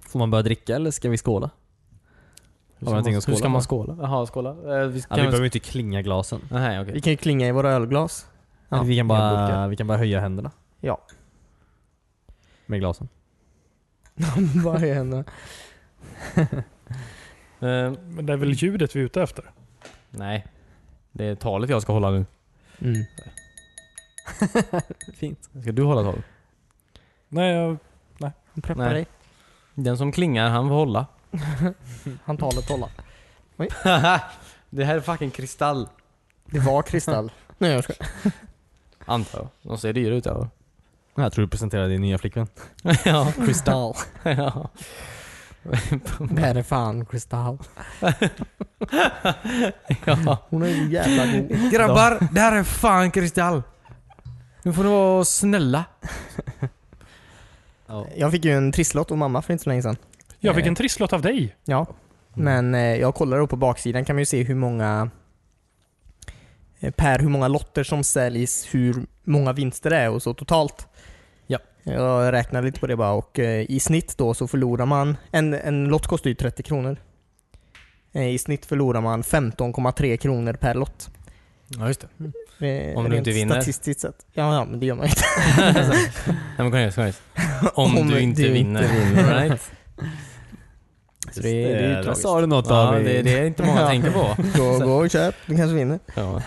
Får man börja dricka eller ska vi skåla? Hur Har vi någonting att hur ska skåla man för? skåla? Jaha, skåla. Eh, vi, Ja, kan vi väl- behöver ju inte klinga glasen. Nej, okej. Vi kan ju klinga i våra ölglas. Ja, Eller vi, kan burkar. bara, vi kan bara höja händerna. Ja. Med glasen. Vad händer? Eh, Men det är väl ljudet vi är ute efter? nej. Det är talet jag ska hålla nu. Mm. Fint. Ska du hålla tal? Nej, jag, Preppa Nej. dig. Den som klingar, han får hålla. Han talar tollar. det här är fucking kristall. Det var kristall. Nej jag skojar. Antar jag. De ser dyra ut ja. Jag tror du presenterar din nya flickvän. ja. Kristall. ja. Det här är fan kristall. ja. Hon är ju jävla god. Grabbar, det här är fan kristall. Nu får ni vara snälla. Jag fick ju en trisslott av mamma för inte så länge sedan. jag fick Eh. en trisslott av dig. Ja. Mm. Men eh, jag kollar då på baksidan kan man ju se hur många eh, per hur många lotter som säljs, hur många vinster det är och så totalt. Ja. Jag räknade lite på det bara och eh, i snitt då så förlorar man, en, en lott kostar ju 30 kronor. Eh, I snitt förlorar man 15,3 kronor per lott. Ja just det. Eh, Om du rent inte vinner. Statistiskt sett. Ja, ja, men det gör man ju inte. Nej men kom igen, kom igen. Om, du inte vinner. All right. Så det, det är ju Där tragiskt. sa du något Ja, av i- det, det är inte många Ja. tänker på. Gå, gå och köp, du kanske vinner. Ja.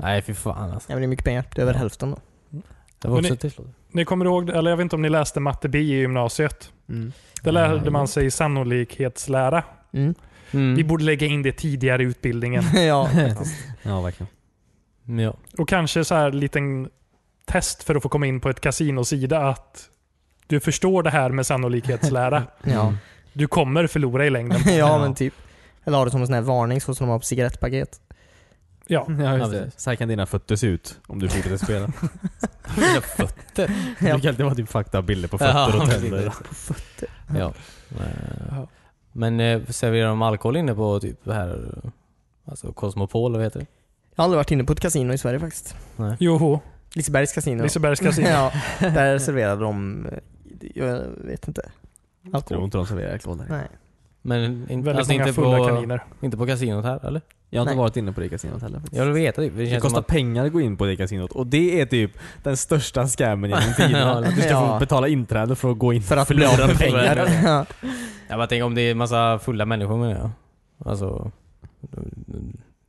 Nej fy fan alltså. Ja, men det är mycket pengar, det är över hälften då. Det var Men också ni- ett tillslag. Ni kommer ihåg, eller jag vet inte om ni läste matte B i gymnasiet. Mm. Där lärde man sig sannolikhetslära. Mm. Mm. Vi borde lägga in det tidigare i utbildningen. ja, Ja, verkligen. Ja. Och kanske så här liten test för att få komma in på ett kasinosida att du förstår det här med sannolikhetslära. ja. Du kommer förlora i längden. ja men typ. Eller har det som en sån här varning så som de har på cigarettpaket. Ja. Ja, just just det. det. Så här kan dina fötter se ut om du fortsätter spela. Mina fötter. Det brukar alltid vara typ fucked up bilder på fötter och tänder. Ja. Eh, Men eh, serverar de alkohol inne på typ det här Alltså Cosmopol, vad heter det? Jag har aldrig varit inne på ett kasino i Sverige faktiskt. Joho. Lisebergs kasino. Lisebergs kasino. ja, där serverade de, eh, jag vet inte. Jag tror Alkohol. inte de serverar alkohol där. Nej. Men in, Väldigt alltså många inte fulla på, kaniner. inte på kasinot här eller? Jag har inte Nej. varit inne på det kasinot heller faktiskt. Jag vill veta typ. Det Det känns som kostar att pengar att gå in på det kasinot och det är typ den största scammen genom tiderna. Ja, Du ska ja. få betala inträde för att gå in. För att bli av med pengar. Ja. Jag bara tänker om det är massa fulla människor menar jag. Alltså,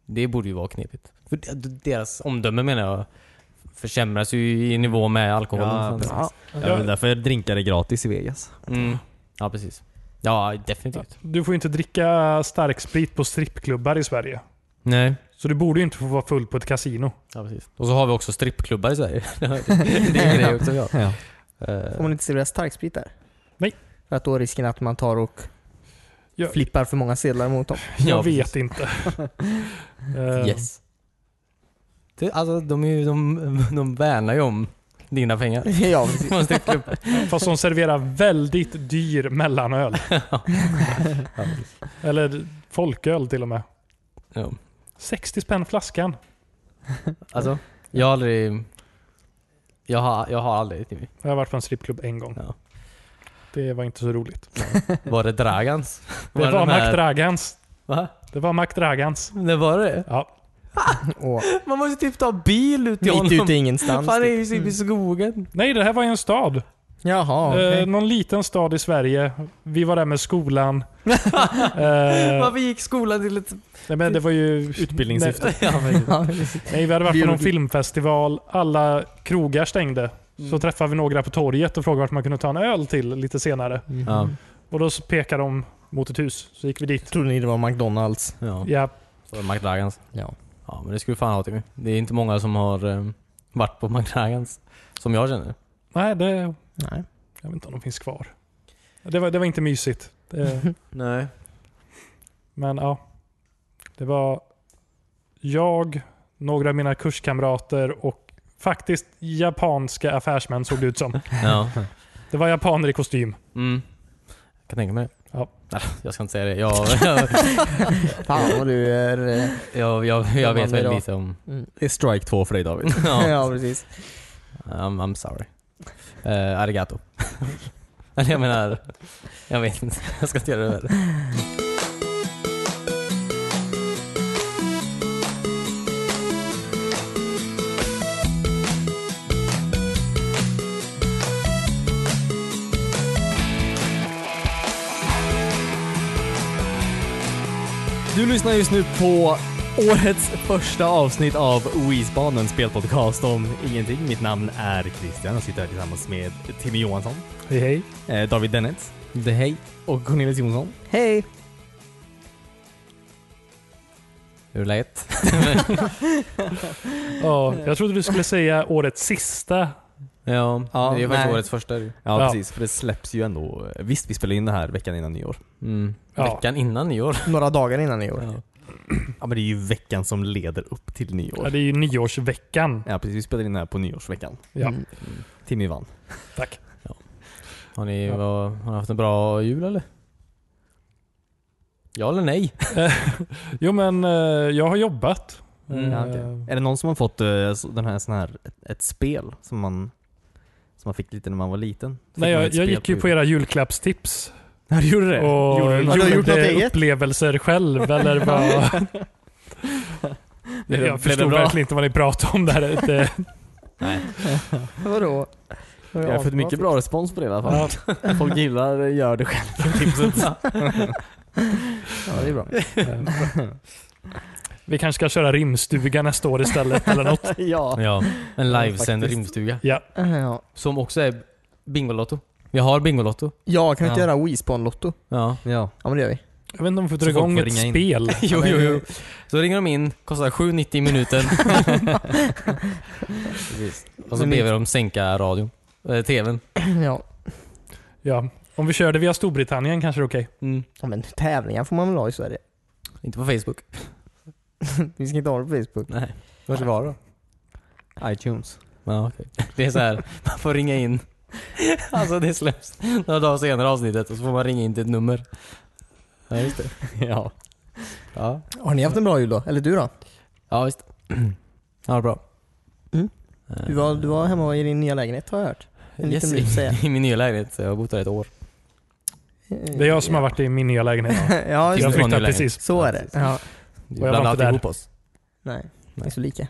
det borde ju vara knepigt. För de- deras omdöme menar jag försämras ju i nivå med alkoholen. Ja, Så- precis. Ja, men därför drinkar det gratis i Vegas. mm. ja precis. Ja, definitivt. Du får ju inte dricka starksprit på strippklubbar i Sverige. Nej. Så du borde ju inte få vara full på ett kasino. Ja, precis. Och så har vi också strippklubbar i Sverige. det är en grej också vi har. Ja. Eh, Får man inte servera starksprit där? Nej. För att då är risken att man tar och Jag, flippar för många sedlar mot dem. Ja, jag precis. vet inte. Eh, Yes. Det, alltså de, är ju, de, de värnar ju om dina pengar. ja, precis. På en strippklubb. Fast de serverar väldigt dyr mellanöl. Eller folköl till och med. ja. 60 spänn flaskan. Alltså, jag har aldrig... Jag har, jag har aldrig... Timmy. Jag har varit på en strippklubb en gång. Ja. Det var inte så roligt. Var det Dragans? Det var, de Mac här- Dragans. Va? Det var Mac Dragans. Det var det? Ja. Och Man måste typ ta bil ut till mitt honom. ute i ingenstans. Han är typ. ju typ i skogen. Nej, det här var ju en stad. Jaha, okej. Eh, någon liten stad i Sverige. Vi var där med skolan. eh, Varför gick skolan till ett... nej, men det var ju... Utbildningssyfte. Ja, men- Ja, precis. Nej, vi hade varit på någon Biologi. filmfestival. Alla krogar stängde. Så träffade vi några på torget och frågade vart man kunde ta en öl till lite senare. ja. Och då så pekade de mot ett hus. Så gick vi dit. Trodde ni det var McDonalds? ja. Ja, Så var det McDragans. Ja. Ja, men det skulle du fan ha Timmy. Det är inte många som har eh, varit på McDragans. Som jag känner. nej, det, Nej. jag vet inte om de finns kvar. Det var, det var inte mysigt. Det, Nej. Men ja. Det var jag, några av mina kurskamrater och faktiskt japanska affärsmän såg det ut som. Ja. Det var japaner i kostym. Mm. Jag kan tänka mig det. Ja. Nej, jag ska inte säga det. Jag, jag, Fan vad du är... eh, jag, jag, jag vet Vad väldigt bra. lite om... Det är strike två för dig David. Ja. Um, Ja, precis. I'm, I'm sorry. Uh, arigato. Eh, Eller jag menar, jag vet inte. Jag ska inte göra det värre. Du lyssnar just nu på årets första avsnitt av Weezbanen spelpodcast om ingenting. Mitt namn är Christian och sitter här tillsammans med Timmy Johansson, Hej hej. eh, David Dennett Det hej. och Cornelius Jonsson. Hej! Hur är läget? Ja, jag trodde du skulle säga årets sista. Ja, Ja, det är ju faktiskt nej. årets första. ju. Ja, Ja. precis. För det släpps ju ändå. Visst, vi spelar in det här veckan innan nyår. Mm. Ja. Veckan innan nyår. Några dagar innan nyår. Ja. Ja, men det är ju veckan som leder upp till Ja, nyår. det är ju nyårsveckan. Ja, precis. Vi spelar in det här på nyårsveckan. Ja. Mm. Timmy vann. Tack. Har ni, Ja. vad, har ni haft en bra jul eller? Ja eller nej? Jo men eh, jag har jobbat. Mm, Ja, Eh, okej. Är det någon som har fått eh, så- den här, sån här, ett, ett spel som man, som man fick lite när man var liten? Fick Nej, man jag, ett jag spel gick ju på era julklappstips. Ja, du gjorde det? Och Gjorde du något? Har du gjort något eget? upplevelser själv eller vad? Blev det- jag blev det förstod bra? verkligen inte vad ni pratade om där ute. Vadå? Har Jag har fått mycket bra respons på det i alla fall. Ja, Folk gillar eh, gör det själv tipset. Ja, det är bra. eh, Vi kanske ska köra rimstuga nästa år istället eller något. ja. Ja. En Ja, livesänd faktiskt. rimstuga. Ja. Som också är Bingolotto. Vi har Bingolotto. Ja, kan vi inte Ja. göra Weespawn-lotto? Ja. ja. Ja men det gör vi. Jag vet inte om vi får Så dra folk igång får ett ringa in. spel. Jo, men- jo, jo. Så ringer de in, kostar 7,90 i minuten. Precis. Och så Men ber vi ni- dem sänka radion. Eh, TVn. Ja. Ja. Om vi kör det via Storbritannien kanske det är okej. Mm. ja men tävlingar får man väl ha i Sverige? Inte på Facebook. Vi ska inte ha det på Facebook. Nej. Vart var det? iTunes. Ja, okej. Det är så här, man får ringa in. Alltså det släpps några dagar senare i avsnittet och så får man ringa in till ett nummer. Ja, just det. ja. Ja, Har ni haft en bra jul då? Eller du då? ja visst. Ja, bra. Mm. Eh, Du var, du var hemma i din nya lägenhet har jag hört. En yes, liten bit säger jag. i, I min nya lägenhet. Jag har bott där ett år. Det är jag som har varit i min nya lägenhet. Ja, Jag just det. Från nya flyttade lägenhet. precis. Så är det. Ja. Vi var blandade inte där. alltid ihop oss. Nej, det är så lika. Eh,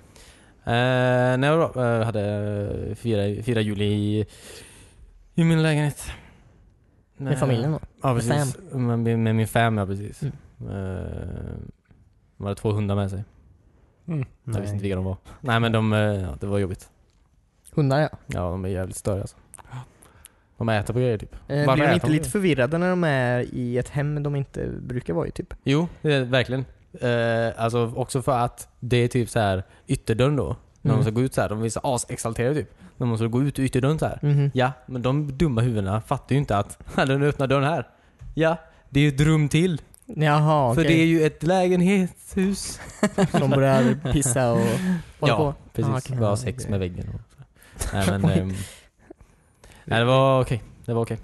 nej, jag eh, hade eh, fyra, fyra jul i, i min lägenhet. Med familjen då. Ja, Med precis. Med, med, med min fam, ja precis. Mm. Eh, de hade två hundar med sig. Mm. Jag visste inte vilka de var. Nej men de, eh, ja, det var jobbigt. Hundar ja. Ja, de är jävligt störiga alltså. De äter på grejer typ. Eh, Varför Blir de äter inte de lite det? förvirrade när de är i ett hem de inte brukar vara i typ? Jo, det är, verkligen. Eh, alltså också för att det är typ så här ytterdörren då. När Mm. de ska gå ut så här. De är så asexalterade typ. När de ska gå ut ur ytterdörren så här. Mhm. Ja, men de dumma huvudena fattar ju inte att "Ja, den öppnar dörren här. Ja, det är ju ett rum till. Jaha okej. För det är ju ett lägenhetshus. De börjar pissa och hålla Ja, på. Precis, Ah, okej. bara ha sex med väggen. Och så. Nej men... ehm, nej, det var okej. Det var okej.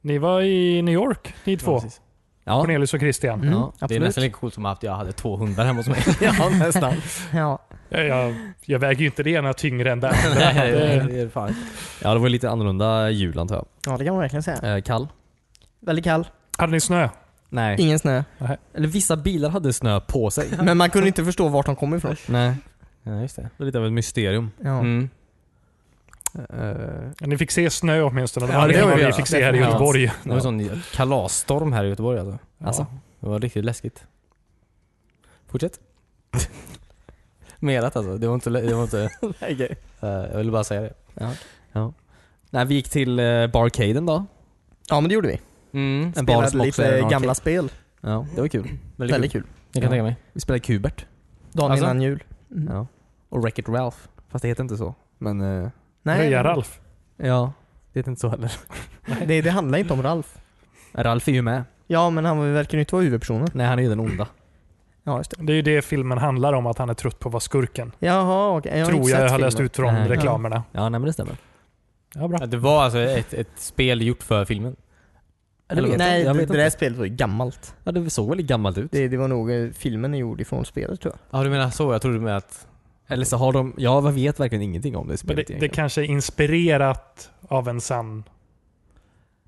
Ni var i New York, ni två. Ja, precis. Ja. Cornelius och Christian. Mm, ja, det är absolut. nästan lika coolt som att jag hade två hundar hemma hos mig. ja, nästan. Ja. Jag, jag, jag väger ju inte det ena tyngre än det andra. Nej, Det- det är fan. Ja, det var lite annorlunda jul antar jag. ja, det kan man verkligen säga. Eh, kall? Väldigt kall, Hade ni snö? Nej. ingen snö. Eller vissa bilar hade snö på sig. Men man kunde inte förstå vart de kom ifrån. Nej. Ja, just det. Det var lite av ett mysterium. Ja. Mm. Eh, Ni fick se snö åtminstone. Det Ja, var det det var vad det. vi fick se här i Ja. Göteborg. Det var en sån kalasstorm här i Göteborg alltså. Alltså. Det var riktigt läskigt. Fortsätt. Merat alltså. Det var inte... Det var inte eh, jag ville bara säga det. Nej, vi gick till eh, Barcaden då. ja, men det gjorde vi. Mm. En bar som Spelade också är en lite arcade. gamla spel. Ja, det var kul. Väldigt kul. Jag kan Ja. tänka mig. Vi spelade Kubert. Dagen Alltså? innan jul. Mm. Ja. Och Wreck-It Ralph. Fast det heter inte så. Men... eh, Nej, Röja Ralf. ja. Det heter inte så heller. Det, det handlar inte om Ralf. Ralf är ju med. Ja, men han verkar ju inte vara huvudpersonen. Nej, han är ju den onda. Ja, just det. Det är ju det filmen handlar om, att han är trött på att vara skurken. Jaha, okej. Jag har Tror inte jag sett jag har läst filmen. ut från Nej. reklamerna. Ja, nej men det stämmer. Ja, bra. Ja, Det var alltså ett, ett spel gjort för filmen. Eller vet Nej, jag, jag det, vet det inte. där spelet var ju gammalt. Ja, det såg väldigt gammalt ut. Det, det var nog eh, filmen är gjord ifrån spelet tror jag. Ja du menar så? Jag trodde du menade att... Eller så har de... Ja, jag vet verkligen ingenting om det Men det, spelet det egentligen. kanske är inspirerat av en sann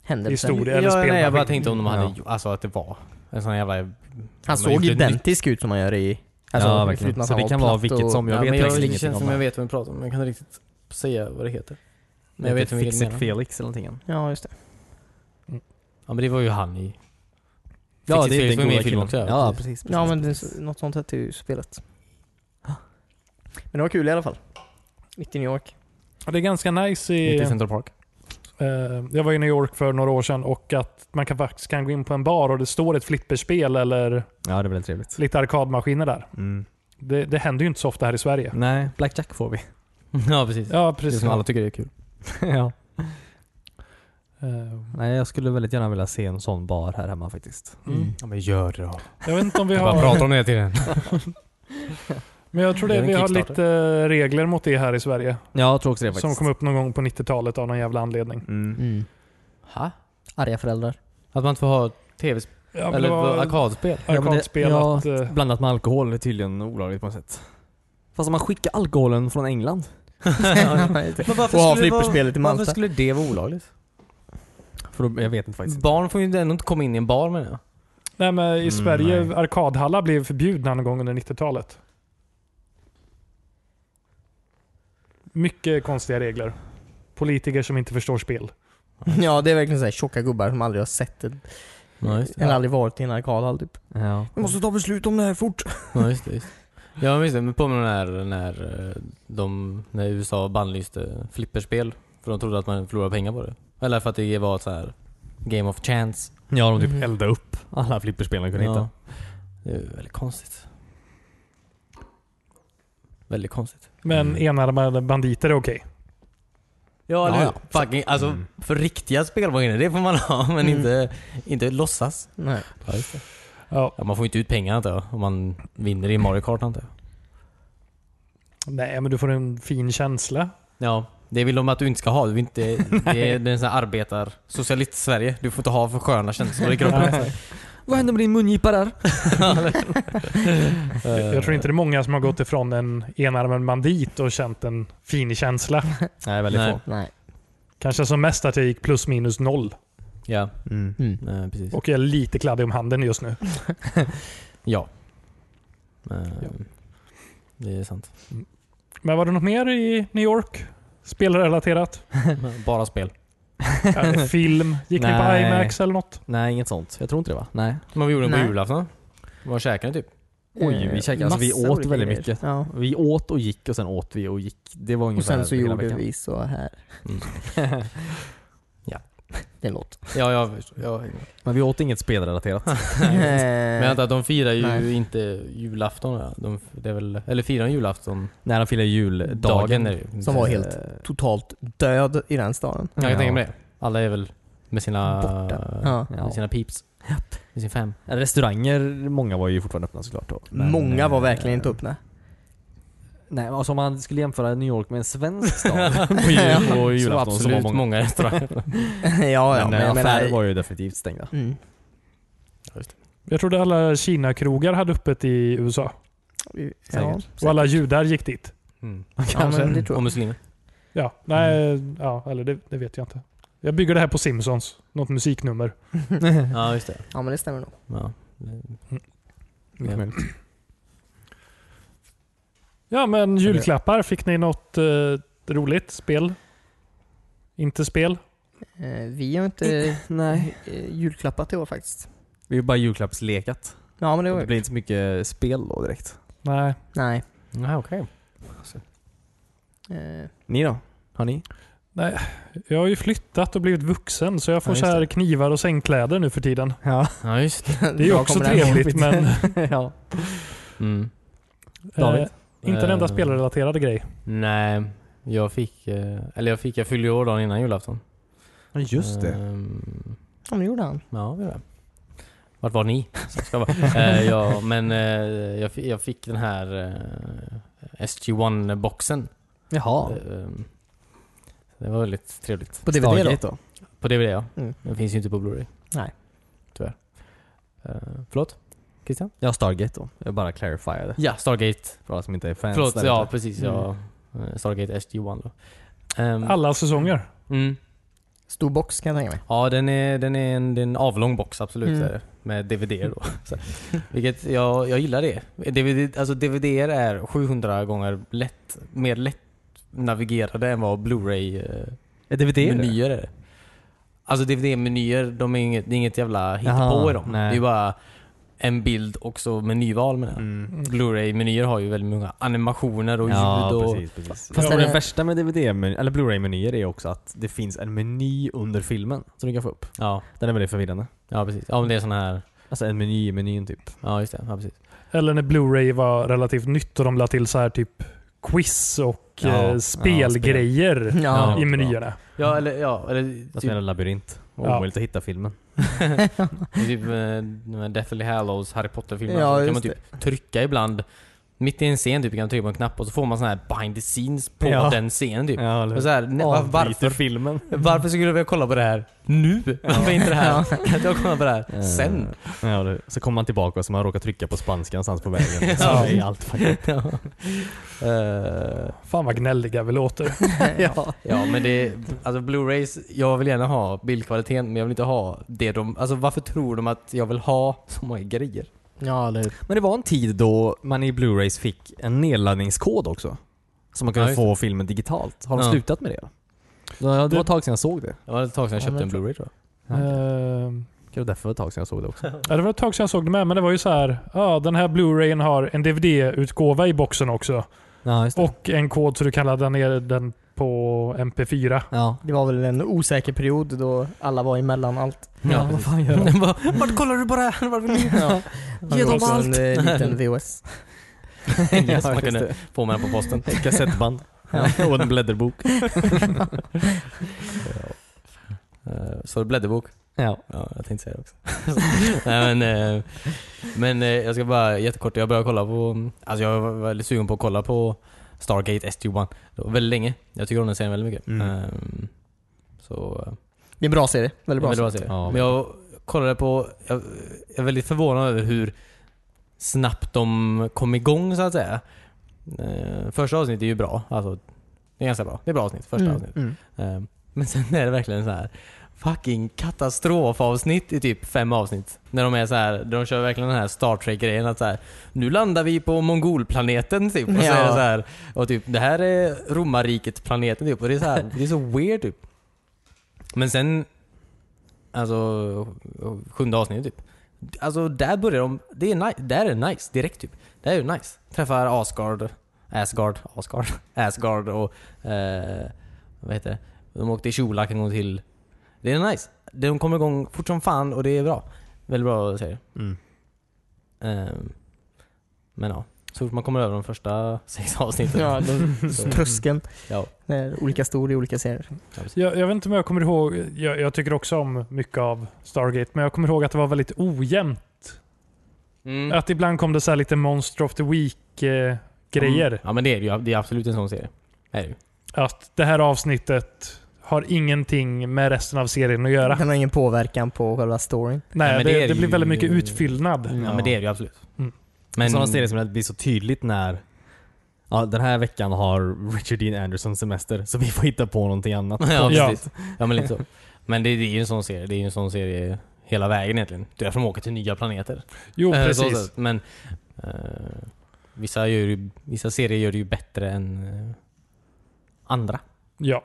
händelsen. historia eller Ja, nej, jag bara spelmaskin. tänkte om de hade Ja. gjort, alltså att det var en sån jävla... Han de har såg gjort ett nytt- identisk ut som han gör i... Alltså, Ja, verkligen. förutom att Så han det var kan vara platt vilket och- som, jag ja, vet men faktiskt jag, det ingenting känns om som det. jag vet vad vi pratar om, men jag kan inte riktigt säga vad det heter. Men jag vet inte Fix vilken it menar. Felix eller någonting. Ja, just det. Ja men det var ju han i... Ja, Fix det it är Felix var med den i goda filmen killen. också, ja, Ja, precis. precis. ja, precis, men det, precis. är något sånt hette ju spelet. Ah. Men det var kul i alla fall. Mitt i New York. Ja, det är ganska nice i... Inte i Central Park. Eh, jag var i New York för några år sedan och att man kan faktiskt kan gå in på en bar och det står ett flipperspel eller Ja, det är väldigt trevligt. lite arkadmaskiner där. Mm. Det, det händer ju inte så ofta här i Sverige. Nej, Blackjack får vi. ja precis. Ja, Mm. det precis. som alla tycker är kul. ja. Eh, Nej, jag skulle väldigt gärna vilja se en sån bar här hemma faktiskt. Mm. Ja men gör det då. Jag vet inte om vi Jag bara har... pratar om det hela tiden. Men jag tror Det det, är en vi har Kickstarter. lite eh, regler mot det här i Sverige. Ja, jag tror också det Som faktiskt. kom upp någon gång på 90-talet av någon jävla anledning. Mm. Ha? Arga föräldrar. Att man inte får ha tv-spel? Ja, men det eller var arkadspel? Ja, men det- arkadspel ja. att... eh, Blandat med alkohol är tydligen olagligt på något sätt. Fast om man skickar alkoholen från England. Men och ha flipperspelet i varför Malta. skulle det vara olagligt? För då, jag vet inte faktiskt. Barn får ju ändå inte komma in i en bar menar jag. Nej, men i Mm, Sverige, nej. arkadhallar blev förbjudna någon gång under 90-talet. Mycket konstiga regler. Politiker som inte förstår spel. Ja, det är verkligen såhär tjocka gubbar som aldrig har sett ett, Ja just eller aldrig varit i en arkadhall typ. Ja. Vi måste ta beslut om det här fort. Ja just det. Just. det. Ja just det, men påminner när, när, eh, de, när USA bannlyste flipperspel. För de trodde att man förlorade pengar på det. Eller för att det var ett så här game of chance. Ja, de typ Mhm. eldade upp alla flipperspel de kunde hitta. Ja. Det är väldigt konstigt. Väldigt konstigt. Men Mm. enarmade banditer är okej. Ja, eller Ja, hur? Fucking, alltså Mm. för riktiga spelmaskiner, det får man ha. Men Mm. inte, inte låtsas. Nej. Ja, just det. Ja, Ja, man får ju inte ut pengar antar jag. Om man vinner i Mario Kart antar jag. nej, men du får en fin känsla. Ja, det vill de att du inte ska ha. Du vill inte, det är det är en sån här arbetar... Socialist-Sverige. Du får inte ha för sköna känslor i kroppen. Nej, Vad hände med din mungipa där? jag tror inte det är många som har gått ifrån en enarmad bandit och känt en fin känsla. Nej, väldigt Eh, Nej. få. Nej. Kanske som mest att jag gick plus minus noll. Ja, Mm. Mm. eh, precis. Och jag är lite kladdig om handen just nu. Ja. Eh, Det är sant. Men var det något mer i New York? Spelrelaterat? Bara spel. Eh, Film? Gick ni på Nej. IMAX eller något? Nej, inget sånt. Jag tror inte det va? Nej. Men vad gjorde de på Nej. julafton? Vad käkade ni typ? Oj, vi käkade- alltså, vi Massa åt olika väldigt grejer. mycket. Ja. Vi åt och gick och sen åt vi och gick. Det var Och ungefär sen så hela gjorde veckan. vi så här. Det låter. Ja, jag förstår. Jag, Men vi åt inget spelrelaterat. Eh, Men jag antar att de firar ju Nej. inte julafton. ja. De, det är väl, eller firar de julafton? När de firar juldagen. Dagen är det ju. Som var helt- Eh, Totalt död i den staden. Jag kan Ja. tänka mig det. Alla är väl med sina... Borta. Ja. Ja. Med sina peeps. Med sin fem. Restauranger, många var ju fortfarande öppna såklart. Då. Men, Många var eh, verkligen inte öppna. Nej, men alltså om man skulle jämföra New York med en svensk stad på jul och Så julafton så var absolut många. många restauranger. ja, ja, Men, men jag eh, affärer menar... var ju definitivt stängda. Mm. Jag trodde alla Kina-krogar hade öppet i USA. Ja, Säkert. Och alla judar gick dit. Mm. ja, men det tror Och jag. muslimer. Ja, nej, Mm. ja, eller det, det vet jag inte. Jag bygger det här på Simpsons. Något musiknummer. Ja, just det. Ja, men det stämmer nog. Ja. Mycket Ja. möjligt. Ja, men julklappar. Fick ni något eh, roligt spel? Inte spel? Eh, Vi har inte Nej. eh, julklappat i år faktiskt. Vi har ju bara julklappslekat. Ja, men det Och var Det blir inte så mycket spel då direkt. Nej. Nej. Nej, okej. Eh, Ni då? Har ni? Jag har ju flyttat och blivit vuxen så jag får Ja, så just här det. knivar och sängkläder nu för tiden. Ja. Ja, just det. Det är ju bra också kommer det här. trevligt men ja. Mm. David? eh, inte en enda Eh, spelrelaterad grej. Nej. Jag fick... eh, Eller jag fick... Jag fyllde ju år dagen innan julafton. Just det. Ehm, Ja, men det gjorde han. Ja, det är det. Vart var ni? Så ska jag vara. Eh, ja, men eh, jag, fick, jag fick den här eh, SG-1-boxen. Jaha. Eh, det var väldigt trevligt. På DVD då? Stargate då? På DVD ja. Mm. Den finns ju inte på Blu-ray. Nej. Tyvärr. Eh, förlåt? Christian? Ja, Stargate då. Jag bara clarifierade. Ja, Stargate. För alla som inte är fans. förlåt, där ja Eh, ute. Mm. precis. Ja, eh, Stargate SG-1 då. Ehm, Alla säsonger. mm, Stor box kan jag tänka mig. Ja, den är, den är, en, det är en avlång box absolut. Mm. så är det. Med DVD då. Så, vilket jag, jag gillar det. DVD, alltså DVD är 700 gånger lätt, mer lätt navigerade än vad Blu-ray-menyer Är DVD? är. Alltså DVD-menyer, de är inget, det är inget jävla Jaha, hittepå i dem. nej. Det är bara en bild och så menyval med den. Mm. Blu-ray-menyer har ju väldigt många animationer och Ja, ljud och... precis. precis. Fast ja, och är det det- värsta med DVD, eller Blu-ray-menyer är också att det finns en meny under filmen som du kan få upp. Ja, Den är väldigt förvirrande. ja, precis. Ja, men det är sån här... Alltså en meny i menyn typ. Ja, just det. Ja, precis. Eller när Blu-ray var relativt nytt och de la till så här typ quiz och Ja, eh, ja, spelgrejer Ja. i Ja, menyerna. Ja, eller... Ja, eller Alltså en labyrint. Och Ja. Omöjligt att hitta filmen. Det är typ eh, de här Deathly Hallows Harry Potter-filmerna. Ja, så kan man just typ trycka ibland. Mitt i en scen typ, kan man trycka på en knapp och så får man sån här behind the scenes på Ja. den scenen typ. Ja, eller Och så här, nej, var, varför, filmen. varför skulle jag vilja kolla på det här nu? Varför inte det här? Jag kollar på det här Eh, sen. Ja, det- så kommer man tillbaka och så man råkar trycka på spanska någonstans på vägen. Så Ja. är allt fucking- ja. Eh, Fan vad gnälliga vi låter. ja. ja men det, alltså Blu-rays, jag vill gärna ha bildkvaliteten men jag vill inte ha det de, alltså varför tror de att jag vill ha så många grejer? Ja, eller hur. Men det var en tid då man i Blu-rays fick en nedladdningskod också. Så man kunde Ja, just få filmen digitalt. Har de Ja. slutat med det? Det var det var ett tag sedan jag såg det. Det var ett tag sedan jag Ja, köpte men en Blu-ray tror jag. Ja. Eh, Det var därför det var ett tag sedan jag såg det också. Ja, det var ett tag sedan jag såg det med, men det var ju så här. Ja, den här Blu-rayen har en DVD-utgåva i boxen också. Ja, just det. Och en kod så du kan ladda ner den på MP4. Ja. Det var väl en osäker period då alla var emellan allt. Ja, vad fan gör Vart kollar du på det här? Vart vill Ja. Ge dem också allt! en eh, liten VHS. ja, Ja, man just kunde det. få med den på posten. Ett kassettband. och en blädderbok. Eh, Så blädderbok. Ja. Ja, jag tänkte säga det också. Nej, men, eh, men eh, jag ska bara jättekort, jag började kolla på, alltså jag var väldigt sugen på att kolla på Stargate SG-1. Det var väldigt länge. Jag tycker om den serien väldigt mycket. Mm. Ehm, så, eh, Det är en bra serie. Väldigt bra. väldigt bra serie. serie. Ja. Men jag kollade på, jag, jag är väldigt förvånad över hur snabbt de kom igång så att säga. Eh, första avsnittet är ju bra, alltså det är ganska bra. Det är bra avsnitt, första Mm, avsnittet. mm. Eh, Men sen är det verkligen så här fucking katastrofavsnitt i typ fem avsnitt. När de är så här, de kör verkligen den här Star Trek-grejen att så här, nu landar vi på mongolplaneten typ. Och så är det Ja. så här, och typ det här är romarriket-planeten typ. Och det är så här, det är så weird typ. Men sen, alltså sjunde avsnittet typ. Alltså där börjar de, det är nice, där är det nice direkt typ. Där är det nice. Träffar Asgard, Asgard, Asgard, Asgard och eh, vad heter det? De åkte i Tjolak en gång till. Det är nice. De kommer igång fort som fan och det är bra. Väldigt bra serie. Mm. Ehm, men ja, så fort man kommer över de första sex avsnitten. Ja, så, då, tröskeln. Mm. ja, är olika stor i olika serier. ja, precis. Jag, jag vet inte om jag kommer ihåg. Jag, jag tycker också om mycket av Stargate, men jag kommer ihåg att det var väldigt ojämnt. Mm. Att ibland kom det så här lite Monster of the eh, Week-grejer. Mm. Ja men det är det ju. Det är absolut en sån serie. Är det ju. Att det här avsnittet har ingenting med resten av serien att göra. Den har ingen påverkan på själva storyn. Nej, men det, det är det, det blir ju- väldigt mycket utfyllnad. Ja, Ja. men det är det ju absolut. Mm. Men, Sådana serier som det blir så tydligt när Ja, den här veckan har Richard Dean Anderson semester så vi får hitta på någonting annat. ja, Ja. precis. Ja, men lite så. Men det, det är ju en sån serie. Det är ju en sån serie hela vägen egentligen. Det är därför de åker till nya planeter. Jo, Eh, så precis. sett. Men eh, vissa, gör ju, vissa serier gör det ju bättre än eh, andra. Ja.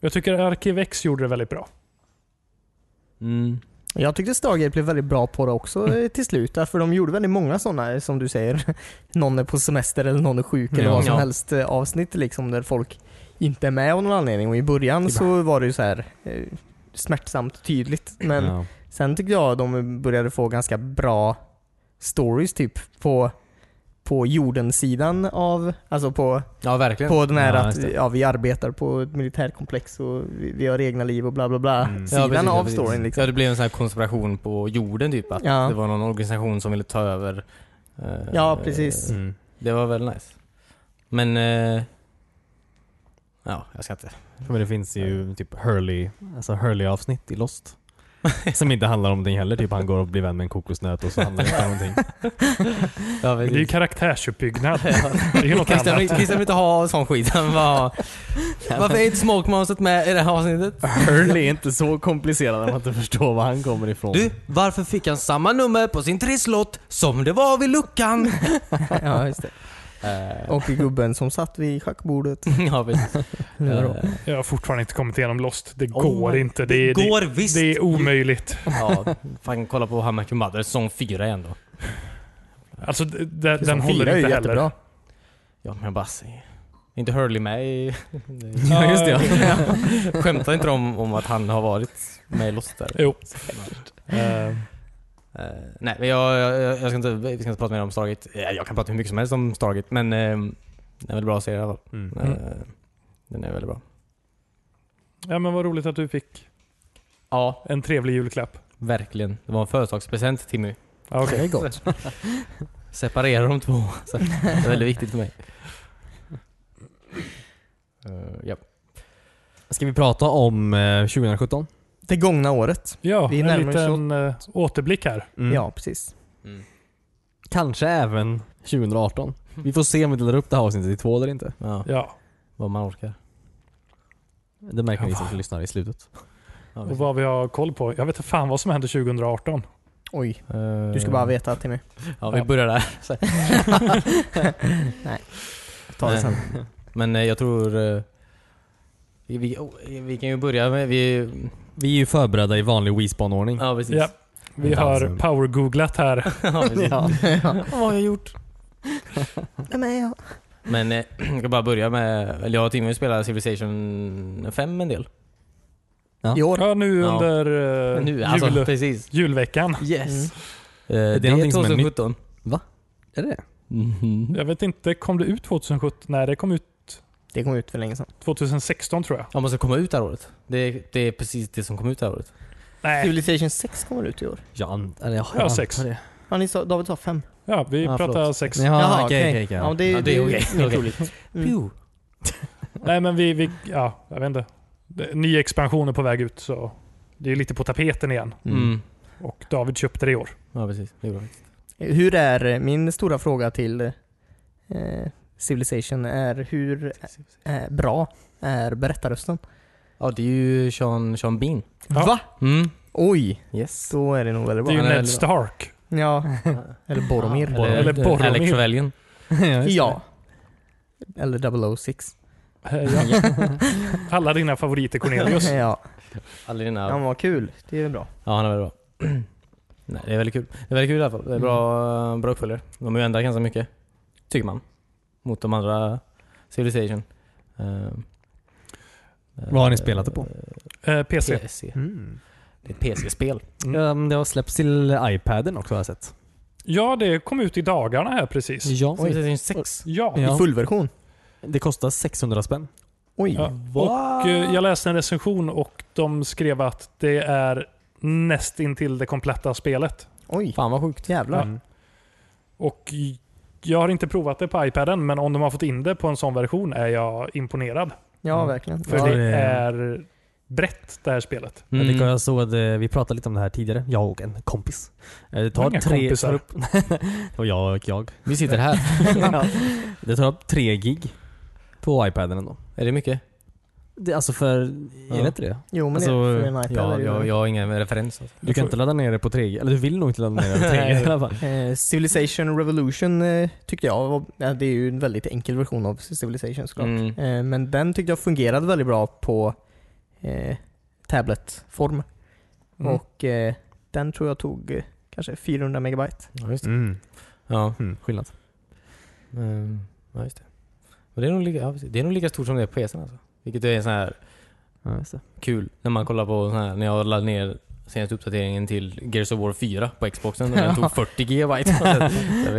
Jag tycker Arkiv X gjorde det väldigt bra. Mm. Jag tyckte Stargate blev väldigt bra på det också Mm. eh, till slut. För de gjorde väldigt många sådana, eh, som du säger. Någon är på semester eller någon är sjuk eller Ja. vad som Ja. helst eh, avsnitt liksom där folk inte är med av någon anledning. Och i början så var det ju så här eh, smärtsamt tydligt. Men Ja. sen tyckte jag de började få ganska bra stories typ på, på jordensidan av, alltså på Ja, verkligen. På den här Ja, just att det. ja, vi arbetar på ett militärkomplex och vi, vi har egna liv och bla bla bla. Mm. ja, Sidan precis, av precis. storyn liksom. Ja, det blev en sån här konspiration på jorden typ. Att Ja. det var någon organisation som ville ta över. eh, Ja, precis. Mm. Det var väldigt nice. Men... eh, ja, jag ska inte... Men det finns ju typ Hurley, alltså Hurley-avsnitt i Lost. Som inte handlar om den heller. Typ han går och blir vän med en kokosnöt och så handlar det inte om någonting. Ja, Men det är ju karaktärsuppbyggnad. Det är ju något Christian, vill- annat. Christian vill inte ha sån skit. Han bara, varför är inte Smokemonstret med i det här avsnittet? Earl är inte så komplicerad att man inte förstår var han kommer ifrån. Du, varför fick han samma nummer på sin trisslott som det var vid luckan? ja, just det. Eh, Och gubben som satt vid schackbordet. ja, precis. Lurar Eh, Jag har fortfarande inte kommit igenom Lost. Det Oh går my- inte. Det, det är- går det, visst. det är omöjligt. Ja, fan kolla på How I Met Your Mother, säsong 4 igen då. Alltså, d- d- den Som håller fyra är ju inte heller. jättebra. Ja, men jag bara säger. Är inte Hurley med i... Ja, just det, ja. Skämtar inte de om att han har varit med i Lost där? Jo. Eh, Eh, nej, men jag, jag, jag ska inte, vi ska inte prata mer om Stargate. Eh, Jag kan prata hur mycket som helst om Stargate, men eh, den är väl bra att se i alla fall. Mm. Eh, Mm. den är väldigt bra. Ja men vad roligt att du fick Ja, en trevlig julklapp. verkligen. Det var en födelsedagspresent Timmy. Ja, Det okej. är gott. Separera de två. Så det är väldigt viktigt för mig. Eh, ja. Ska vi prata om eh, 2017? Det gångna året. Ja, Vi en närmar oss liten eh, återblick här. Mm. Ja, precis. Kanske även 2018. Vi får se om vi delar upp det här avsnittet i två eller inte. Ja, Ja, vad man orkar. Det märker ni som lyssnar i slutet. Ja, och vad vi har koll på. Jag vet inte fan vad som hände 2018. Oj, Eh, du ska bara veta Timmy. Ja, vi börjar där. Så. Nej. Ta det Nej. sen. Men eh, jag tror... eh, vi, vi, oh, vi kan ju börja med... Vi, Vi är ju förberedda i vanlig Wispan-ordning. ja, precis. Ja, vi Inte alls har en- power-googlat här. Ja, precis. Vad har jag gjort? Nej, men jag... Men eh, jag ska bara börja med... Eller jag och Timmy spelar Civilization 5 en del. Ja. I år? Ja, nu Ja. under eh, Nu, alltså, jul, precis. julveckan. Yes. Mm. Eh, det det är någonting som är 2017. Är det det? Mhm. Jag vet inte, kom det ut 2017? Nej, det kom ut Det kom ut för länge sedan. 2016 tror jag. Ja, man ska komma ut det här året. Det, det är precis det som kom ut det här året. Nej, Eh. Civilization 6 kommer ut i år. Jan? Eller, ja, Ja, sex. Ja, ni sa, David sa 5. ja, vi Ja, pratar förlåt. sex. Ja, Jaha, okej. okej, okej. Ja, men det, Ja, det är okej. ju mer Okej. troligt. Mm. Phew. Nej, men vi, vi... Ja, jag vet inte. Det- Nya expansioner på väg ut så det är lite på tapeten igen. Mm. Och David köpte det i år. Ja, precis. Det är bra. Hur är, min stora fråga till eh, Civilization är hur eh, bra är berättarrösten? Ja, det är ju Sean, Sean Bean. Ja. Va? Mm. Oj, Yes. då är det nog väldigt Det är ju bra. han är Ned väldigt Stark. Ja, eller Boromir. Eller, Eller Boromir. Alex Trevelyan. Ja. Eller 006. Eh, Ja. Alla dina favoriter Cornelius. Ja, Alla dina... ja men vad kul. Det är ju bra. Ja, han är väldigt bra. Nej, det är väldigt kul. Det är väldigt kul i alla fall. Det är bra, bra uppföljare. De har ju ändrat ganska mycket, tycker man. Mot de andra Civilization. Uh, Vad har ni spelat det på? Eh, PC. PC. Det är ett PC-spel. Mm. Det har släppts till iPaden också har jag sett. Ja, det kom ut i dagarna här precis. Ja. Civilization 6. Ja. Ja. I fullversion? Det kostar 600 spänn. Oj. ja. Och eh, jag läste en recension och de skrev att det är nästintill det kompletta spelet. Oj. Fan vad sjukt. Jävlar. Mm. Och jag har inte provat det på iPaden, men om de har fått in det på en sån version är jag imponerad. Ja, verkligen. För Ja, det det är- är brett det här spelet. Jag tycker Mm. jag såg att eh, vi pratade lite om det här tidigare, jag och en kompis. Eh, Det tar Inga tre... kompisar. tar upp- det var jag och jag. Vi sitter här. Ja. Det tar upp tre gig på iPaden ändå. Är det mycket? Det, alltså för... Är Ja. det inte det? Jo, men Alltså, det, för en iPad är Ja, det ju- jag, jag har ingen referens. Alltså. Du kan inte ladda ner det på 3G, eller du vill nog inte ladda ner det på 3G i alla fall. Eh, Civilization Revolution eh, tyckte jag var, ja, det är ju en väldigt enkel version av Civilization såklart. Mm. Eh, men den tyckte jag fungerade väldigt bra på eh, tabletform. Mm. Och eh, den tror jag tog eh, kanske 400 megabyte. Ja, just det. Mm. Ja. Mm. Skillnad. Mm. ja, just det. Men det, är nog lika, ja, precis. det är nog lika stort som det är på PCn alltså. Vilket är sån här Ja, just det. kul när man kollar på sån här, när jag laddade ner senaste uppdateringen till Gears of War 4 på Xboxen. och Den tog 40 GB. jag vet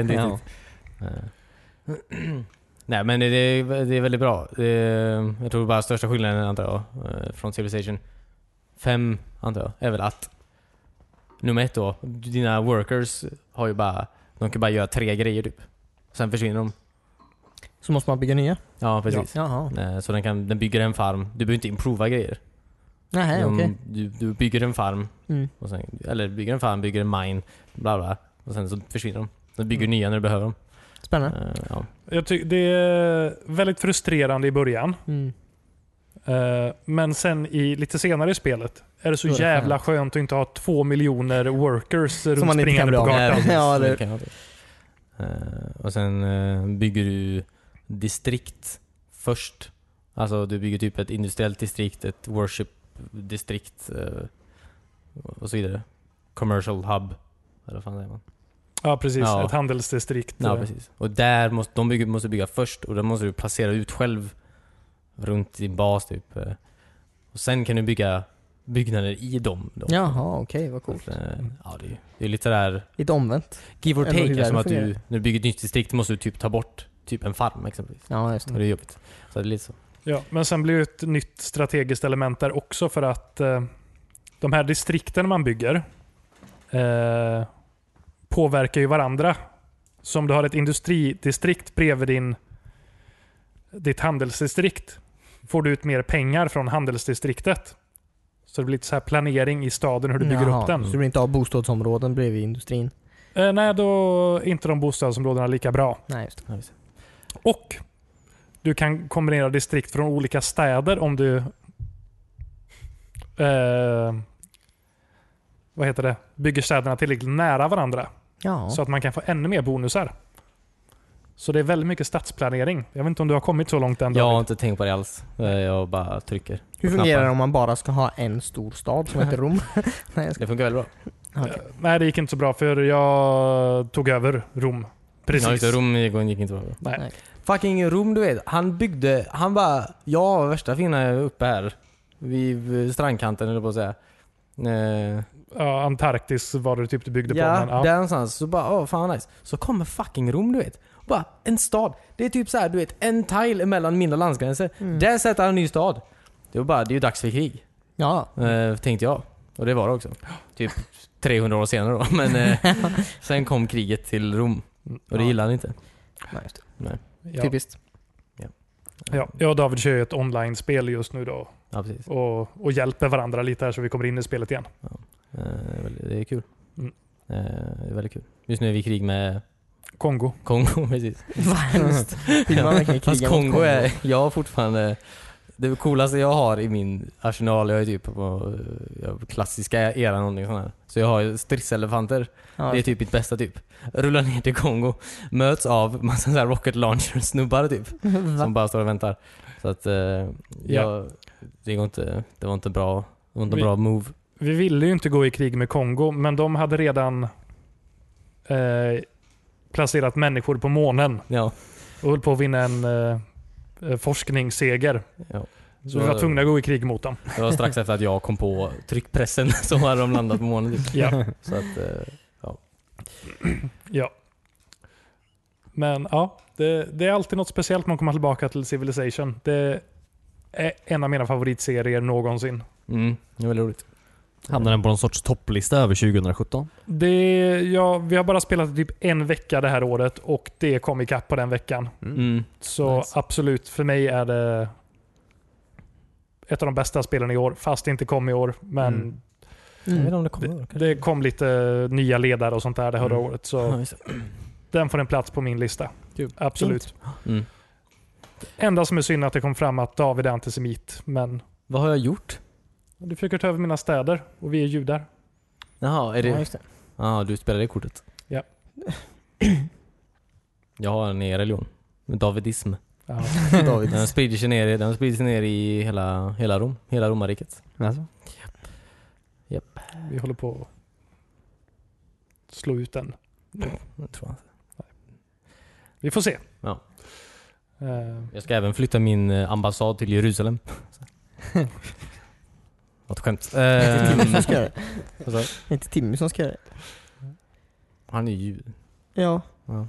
inte Ja. riktigt. Eh. Nej men det är, det är väldigt bra. Det är, jag tror bara största skillnaden antar jag eh, från Civilization 5 antar jag är väl att nummer ett då, dina workers har ju bara, de kan bara göra tre grejer typ. Sen försvinner de. Så måste man bygga nya. Ja precis. Jaha. Eh, Så den, kan, den bygger en farm. Du behöver inte improva grejer. Nej, de, okej. du, du bygger en farm, Mm. och sen, eller bygger en farm, bygger en mine, bla bla. Och sen så försvinner de. Sen bygger du nya när du behöver dem. Spännande. Eh, ja. Jag tycker det är väldigt frustrerande i början. Mm. Eh, men sen i lite senare i spelet är det så Då är det jävla skönt att inte ha två miljoner workers runt man inte kan springande bli på av med. kartan. precis. Ja, eller- Det kan jag inte. Eh, och sen eh, bygger du distrikt först. Alltså du bygger typ ett industriellt distrikt, ett worship-distrikt eh, och så vidare. Commercial hub. Eller vad fan säger man? Ja, precis. Ja. Ett handelsdistrikt. eh, Ja, precis. Och där måste de bygga, måste bygga först och där måste du placera ut själv runt din bas typ. Eh, Och sen kan du bygga byggnader i dem. Då. Jaha, okej. vad coolt. Så att, eh, ja, det, är, det är lite sådär Lite omvänt. Give or Ändå hur take, världen eftersom att du, fungerar. när du bygger ett nytt distrikt måste du typ ta bort typ en farm exempelvis. Ja, just Och det. det är jobbigt. Så det är lite så. Ja, men sen blir det ett nytt strategiskt element där också för att eh, de här distrikten man bygger eh, påverkar ju varandra. Så om du har ett industridistrikt bredvid din, ditt handelsdistrikt får du ut mer pengar från handelsdistriktet. Så det blir lite så här planering i staden hur du bygger Jaha, upp den. Så du vill inte ha bostadsområden bredvid industrin? Eh, nej, då är inte de bostadsområdena lika bra. Nej, just det. Ja, visst. Och du kan kombinera distrikt från olika städer om du... Eh, vad heter det? Bygger städerna tillräckligt nära varandra. Ja. Så att man kan få ännu mer bonusar. Så det är väldigt mycket stadsplanering. Jag vet inte om du har kommit så långt än Jag har David. inte tänkt på det alls. Eh, Jag bara trycker. Hur på fungerar det knappar. om man bara ska ha en stor stad som heter Rom? Nej, jag ska... Det funkar väldigt bra. okej. Nej, det gick inte så bra för jag tog över Rom. Ja, Precis. just det, Rom gick gick inte så bra. Nej. Nej. Fucking Rom du vet. Han byggde, han bara, jag har värsta fina uppe här. Vid strandkanten eller på att säga. Eh, Ja, Antarktis var det typ du byggde ja, på. Men, ja. där någonstans. Så bara, åh fan nice. Så kommer fucking Rom du vet. Bara en stad. Det är typ så här, du vet, en tile mellan mina landsgränser. Mm. Där sätter han en ny stad. Det var bara, det är ju dags för krig. Ja, Eh, tänkte jag. Och det var det också. Typ 300 år senare då. Men eh, sen kom kriget till Rom. Och det Ja. gillade han inte. nej, just det. Ja. Typiskt. Ja. Jag och David kör ju ett online-spel just nu då Ja, precis. och, och hjälper varandra lite här så vi kommer in i spelet igen. Eh, det är kul. Mm. Eh, det är väldigt kul. Just nu är vi i krig med Kongo. Kongo precis. Vad hemskt. Vill man verkligen Fast kriga mot Kongo är, jag har fortfarande det coolaste jag har i min arsenal, jag är typ på eh, jag- klassiska era någonting sånt här. Så jag har ju stridselefanter. Ja, Det är typ mitt bästa typ. Rullar ner till Kongo, möts av massa så här rocket launcher-snubbar typ. Som bara står och väntar. Så att eh, jag, det, går inte, det var inte bra, det var inte Vi- bra move. Vi ville ju inte gå i krig med Kongo, men de hade redan eh, placerat människor på månen Ja, och höll på att vinna en eh, eh, forskningsseger. ja. Så vi var tvungna att gå i krig mot dem. Det var strax efter att jag kom på tryckpressen så hade de landat på månen typ. Ja. Så att, eh, ja. Men ja, det, det är alltid något speciellt man kommer tillbaka till Civilization. Det är en av mina favoritserier någonsin. mm, det var väldigt roligt. Hamnar den på någon sorts topplista över 2017? Det, ja, vi har bara spelat typ en vecka det här året och det kom ikapp på den veckan. Mm. Så Nice. absolut, för mig är det ett av de bästa spelen i år, fast det inte kom i år. Men Mm. Jag vet inte Mm. om det kommer. det kom lite nya ledare och sånt där det förra Mm. året. Så den får en plats på min lista. Kul. Absolut. Mm. Enda som är synd är att det kom fram att David är antisemit, men Vad har jag gjort? du försöker ta över mina städer och vi är judar. Jaha, är Ja, det... just det. Ja, du spelar det kortet? Ja. Jag har en e-religion. Davidism. Ja. David. Den sprider sig ner, i- den sprider sig ner i hela, hela Rom. Hela romarriket. Alltså. Vi håller på att slå ut den. Jag, tror jag. Vi får se. Ja. Eh, jag ska även flytta min eh, ambassad till Jerusalem. Vad ett skämt. Inte Timmy Ehm, som ska göra det. vad sa du? Inte Timmy som ska göra det. han är ju jud. Ja. ja.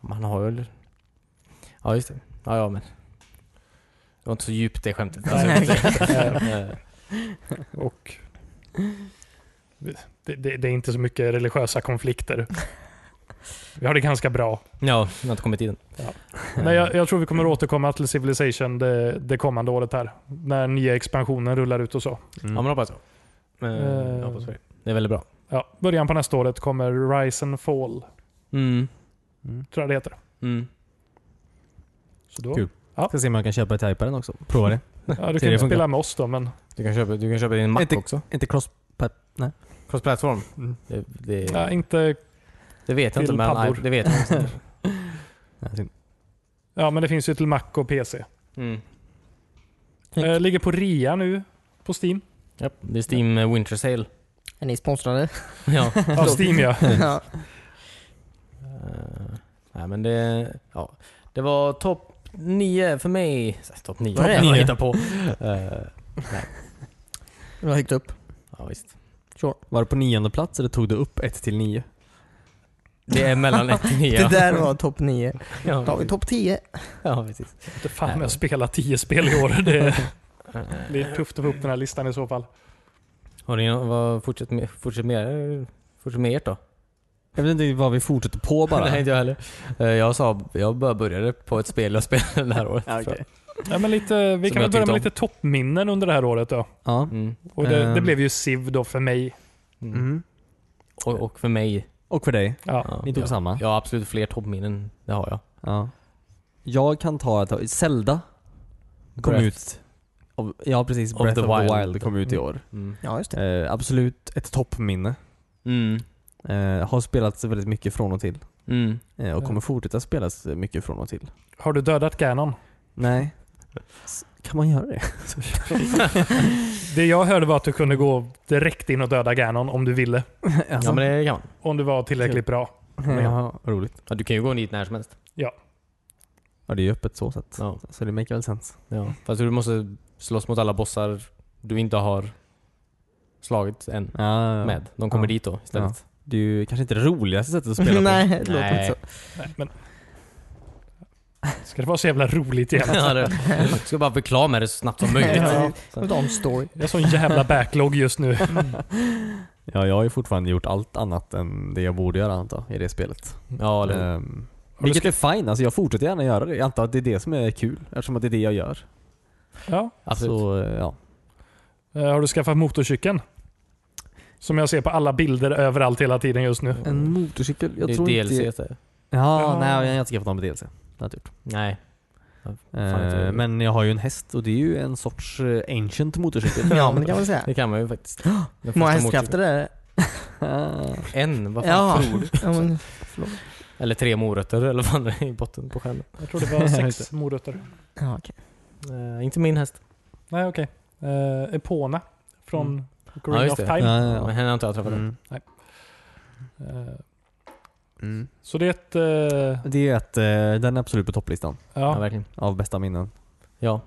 Man har väl... Ja, just det. Ja, ja, men... Det var inte så djupt det skämtet. Alltså, jag vet inte. Eh, Och det, det, det är inte så mycket religiösa konflikter. Vi har det ganska bra. Mm. Ja, jag har inte kommit i den. Ja. Men jag, jag tror vi kommer återkomma till Civilization det, det kommande året här. När nya expansionen rullar ut och så. Eh, Ja, men hoppas så. Men, jag hoppas på det. Det är väldigt bra. Ja, början på nästa året kommer Rise and Fall, Mm. tror jag det heter. Mm. Så då, Kul. Ja. Ska se om jag kan köpa typaren också. Prova det. ja, du det kan ju funkar. spela med oss då, men Du kan köpa, du kan köpa din Mac Inte- också. Inte cross... Nej. Cross-platform. Mm. Det, det, ja, inte... det vet jag till inte men nej, paddor. det vet jag inte. Nej, synd. Ja, men det finns ju till Mac och PC. Mm. Fint. Eh, ligger på rea nu på Steam. Japp, det är Steam eh, Winter Sale. Är ni sponsrade? ja. Ja, Steam ja. ja. Eh, nej men det, ja. Det var topp 9 för mig. Så, Topp 9? Topp Topp 9 nio. hittar på. Eh, Det var högt upp. ja, visst. Sure. Var du på nionde plats eller tog du upp ett till nio? Det är mellan 1 och 9. Det där var topp 9. ja, Då har vi topp 10. ja, precis. Inte fan om jag spelar tio spel i år. Det blir tufft att få upp den här listan i så fall. Eh, Har ni någon- vad, fortsätt, med, fortsätt, med, fortsätt med ert då? Jag vet inte vad vi fortsätter på bara. Nej, inte jag heller. Eh, jag sa, jag bara började på ett spel jag spelade det här året. Ja, okej. Ja, men lite, vi Som kan jag väl börja tyckte med om. lite toppminnen under det här året då. Ja. Mm. Och det, det Ehm. blev ju Civ då för mig. Mm. Mm. Och, och för mig. Och för dig. Ja. Ja, Ni tog jag, samma. jag har absolut fler toppminnen. Det har jag. Ja. Jag kan ta ett Zelda kom Breath. ut. Av, ja precis, Of Breath the of the Wild. Wild, kom ut i år. Mm. Ja, just det. Eh, absolut ett toppminne. Mm. Eh, har spelats väldigt mycket från och till. Mm. Eh, och Ja. kommer fortsätta spelas mycket från och till. Har du dödat Ganon? Nej. S- Kan man göra det? Det jag hörde var att du kunde gå direkt in och döda Ganon om du ville. Ja men det kan man. Om du var tillräckligt bra. Jaha, vad roligt. Ja, du kan ju gå dit när som helst. Ja det är ju öppet så sett. Ja. Så det make väl sense. Ja. Fast du måste slåss mot alla bossar du inte har slagit än Ja, ja. med. De kommer Ja. dit då istället. Det är ju kanske inte det roligaste sättet att spela på. Nej, det låter Nej. inte så. Nej, men... Ska det vara så jävla roligt igen? Ja. det, du ska bara bli klar med det så snabbt som möjligt. Ja. Så. Det var en story. Jag har sån jävla backlog just nu. Ja, jag har ju fortfarande gjort allt annat än det jag borde göra antar jag, i det spelet. Ja, eller, Eh, hur? Ehm, vilket är fine, alltså jag fortsätter gärna göra det. Jag antar att det är det som är kul eftersom att det är det jag gör. Ja. absolut. Så eh, ja. Eh, Har du skaffat motorcykeln? Som jag ser på alla bilder överallt hela tiden just nu. En motorcykel? Jag det är tror DLC. inte... så- Ja, Ja. nej jag har inte skaffat någon med DLC. Det har jag inte gjort. Nej. Fan, inte Eh, jag. men jag har ju en häst och det är ju en sorts eh, ancient motorcykel. Ja, men det kan man säga. Det kan man ju faktiskt. Den Många första hästkrafter motorcykeln. är det. En, vad fan Ja. tror du? Ja, men, Eller tre morötter eller vad fan det är i botten på skärmen. Jag tror det var sex morötter. ja, okej. Eh, inte min häst. Nej, okej. Eh, Epona från Mm. Green Ja, just of det. Time. Ja, Ja. Men ja, henne har inte jag ja. träffat än. Mm. Eh, Mm. Så det är ett... eh, Det är ett, eh, den är absolut på topplistan Ja. Ja, verkligen. av bästa minnen. Ja,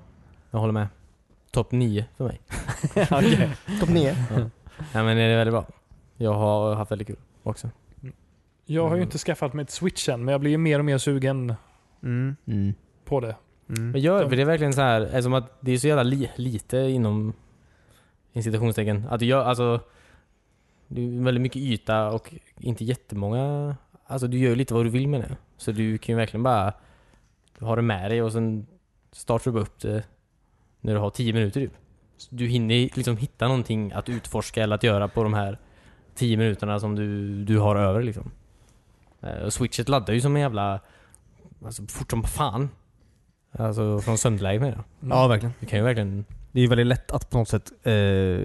jag håller med. Topp 9 för mig. Topp 9. Nej men det är väldigt bra. Jag har haft väldigt kul också. jag har ju inte skaffat mig ett switch än, men jag blir ju mer och mer sugen Mm. på det. Mm. Men gör för det är verkligen så här, eftersom att det är så jävla li, lite inom in citationstecken. Att du gör, alltså, det är väldigt mycket yta och inte jättemånga, alltså du gör ju lite vad du vill med det. Så du kan ju verkligen bara ha det med dig och sen startar du bara upp det när du har 10 minuter typ. Så Du hinner liksom hitta någonting att utforska eller att göra på de här 10 minuterna som du, du har över liksom. Eh, Och switchet laddar ju som en jävla, alltså fort som fan. Alltså från sömnläge menar jag. Mm. Ja, verkligen. Du kan ju verkligen... Det är ju väldigt lätt att på något sätt eh,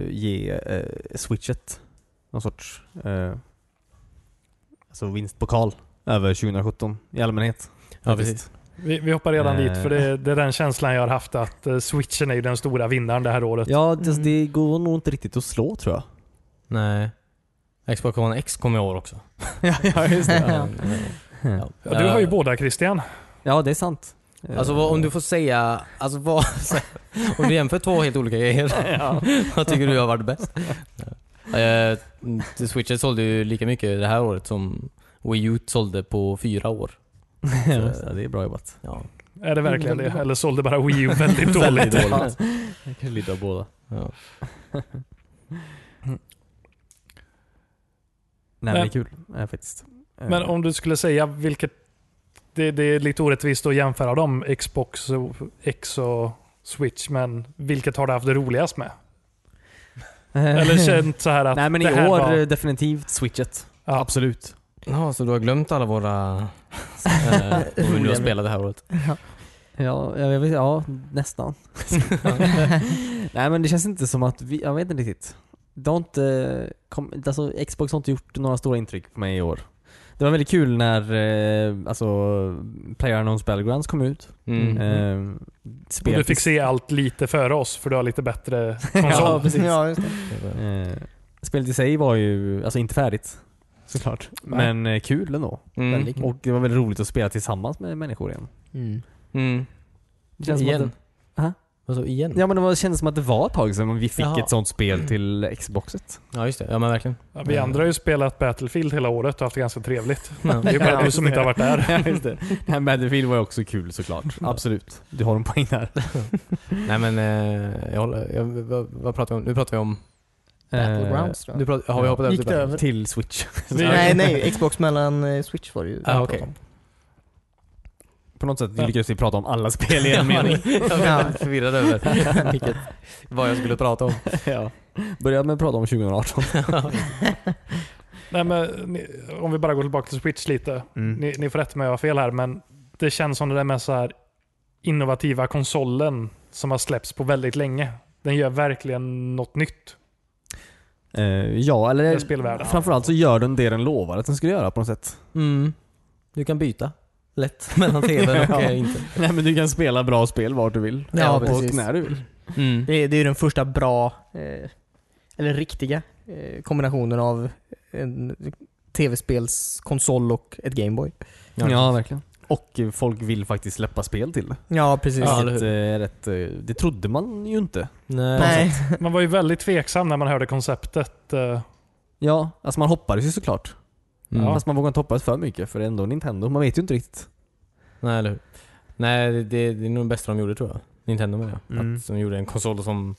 ge eh, switchet någon sorts eh, alltså vinstpokal över 2017 i allmänhet. Ja, Faktiskt. precis. Vi, vi hoppar redan Eh. dit, för det, det är den känslan jag har haft att eh, switchen är ju den stora vinnaren det här året. Ja, det, det går nog inte riktigt att slå tror jag. Nej. Xbox One X kom i år också. ja, ja, just Ja. Ja, du har ju båda Christian. ja, det är sant. Eh, Alltså vad, om du får säga... Alltså vad... om du jämför två helt olika grejer. vad tycker du har varit bäst? Eh, The Switchet sålde ju lika mycket det här året som Wii U sålde på fyra år. ja, det är bra jobbat. Ja. Är det verkligen det? Eller sålde bara Wii U väldigt dåligt? dåligt. Kanske lite av båda. Ja. Nej, men det är kul eh, faktiskt. Eh, Men om du skulle säga vilket det, det är lite orättvist att jämföra dem, Xbox och X och Switch, men vilket har du haft det roligast med? Eller känt så här att Nej men i det här år var... eh, definitivt switchet. Ja. Absolut. Ja, så du har glömt alla våra... eh, vad vi nu har spelat det här året. Ja, jag vet, ja nästan. Nej men det känns inte som att vi, jag vet inte riktigt. Det har inte, kom, alltså Xbox har inte gjort några stora intryck på mig i år. Det var väldigt kul när eh, alltså, PlayerUnknown's Battlegrounds kom ut. Mm. Eh, Och spel du fick se allt lite före oss för du har lite bättre konsol. Ja, precis. Ja, just det. Eh, spelet i sig var ju, alltså inte färdigt. Såklart. Men eh, kul ändå. Mm. Och det var väldigt roligt att spela tillsammans med människor igen. Mm. Mm. Det känns som att igen. det- Aha. Vadå igen? Ja men det var, kändes som att det var ett tag sedan vi fick Jaha. ett sånt spel till Xboxet. Ja, just det. Ja, men verkligen. Ja, vi andra har ju spelat Battlefield hela året och haft det ganska trevligt. Ja. Det är bara du som inte har varit där. Mm. Ja, just det. Nej, Battlefield var ju också kul såklart. Absolut. Du har en poäng där. Nej men, eh, jag håller, jag, vad, vad pratar vi om? Nu pratar vi om... Battlegrounds då? Du pratar, har vi Ja. hoppat över typ- Gick till det över? Eh, Till Switch. Nej, nej. Xbox mellan eh, Switch var det ju. Ah, okej. På något sätt Ja. lyckades vi prata om alla spel i en Ja, mening. Jag var förvirrad över vilket, vad jag skulle prata om. ja. Börja med att prata om 2018. Nej, men, ni, om vi bara går tillbaka till Switch lite. Ni, ni får rätta mig om jag har fel här, men det känns som det där med så här innovativa konsolen som har släppts på väldigt länge. Den gör verkligen något nytt. Eh, ja, eller Med spelvärlden. framförallt så gör den det den lovar att den skulle göra på något sätt. Mm. Du kan byta lätt mellan tvn och Ja. eh, inte. Nej men du kan spela bra spel var du vill. Ja, och precis. när du vill. Mm. Det, är- det är ju den första bra, eh, eller riktiga, eh, kombinationen av en tv-spelskonsol och ett Gameboy. Ja, verkligen. Och eh, folk vill faktiskt släppa spel till det. Ja, precis. Ja, eller Vilket, eh, är rätt, eh, det trodde man ju inte. Nej. Nej. Man var ju väldigt tveksam när man hörde konceptet. eh, Ja, alltså man hoppades ju såklart. Mm. Fast man vågar inte hoppas för mycket för det är ändå Nintendo. Man vet ju inte riktigt. Nej, eller hur? Nej, det, det det är nog det bästa de gjorde tror jag. Nintendo menar jag. Mm. Att de gjorde en konsol som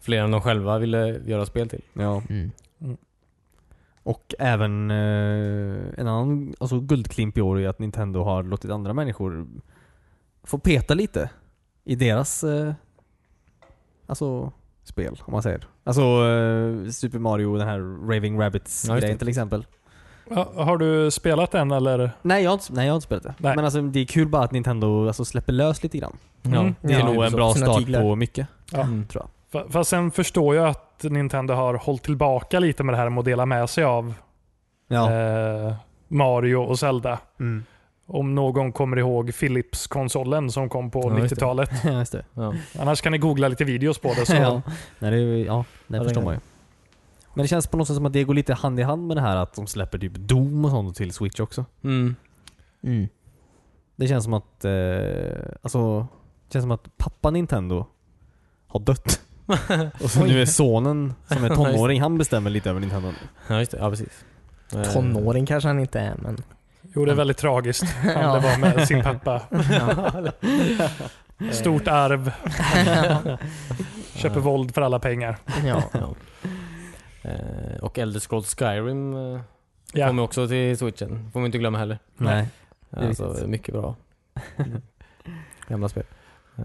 fler än de själva ville göra spel till. Ja. Och även eh, en annan alltså, guldklimp i år är att Nintendo har låtit andra människor få peta lite i deras eh, alltså, spel, om man säger. Alltså eh, Super Mario, den här Raving Ja, just Rabbits-grejen det. till exempel. ja, Har du spelat den eller? Nej jag, har inte, nej, jag har inte spelat det. Nej. Men alltså, det är kul bara att Nintendo alltså, släpper lös lite grann. Mm. Det är Ja, nog en så. bra Sina start tyglar. på mycket, Ja. Mm. tror jag. Fa- Fast sen förstår jag att Nintendo har hållit tillbaka lite med det här med att dela med sig av Ja. eh, Mario och Zelda. Mm. Om någon kommer ihåg Philips-konsolen som kom på Ja, just det. 90-talet. Ja, just det. Ja. Annars kan ni googla lite videos på det. Så. Ja, nej, det, är ju- ja, det Ja, förstår det- man ju. Men det känns på något sätt som att det går lite hand i hand med det här att de släpper typ Doom och sånt till Switch också. Mm. Mm. Det känns som att, eh, alltså, det känns som att pappa Nintendo har dött. och så nu är sonen som är tonåring, han bestämmer lite över Nintendo. ja, just det. Ja, precis. Eh, Tonåring kanske han inte är, men... Jo, det är väldigt tragiskt. Han Ja. det var med sin pappa. Stort arv. Köper våld för alla pengar. ja. Ja. Eh, och Elder Scrolls Skyrim eh, Ja. kommer också till switchen. får man inte glömma heller. Nej. är Alltså, riktigt. mycket bra. Mm. Gamla spel. Eh,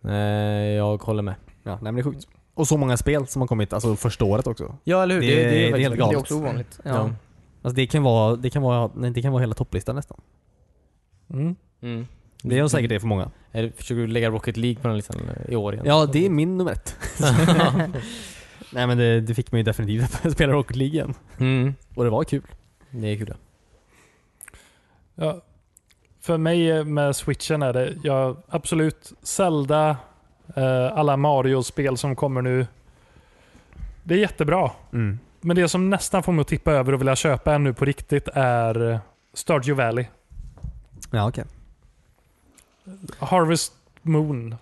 nej, jag håller med. Ja, nej men det är sjukt. Och så många spel som har kommit alltså första året också. Ja, eller hur? hur? Det- Det- det är det är faktiskt- helt Det galet. är också ovanligt. Ja. Ja. Alltså det kan vara, det kan vara, nej, det kan vara hela topplistan nästan. Mm. Mm. Det är säkert det för många. Är det, försöker du lägga Rocket League på den listan eh, i år igen? Ja, det är min nummer ett. nej men det, det fick mig ju definitivt att börja spela Rocket League igen. Mm. Och det var kul. Det är kul. ja. Ja. För mig med switchen är det ja, absolut Zelda, eh, alla Mario-spel som kommer nu. Det är jättebra. Mm. Men det som nästan får mig att tippa över och vilja köpa en nu på riktigt är eh, Stardew Valley. Ja, okej. Harvest Moon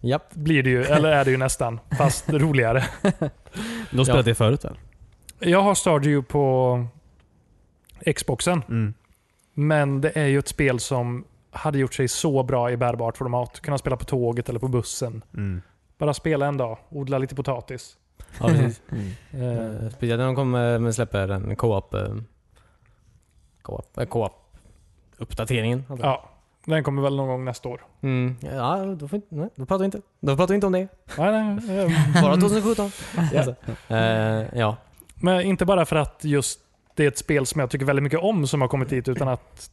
Japp. blir det ju, eller är det ju nästan, fast roligare. Du har spelat det förut väl? Jag har Stardew på Xboxen, Mm. men det är ju ett spel som hade gjort sig så bra i bärbart format. Kunna spela på tåget eller på bussen. Mm. Bara spela en dag, odla lite potatis. Ja, precis. Eh, Mm. Eh, Speciellt när de kommer med släpper en co-op. eh, Co-op. eh, Co-op. uppdateringen. antar jag. Ja, den kommer väl någon gång nästa år. Mm. Ja, då, får inte, nej, då pratar vi inte. Då pratar vi inte om det. Nej, nej, eh, Bara 2017. alltså. Eh, ja. Men inte bara för att just det är ett spel som jag tycker väldigt mycket om som har kommit hit, utan att,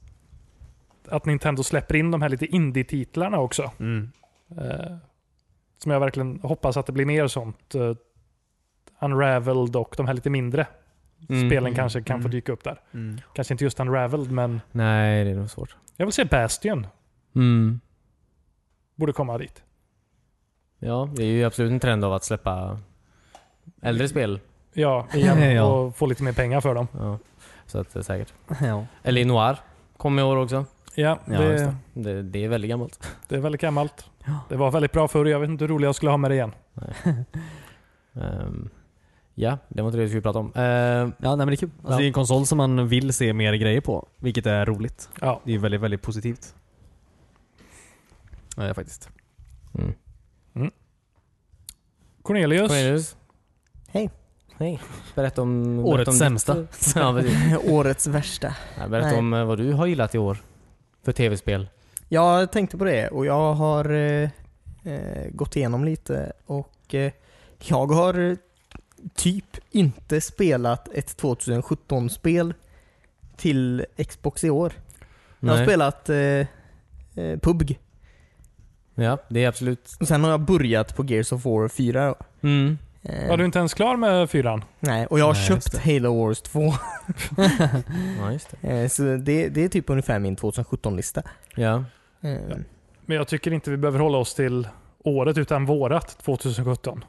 att Nintendo släpper in de här lite indie-titlarna också. Mm. Eh, som jag verkligen hoppas att det blir mer sånt. Eh, Unraveled och de här lite mindre Mm. spelen kanske kan få Mm. dyka upp där. Mm. Kanske inte just Unraveled, men Nej, det är nog svårt. jag vill se Bastion. Mm. Borde komma dit. Ja, det är ju absolut en trend av att släppa äldre spel. Ja, igen. Ja. Och få lite mer pengar för dem. Ja. Så att det är säkert. Ja. Eller Noir kom i år också. Ja, Ja, det, just det. det. Det, det är väldigt gammalt. är väldigt gammalt. Det var väldigt bra förr. Jag vet inte hur roligt jag skulle ha med det igen. Ehm, ja, det var inte det vi skulle prata om. Ehm, Ja, nej, men det är kul. Alltså, Ja. Det är en konsol som man vill se mer grejer på, vilket är roligt. Ja. Det är väldigt, väldigt positivt. Ja, faktiskt. mm. Cornelius. Cornelius? Hej. Hej. Berätta om... Årets berätta om sämsta. Ditt, ja, precis. Årets värsta. Ja, berätta Nej. om eh, vad du har gillat i år. För tv-spel. Jag tänkte på det och jag har eh, eh, gått igenom lite och eh, jag har eh, typ inte spelat ett 2017-spel till Xbox i år. Jag har Nej. spelat eh, eh, PUBG. Ja, det är absolut... Och sen har jag börjat på Gears of War 4. Mm. Eh, Var du inte ens klar med fyran? Nej, och jag har Nej, köpt Halo Wars 2. Ja, just det. Eh, så det, det är typ ungefär min 2017-lista. Ja. Eh, Men jag tycker inte vi behöver hålla oss till året utan vårat 2017.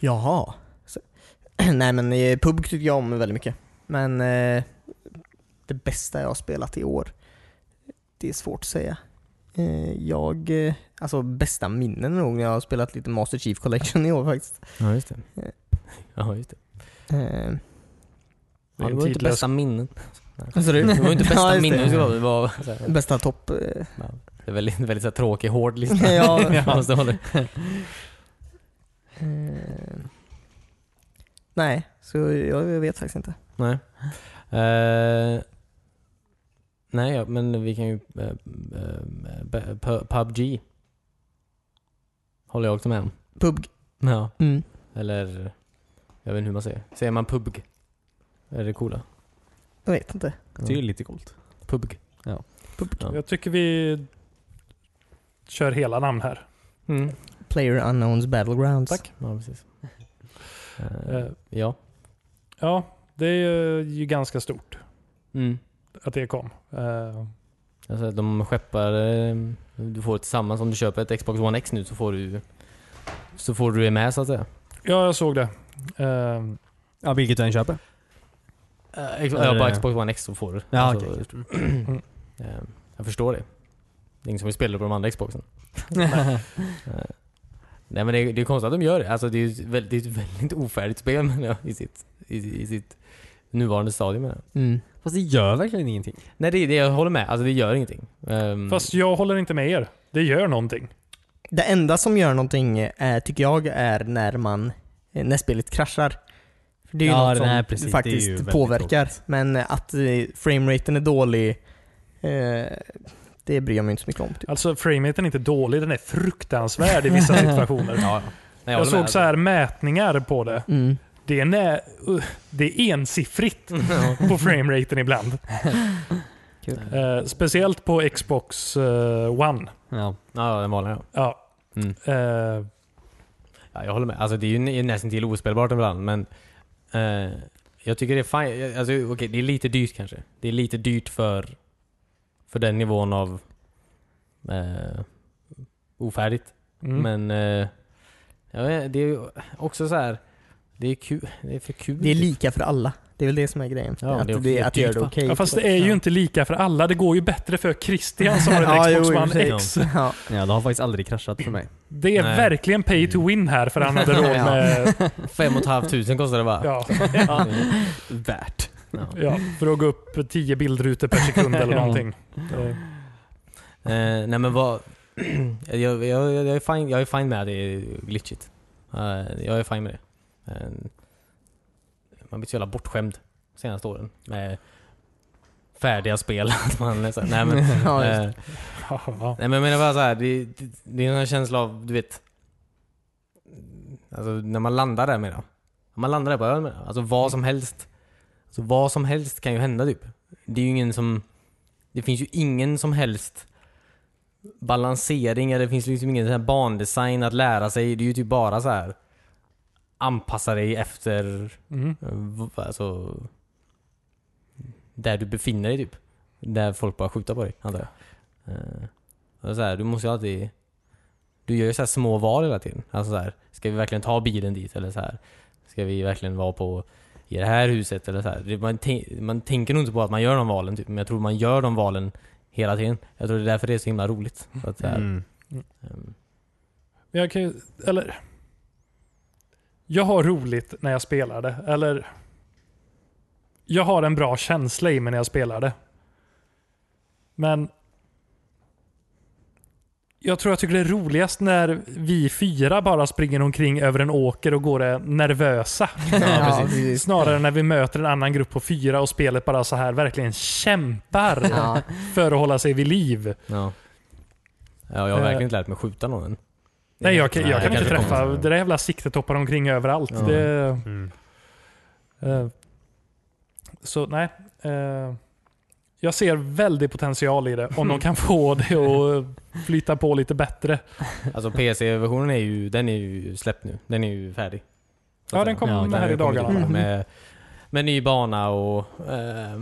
Jaha. Så, nej men eh, PUBG tycker jag om väldigt mycket. Men eh, det bästa jag har spelat i år, det är svårt att säga. Eh, jag, eh, alltså bästa minnen är nog när jag har spelat lite Master Chief Collection i år faktiskt. Ja, just det. Ja, just det. Eh, Det är Ja, det en var ju inte tidlös- bästa minnen. vad sa du? Alltså, Det var ju inte Ja, bästa just det. minnen. Det var, det var så här, Bästa topp... Eh, det är väldigt, väldigt så här, tråkig, hård lista. ja, Alltså, håller- eh, nej, så jag, jag vet faktiskt inte. Nej. Eh, nej, ja, men vi kan ju... eh, eh, be- pu- PubG. Håller jag också med om. PUBG. Ja. Mm. Eller... Jag vet inte hur man säger. Säger man PubG? Är det coola? Jag vet inte. Det är ju lite coolt. PubG. Ja. Jag tycker vi kör hela namn här. Mm. Player Unknowns Battlegrounds. Tack. Ja, precis. Eh, Eh, ja. Ja, det är ju ganska stort Mm. att det kom. Eh, Alltså, de skeppar... eh, Du får tillsammans, om du köper ett Xbox One X nu så får du... Så får du det med så att säga. Ja, jag såg det. Eh, Ja, vilket du än köper. Eh, Ja, på Xbox One X så får du. Ja, Alltså, okej. Eh, Jag förstår det. Det är ingen som vill spela på de andra Xboxen. Eh, Nej men det är, det är konstigt att de gör det. Alltså det är ju ett väldigt, det är ett väldigt ofärdigt spel menar jag, i sitt, i, i sitt nuvarande stadium menar jag. Mm. Fast det gör verkligen ingenting. Nej det, det jag håller med. Alltså det gör ingenting. Ehm, Fast jag håller inte med er. Det gör någonting. Det enda som gör någonting är, tycker jag är när man eh, när spelet kraschar. För det är ju Ja, något som det är precis. Det är faktiskt ju väldigt påverkar. Men eh, att eh, frameraten är dålig, eh, det bryr jag mig inte så mycket om. Typ. Alltså, frameraten är inte dålig. Den är fruktansvärd i vissa situationer. nej, Jag, håller såg med. så här mätningar på det. Mm. Det är, nä- uh, det är ensiffrigt på frameraten ibland. Kul. Eh, speciellt på Xbox eh, One. Ja. Ja, den vanliga ja. Ja. Mm. Eh, ja. Jag håller med. Alltså det är ju nä- nästan till ospelbart ibland men eh, jag tycker det är fine. Alltså okej, det är lite dyrt kanske. Det är lite dyrt för, för den nivån av eh, ofärdigt. mm. Men eh, jag vet, det är ju också så här. Det är kul. Det är för kul. Det är lika för alla. Det är väl det som är grejen. Ja, att det är det, också att göra det dyrt, va? okej. Ja, fast det är ju inte lika för alla. Det går ju bättre för Christian som har ett Ja, Xbox jo, i och för One sig. X. Ja. ja, det har faktiskt aldrig kraschat för mig. Det är Nej. verkligen pay to win här för han hade råd Mm. Ja. med... Fem och ett halvt tusen kostar det bara. Ja, Ja. Värt. Ja. ja, för att gå upp 10 bildrutor per sekund eller Ja. någonting. Eh, Eh, nej men vad... jag, jag, jag, jag, är fine, jag är fine med att det är glitchigt. Eh, jag är fine med det. Eh, man blir så jävla bortskämd de senaste åren. Med färdiga spel. Att man liksom, nej, men, Ja, just eh, Ja, Nej men jag menar bara så här, det, det, det är en sån här känsla av, du vet. Alltså när man landar där med det. Om Man landar där på ön med det. Alltså vad som helst. Alltså vad som helst kan ju hända typ. Det är ju ingen som... Det finns ju ingen som helst balansering eller det finns liksom ingen sån här bandesign att lära sig. Det är ju typ bara så här anpassa dig efter mm. eh, v- alltså, där du befinner dig typ. Där folk bara skjuter på dig, antar jag. Eh, och så här, du måste ju alltid... Du gör ju så här små val hela tiden. Alltså så här, ska vi verkligen ta bilen dit? Eller så här, ska vi verkligen vara på i det här huset? Eller så här. Det- Man, tän- man tänker nog inte på att man gör de valen, typ. men jag tror man gör de valen hela tiden. Jag tror det är därför det är så himla roligt. Så att, så här, Mm. ehm, Men jag kan ju, eller... Jag har roligt när jag spelar det, eller... Jag har en bra känsla i mig när jag spelar det. Men... Jag tror jag tycker det är roligast när vi fyra bara springer omkring över en åker och går eh, nervösa. ja, precis. precis. Snarare när vi möter en annan grupp på fyra och spelet bara så här verkligen kämpar Ja. för att hålla sig vid liv. ja. ja, jag har Eh. verkligen inte lärt mig skjuta någon än. Nej, jag, kan- Nej, jag kan det inte kanske träffa. kommer. Det där jävla siktet hoppar omkring överallt. Ja. Det, Mm. eh, så nej. Eh, jag ser väldig potential i det om de kan få det att flyta på lite bättre. Alltså PC-versionen är ju, den är ju släppt nu. Den är ju färdig. Så Ja, att den säga. kom här har i ju kommit dagarna. Mm. ut Med, med ny bana och eh,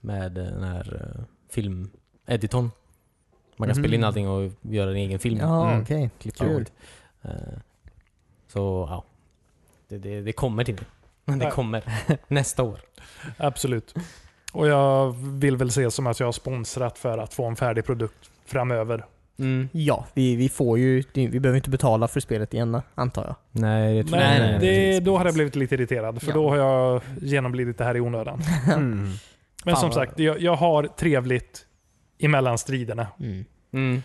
med den här eh, filmeditorn. Man kan Mhm. Mm. spela in allting och göra en egen film. Ja, Mm. okej. Klippa kul. och allt. Eh, så ja, det, det, det kommer till det. Det Ja. kommer nästa år. Absolut. Och jag vill väl se som att jag har sponsrat för att få en färdig produkt framöver. Mm. Ja, vi, vi får ju, vi behöver inte betala för spelet igen antar jag. Nej, det tror Men jag inte. det, då hade jag blivit lite irriterad för Ja. då har jag genomlidit det här i onödan. Mm. Men Fan som vad- sagt, jag, jag har trevligt emellan striderna. Mm. Mm.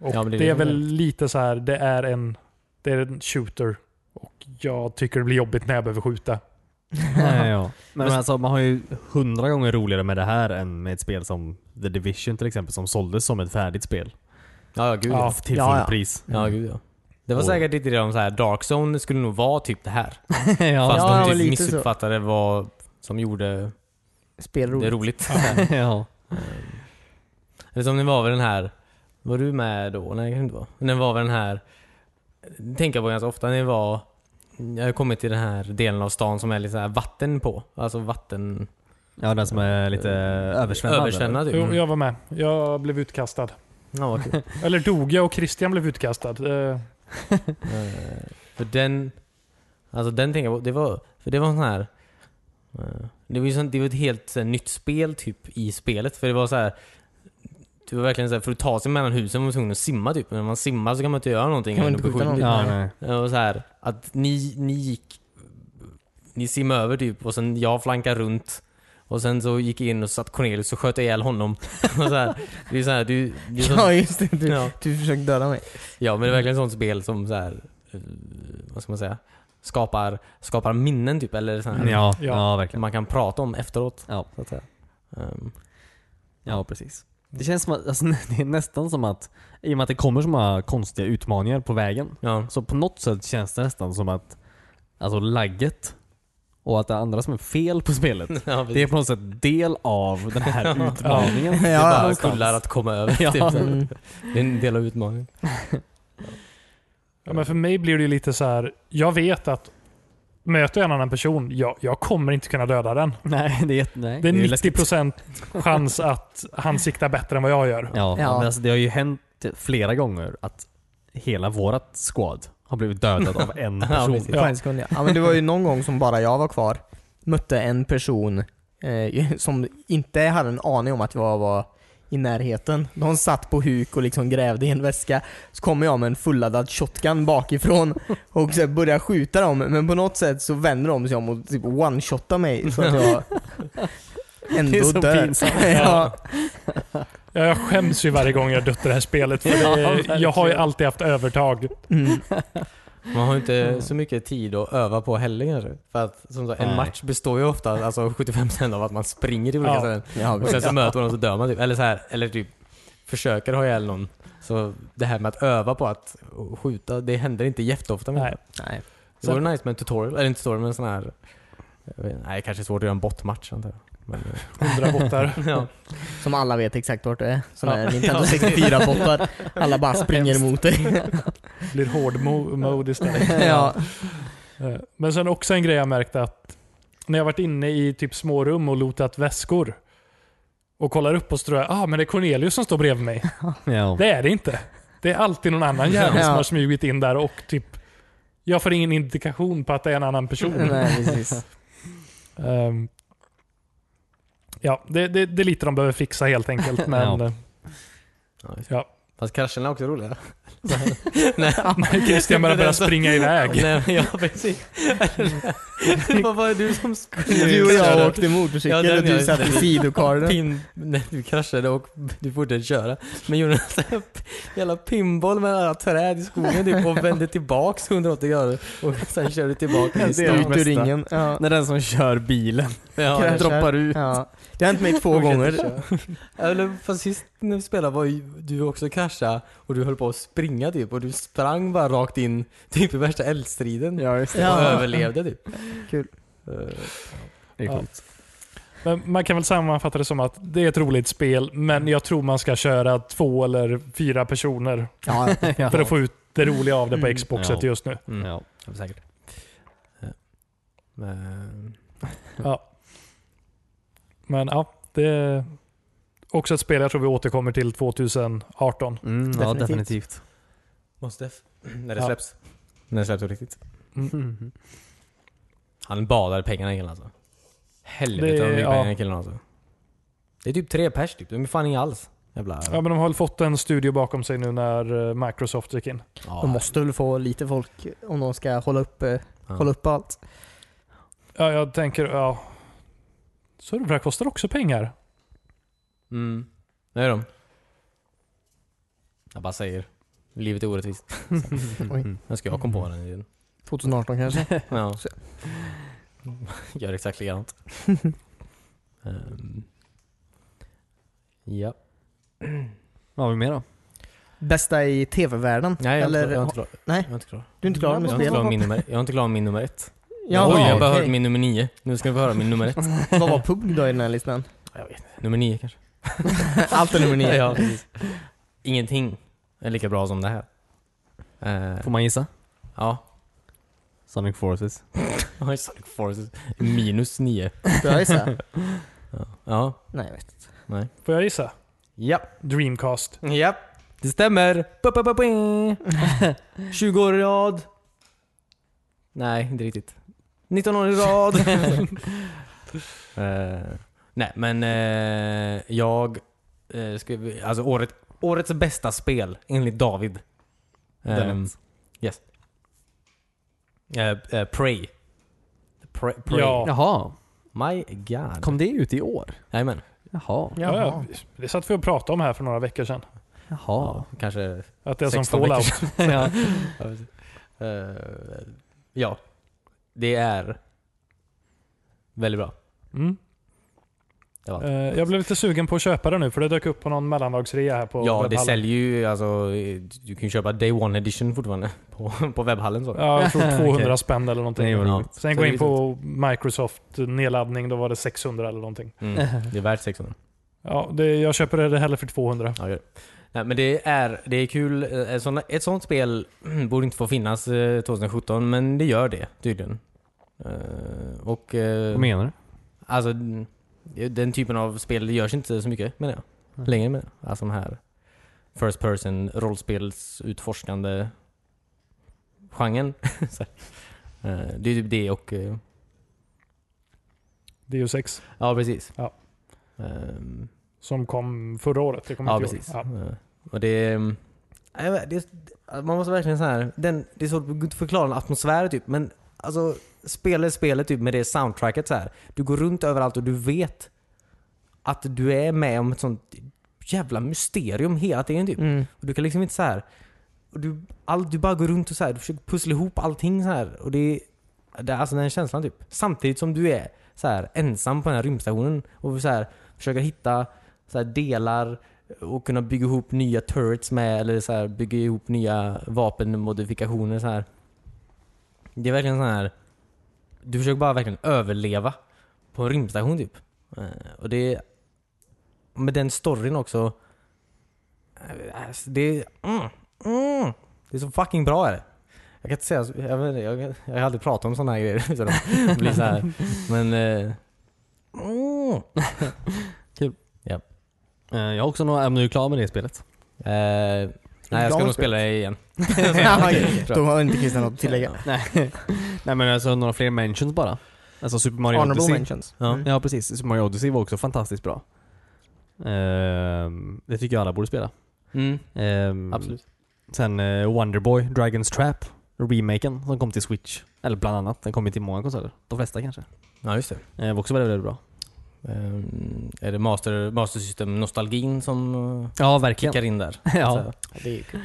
Och Ja, men det, det är är det som väl är lite så här, det är en, det är en shooter. Och jag tycker det blir jobbigt när jag behöver skjuta. Nej, ja. Men, men alltså man har ju hundra gånger roligare med det här än med ett spel som The Division till exempel som såldes som ett färdigt spel. Ja, ja, gud Ja. ja. Till Ja, ja. fullpris. Ja, gud ja. Det var Mm. Och- säkert lite det de så här, Dark Zone skulle nog vara typ det här. ja. Fast Ja, de lite typ missuppfattade vad som gjorde Spel roligt. det roligt. ja. Eller som det var väl den här, var du med då? Nej, kanske inte var. Men den var väl den här, det tänker jag på ganska ofta, när jag var, jag har kommit till den här delen av stan som är lite så här vatten på. Alltså vatten... ja, den som är lite översvämmad. Översvämmad typ. Jo, jag var med. Jag blev utkastad. Ja, vad kul. Eller dog jag och Christian blev utkastad. Eh, Eh, för den, alltså den tänker jag på, det var, för det var en sån här eh, det var ju sånt, det var ett helt så här, nytt spel typ i spelet. För det var så här. Det var verkligen så här, för att ta sig mellan husen var man tvungen att simma typ. Men när man simmar så kan man inte göra någonting. Kan om man inte du blir skjuta skjuten. Ja, nej. Det var så här, att ni, ni gick, ni simmade över typ och sen jag flankade runt. Och sen så gick jag in och satt Cornelius och sköt ihjäl honom. och så här, det är så här, du, det är så, Ja just det, du, Ja. du försökte döda mig. Ja men det är verkligen sånt spel som så här, eh, vad ska man säga, skapar, skapar minnen typ eller så här, Mm. Ja, Ja. ja, som verkligen. man kan prata om efteråt. Ja. Så att säga. Ehm, Ja, precis. Det känns som att, alltså, det är nästan som att, i och med att det kommer så många konstiga utmaningar på vägen, ja. så på något sätt känns det nästan som att, alltså lagget och att det andra som är fel på spelet, ja, det är på något sätt del av den här utmaningen. Ja, det är bara någonstans. kullar att komma över. Ja. Typ, så här. Mm. det är en del av utmaningen. ja, men för mig blir det ju lite så här. jag vet att möter jag en annan person, jag, jag kommer inte kunna döda den. Nej, Mm. det är, jätte- nej, Det är ju 90% chans att han siktar bättre än vad jag gör. Ja, Ja. Men alltså, det har ju hänt flera gånger att hela vårat squad har blivit dödad av en person. precis. Ja. Ja. en sekund, ja. ja men det var ju någon gång som bara jag var kvar, mötte en person eh, som inte hade en aning om att jag var i närheten. De satt på huk och liksom grävde i en väska. Så kommer jag med en fulladdad shotgun bakifrån och så här börjar skjuta dem men på något sätt så vänder de sig om och typ one-shotar mig så att jag ändå Det är så dör. pinsamt. ja. Ja, Jag skäms ju varje gång jag dött i det här spelet. För det, verkligen. jag har ju alltid haft övertag. mm. Man har ju inte så mycket tid att öva på heller kanske. För att som sagt, en Nej. match består ju ofta, alltså 75% av att man springer i olika Ja. ställen. Ja, Och sen så möter man någon så dör man typ. Eller så här, eller typ försöker ha ihjäl någon. Så det här med att öva på att skjuta, det händer inte jätteofta. Nej. Men Nej. det vore nice med en tutorial, eller inte tutorial men en sån här... jag vet inte, Nej, kanske är svårt att göra en bottmatch antar jag. Men, Hundra bottar. ja. Som alla vet exakt vart det är. Sådana Ja. här Nintendo 64-bottar. Alla bara springer emot dig. Blir hård mo- mode istället. ja. Eh, Men sen också en grej jag märkt att när jag varit inne i typ små rum och lotat väskor och kollar upp och så tror jag ah, men det är Cornelius som står bredvid mig. Ja. Det är det inte. Det är alltid någon annan jävel som Ja. har smugit in där och typ jag får ingen indikation på att det är en annan person. Nej, precis. Ehm, ja, det, det, det är lite de behöver fixa helt enkelt. Men Ja. eh, Fast krascherna är också roliga. när Christian bara börjar springa iväg. Nej, men ja precis. Vad var det du som skulle- Du och jag åkte motorcykel Ja, den och gör- du satt i sidokarlen. Pin, nej, du kraschade och du fortsatte köra. Men gjorde en sån här jävla pinboll med alla träd i skogen typ, och vände tillbaks 180 grader. Och sen körde tillbaka i Det är stan. ut ur ringen. Ja. När den som kör bilen Ja, Kraschar. droppar ut. Ja. Det har hänt mig två Fortsätter gånger. köra. Eller fast sist när vi spelade var ju du också krascha och du höll på att springa typ och du sprang bara rakt in typ i värsta eldstriden. Ja, just Och Ja. överlevde typ. Kul. Eh, Det är Ja. coolt. Men man kan väl sammanfatta det som att det är ett roligt spel, men jag tror man ska köra två eller fyra personer Ja, för att få ut det roliga av det på Mm. Xboxet Ja. just nu. Mm. Ja. Ja, säkert. Men, Men ja, det är också ett spel jag tror vi återkommer till 2018. Mm, ja, Definitivt. definitivt. måste F. När det Ja. släpps. När det släpps på riktigt. Mm. Han badar pengarna killen alltså. Helvete Det- vad mycket ja. pengar killen alltså. Det är typ tre pers typ. De är fan inga alls. Jävla... Ja, men de har väl fått en studio bakom sig nu när eh, Microsoft gick in. Ja. De måste väl få lite folk om de ska hålla upp, eh, Ja. hålla upp allt. Ja, jag tänker, ja. Servrar kostar också pengar. Mm. Det är de. Jag bara säger. Livet är orättvist. Mm. Oj. Jag ska jag komma på den idén. 2018 kanske. Ja. Så- Gör exakt likadant. um. Ja. Vad har vi mer då? Bästa i tv-världen? Nej, jag är inte Eller, klar- jag är inte klar. nej. Jag är inte klar. du är inte klar Jag med är inte spelet? klar med min nummer- jag är inte klar med min nummer ett. Jaha, Oj, jag bara okej. hörde min nummer nio. Nu ska vi få höra min nummer ett. Vad var PUBG då i den här listan? Nummer nio kanske. Allt är nummer nio. Ja, precis. Ingenting är lika bra som det här. Eh, Får man gissa? ja. Sonic Forces. Oj, Sonic Forces. Minus nio. Får jag gissa? Ja. Nej, jag vet inte. Får jag gissa? Japp. Dreamcast. Japp. Det stämmer. Ba, ba, ba, bing. 20 år i rad. Nej, inte riktigt. 19 år i rad. Eh, nej, men eh, jag... eh, ska, alltså året, årets bästa spel enligt David. Den Ehm, vet. yes. Uh, Pray. Pray. Ja. Jaha, My God. kom det ut i år? Jajamän. Jaha. Ja, ja, det satt vi och pratade om här för några veckor sedan. Jaha. Kanske Att det är som 16 veckor Fallout. ja. Ja, precis. Eh, ja, det är väldigt bra. Mm. Det var allt. Eh, jag blev lite sugen på att köpa det nu för det dök upp på någon mellandagsrea här på ja, det webbhallen. säljer ju alltså, du kan ju köpa Day One Edition fortfarande på, på webbhallen. Så. Ja, jag tror 200 Okej. spänn eller någonting. Nej, vad Ja. roligt. Sen Så gå det in är på Microsoft nedladdning, då var det 600 eller någonting. Mm, det är värt 600. Ja, det, jag köper det heller för 200. Ja, gör det. Nej, men det är, det är kul. Eh, Såna, ett sånt spel borde inte få finnas eh, 2017, men det gör det tydligen. Eh, och... eh, Vad menar du? Alltså, n- den typen av spel det görs inte så mycket menar jag. Nej. Längre menar jag. Alltså de här First person rollspelsutforskande genren. Så här. Eh, det är typ det och... eh, Deus Ex Ja, precis. Ja. Ehm, som kom förra året. Det kom ja, inte i år. precis. Eh, Och det... eh, jag vet, det man måste verkligen så här, den, det är svårt att förklara en atmosfär typ, men alltså spelet spelet typ med det soundtracket så här. Du går runt överallt och du vet att du är med om ett sånt jävla mysterium hela tiden typ. Mm. Och du kan liksom inte så här Och du, all, du bara går runt och så här, du försöker pussla ihop allting så här. Och det, det är alltså den känslan typ. Samtidigt som du är så här, ensam på den här rymdstationen och så här, försöker hitta så här, delar och kunna bygga ihop nya turrets med eller så här, bygga ihop nya vapenmodifikationer så här. Det är verkligen så här. Du försöker bara verkligen överleva på en rymdstation typ. Eh, Och det... Med den storyn också. eh, alltså, Det... Mm, mm, det är så fucking bra är det. Jag kan inte säga så- jag, vet inte, jag, kan- jag har aldrig pratat om sådana här grejer. Så de blir så här. Men... eh, Mm. Eh, Jag har också några, om du är klar med det spelet. Eh, nej, jag ska nog spela det igen. Då har inte Christian något att tillägga. Nej. Nej men alltså några fler mentions bara. Alltså Super Mario Honorable Odyssey. mentions. Ja, Mm. ja precis. Super Mario Odyssey var också fantastiskt bra. Ehm, det tycker jag alla borde spela. Mm, Ehm, absolut. Sen eh, Wonderboy, Dragon's Trap, remaken som kom till Switch. Eller bland annat, den kom ju till många konsoler. De flesta kanske. Ja, just det. Eh, var också väldigt, väldigt bra. Ehm, är det master, master system-nostalgin som eh, Ja, verkligen. Alltså. kickar in där? ja. Så, Det är ju kul.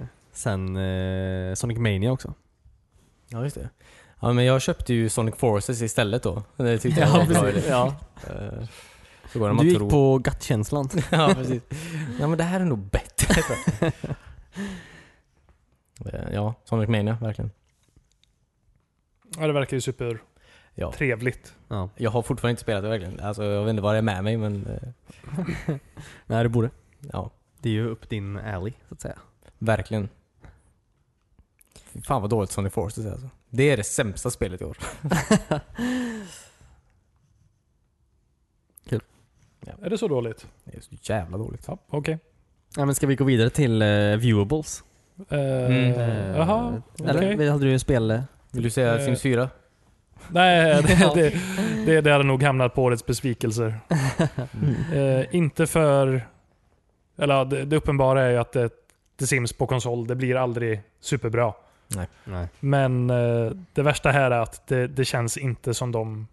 Eh, sen eh, Sonic Mania också. ja, just det. Ja, men jag köpte ju Sonic Forces istället då. Det tyckte jag var en bra idé. Ja. Eh, Så går det om Du man gick tror. på gattkänslan. ja, precis. Ja, men det här är nog bättre. tror jag. Eh, ja, Sonic Mania, verkligen. Ja, det verkar ju supertrevligt. Ja. ja. Jag har fortfarande inte spelat det verkligen. Alltså, jag vet inte vad det är med mig, men eh, Nej, det borde. ja, Det är ju upp din alley, så att säga. verkligen. Fy Fan vad dåligt Sonic Forces är alltså. Det är det sämsta spelet i år. Är det så dåligt? Det är så jävla dåligt. Ja, okej. Ja, men ska vi gå vidare till eh, viewables? Eh, Mm. Eh, Jaha, okej. Eller hade du en spel... Vill du säga Eh, Sims 4? Nej, det, det, det, det hade nog hamnat på årets besvikelser. Eh, inte för... Eller ja, det, det uppenbara är ju att det, The Sims på konsol, det blir aldrig superbra. Nej. Men eh, det värsta här är att det, det känns inte som de...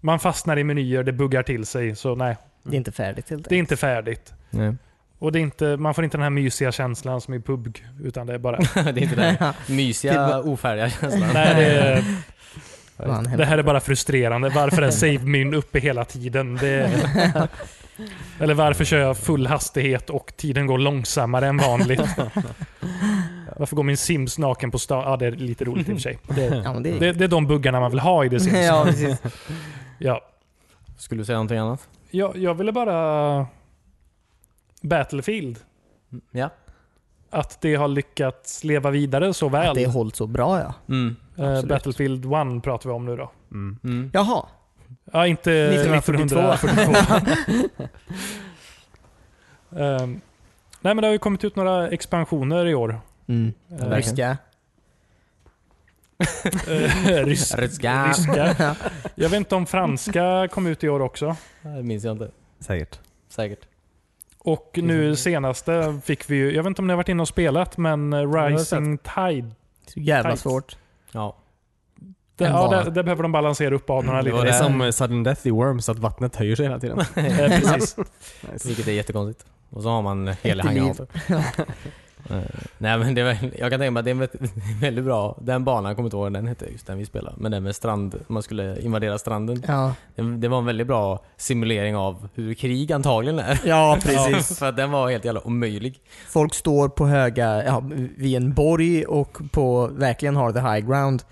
Man fastnar i menyer, det buggar till sig. Så nej, Det är inte färdigt helt det är enkelt. inte färdigt. Nej. Och det är inte, man får inte den här mysiga känslan som i PUBG. Utan det är bara... det är inte den mysiga, ofärdiga känslan. nej, det, är, Fan, det helvete. här är bara frustrerande. Varför är save-menyn uppe hela tiden? Det är, eller varför kör jag full hastighet och tiden går långsammare än vanligt? Varför går min Sims naken på stan? Ja, det är lite roligt i och för sig. Det, Ja, men det är... det, det är de buggarna man vill ha i The Sims. Mm. ja, precis. Ja. Skulle du säga någonting annat? Jag, jag ville bara... Battlefield. Ja. Att det har lyckats leva vidare så Att väl. det är hållt så bra ja. Mm. Eh, absolut. Battlefield 1 pratar vi om nu då. Mm. Mm. Jaha. Ja, inte 1942. 1942. Ehm, nej, men det har ju kommit ut några expansioner i år. Mm. Eh, Ryska. eh, rys- Ryska. ryska. Jag vet inte om franska kom ut i år också. Det minns jag inte. Säkert. Säkert. Och nu senaste fick vi ju, jag vet inte om ni har varit inne och spelat, men eh, har jag Rising Tide. Så jävla Tight. svårt. Ja. Det, En ja, vana. där, där behöver de balansera upp banorna Det lite. var Det är det. som eh, sudden death i Worms, att vattnet höjer sig hela tiden. Eh, precis. Vilket är jättekonstigt. Och så har man hela Inte liv. hangout. Eh, Nej men det är, väl- jag kan tänka mig att det är en vä- väldigt bra, den banan, jag kommer inte ihåg vad den hette just den vi spelade. Men den med strand, man skulle invadera stranden. Ja. Det- Det var en väldigt bra simulering av hur krig antagligen är. ja, För att den var helt jävla omöjlig. Folk står på höga, ja, vid en borg och på, verkligen har the high ground.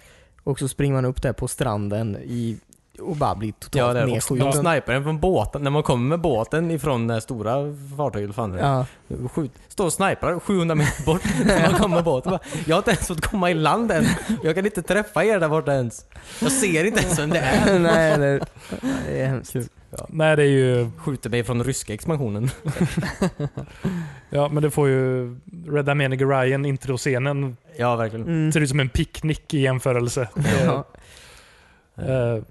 Och så springer man upp där på stranden i, och bara blir Ja, totalt det är, de nedskjuten. snipar en från båten, när man kommer med båten ifrån det här stora fartyget, vad fan är det? Ja, Skjut, står och sniprar 700 meter bort när man kommer bort. Bara, Jag har inte ens fått komma i land än. Jag kan inte träffa er där borta ens. Jag ser inte ens vem det är. Nej, det, det är hemskt. Nej, det är ju... Skjuter mig från ryska expansionen. Ja, men det får ju Red Ameniga Ryan, introscenen, Ja, verkligen. Mm. ser ut som en picknick i jämförelse. Ja. Mm. Eh,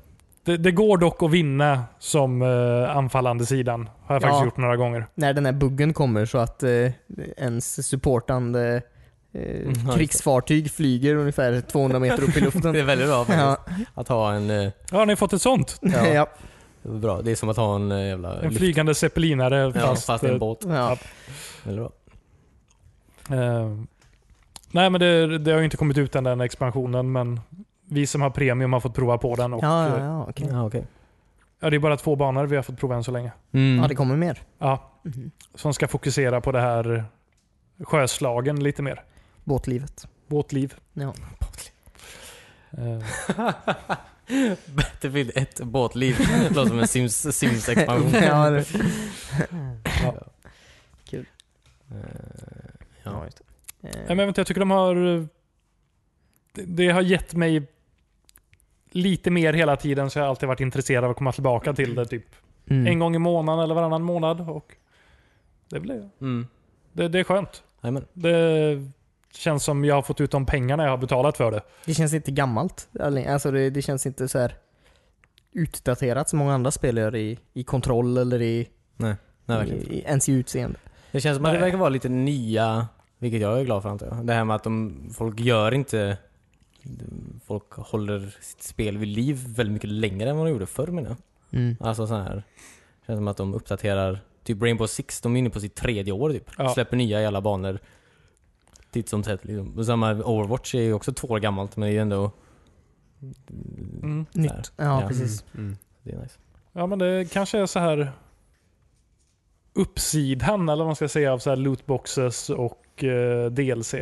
det, det går dock att vinna som eh, anfallande sidan. Har jag Ja. faktiskt gjort några gånger. När den här buggen kommer så att eh, ens supportande eh, just det. krigsfartyg flyger ungefär 200 meter upp i Det luften. är väldigt bra Ja, faktiskt. Att ha en... eh, Ja, har ni fått ett sånt? ja. ja. Bra. Det är som att ha en eh, jävla... En lyft- typ. flygande zeppelinare Ja, fast, fast i eh, en båt. ja. Väldigt bra. Eh, nej, men det, det har ju inte kommit ut än den expansionen, men vi som har premium har fått prova på den. Och, Ja, ja, eh, ja, okej. Ja, okej. ja, det är bara två banor vi har fått prova än så länge. Mm. ja, det kommer mer. Ja, Mhm. som ska fokusera på det här sjöslagen lite mer. Båtlivet. Båtliv. Ja. Eh, Battlefield 1 båtliv. Låter som en Sims- Sims-expansion. ja, det, Eh, ja, Ja. just det. Eh, Nej, men vänta, jag tycker de har... eh, Det, det har gett mig lite mer hela tiden så jag har alltid varit intresserad av att komma tillbaka till det. Typ mm. en gång i månaden eller varannan månad. Och det, blir, Mm. det, det är skönt. Jajamän. Det känns som jag har fått ut de pengarna jag har betalat för det. Det känns inte gammalt. Alltså det, det känns inte så här utdaterat som många andra spel gör i, i kontroll eller i, Nej, i, verkligen. i ens i utseende. Det känns som att det Nej. verkar vara lite nya, vilket jag är glad för antar jag. Det här med att de, folk gör inte... Folk håller sitt spel vid liv väldigt mycket längre än vad de gjorde förr menar jag. Mm. Alltså så här. Det känns som att de uppdaterar. Typ Rainbow Six, de är inne på sitt tredje år typ. Ja. Släpper nya i alla banor. Titt som tätt liksom. Och Samma Overwatch är ju också två år gammalt men det är ju ändå... Mm. Där. Nytt. Ja, Ja. precis. Mm. Det är nice. Ja, men det kanske är så här uppsidan eller vad man ska säga av så här lootboxes och eh, DLC.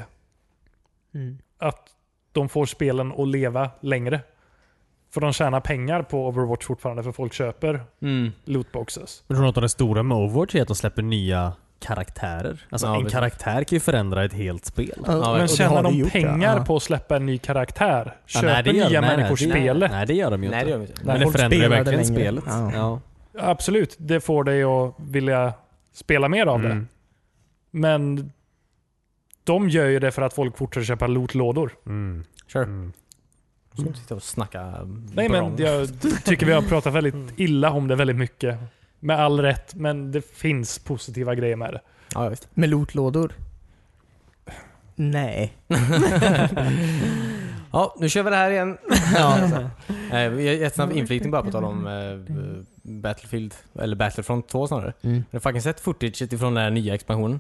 Mm. att de får spelen att leva längre. För de tjänar pengar på Overwatch fortfarande för folk köper lootboxes. Men tror du att det stora med Overwatch är att de släpper nya karaktärer? Alltså Ja, en precis. karaktär kan ju förändra ett helt spel. Ja, men och det Men tjänar har det de gjort, pengar ja. på att släppa en ny karaktär? Ja, Köper det gör- nya nej, människor nej, det- spelet? Nej, det gör de ju Nej det inte. gör vi inte. Nej. Men det Folk förändrar ju spelar det verkligen längre. spelet. Ja. Ja. Absolut, det får dig att vilja spela mer av det. Mm. Men de gör ju det för att folk fortsätter köpa lootlådor. Mm. Sure. Mm. Ska inte sitta och snacka Nej men jag tycker vi har pratat väldigt illa om det väldigt mycket. Med all rätt, men det finns positiva grejer med det. Ja, visst. Med lootlådor? Nej. ja, nu kör vi det här igen. Ja. Eh, Jättesnabb inflikning bara på tal om eh, Battlefield, eller Battlefront 2 snarare. Mm. Jag har fucking sett footaget ifrån den här nya expansionen.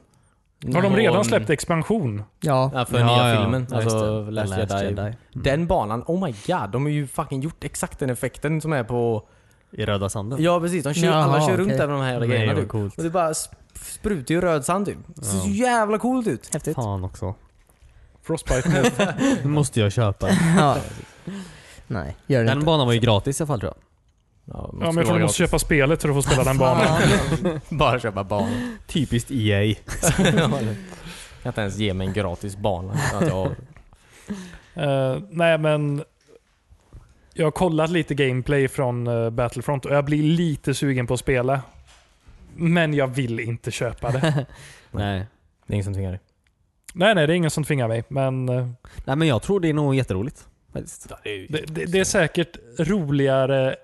Har de redan Någon- släppt expansion? ja. Ja, för Ja, nya ja. filmen. Ja, alltså just det. Last, Jedi. Mm. Den banan, oh my god. De har ju fucking gjort exakt den effekten som är på... I Röda sanden. Ja precis, de kör, Jaha, alla kör runt okej. där med de här jävla Nej, grejerna vad typ. coolt. Och det bara sp- sprutar ju röd sand typ. Det ser Ja. så jävla coolt ut. Häftigt. Fan också. Frostbite Nu måste jag köpa. Ja. Nej, gör det Den inte. banan var ju gratis i alla fall tror jag. Ja, Ja, men jag tror du måste köpa spelet för att få spela den banan. Bara köpa banan. Typiskt E EA. Ja, det- kan inte ens ge mig en gratis bana. Att jag- Eh, nej, men jag har kollat lite gameplay från eh, Battlefront och jag blir lite sugen på att spela. Men jag vill inte köpa det. Nej. Det är ingen som tvingar dig. nej, nej, det är ingen som tvingar mig. Men eh, Nej men jag tror det är nog jätteroligt. Faktiskt. det, det, det är säkert roligare.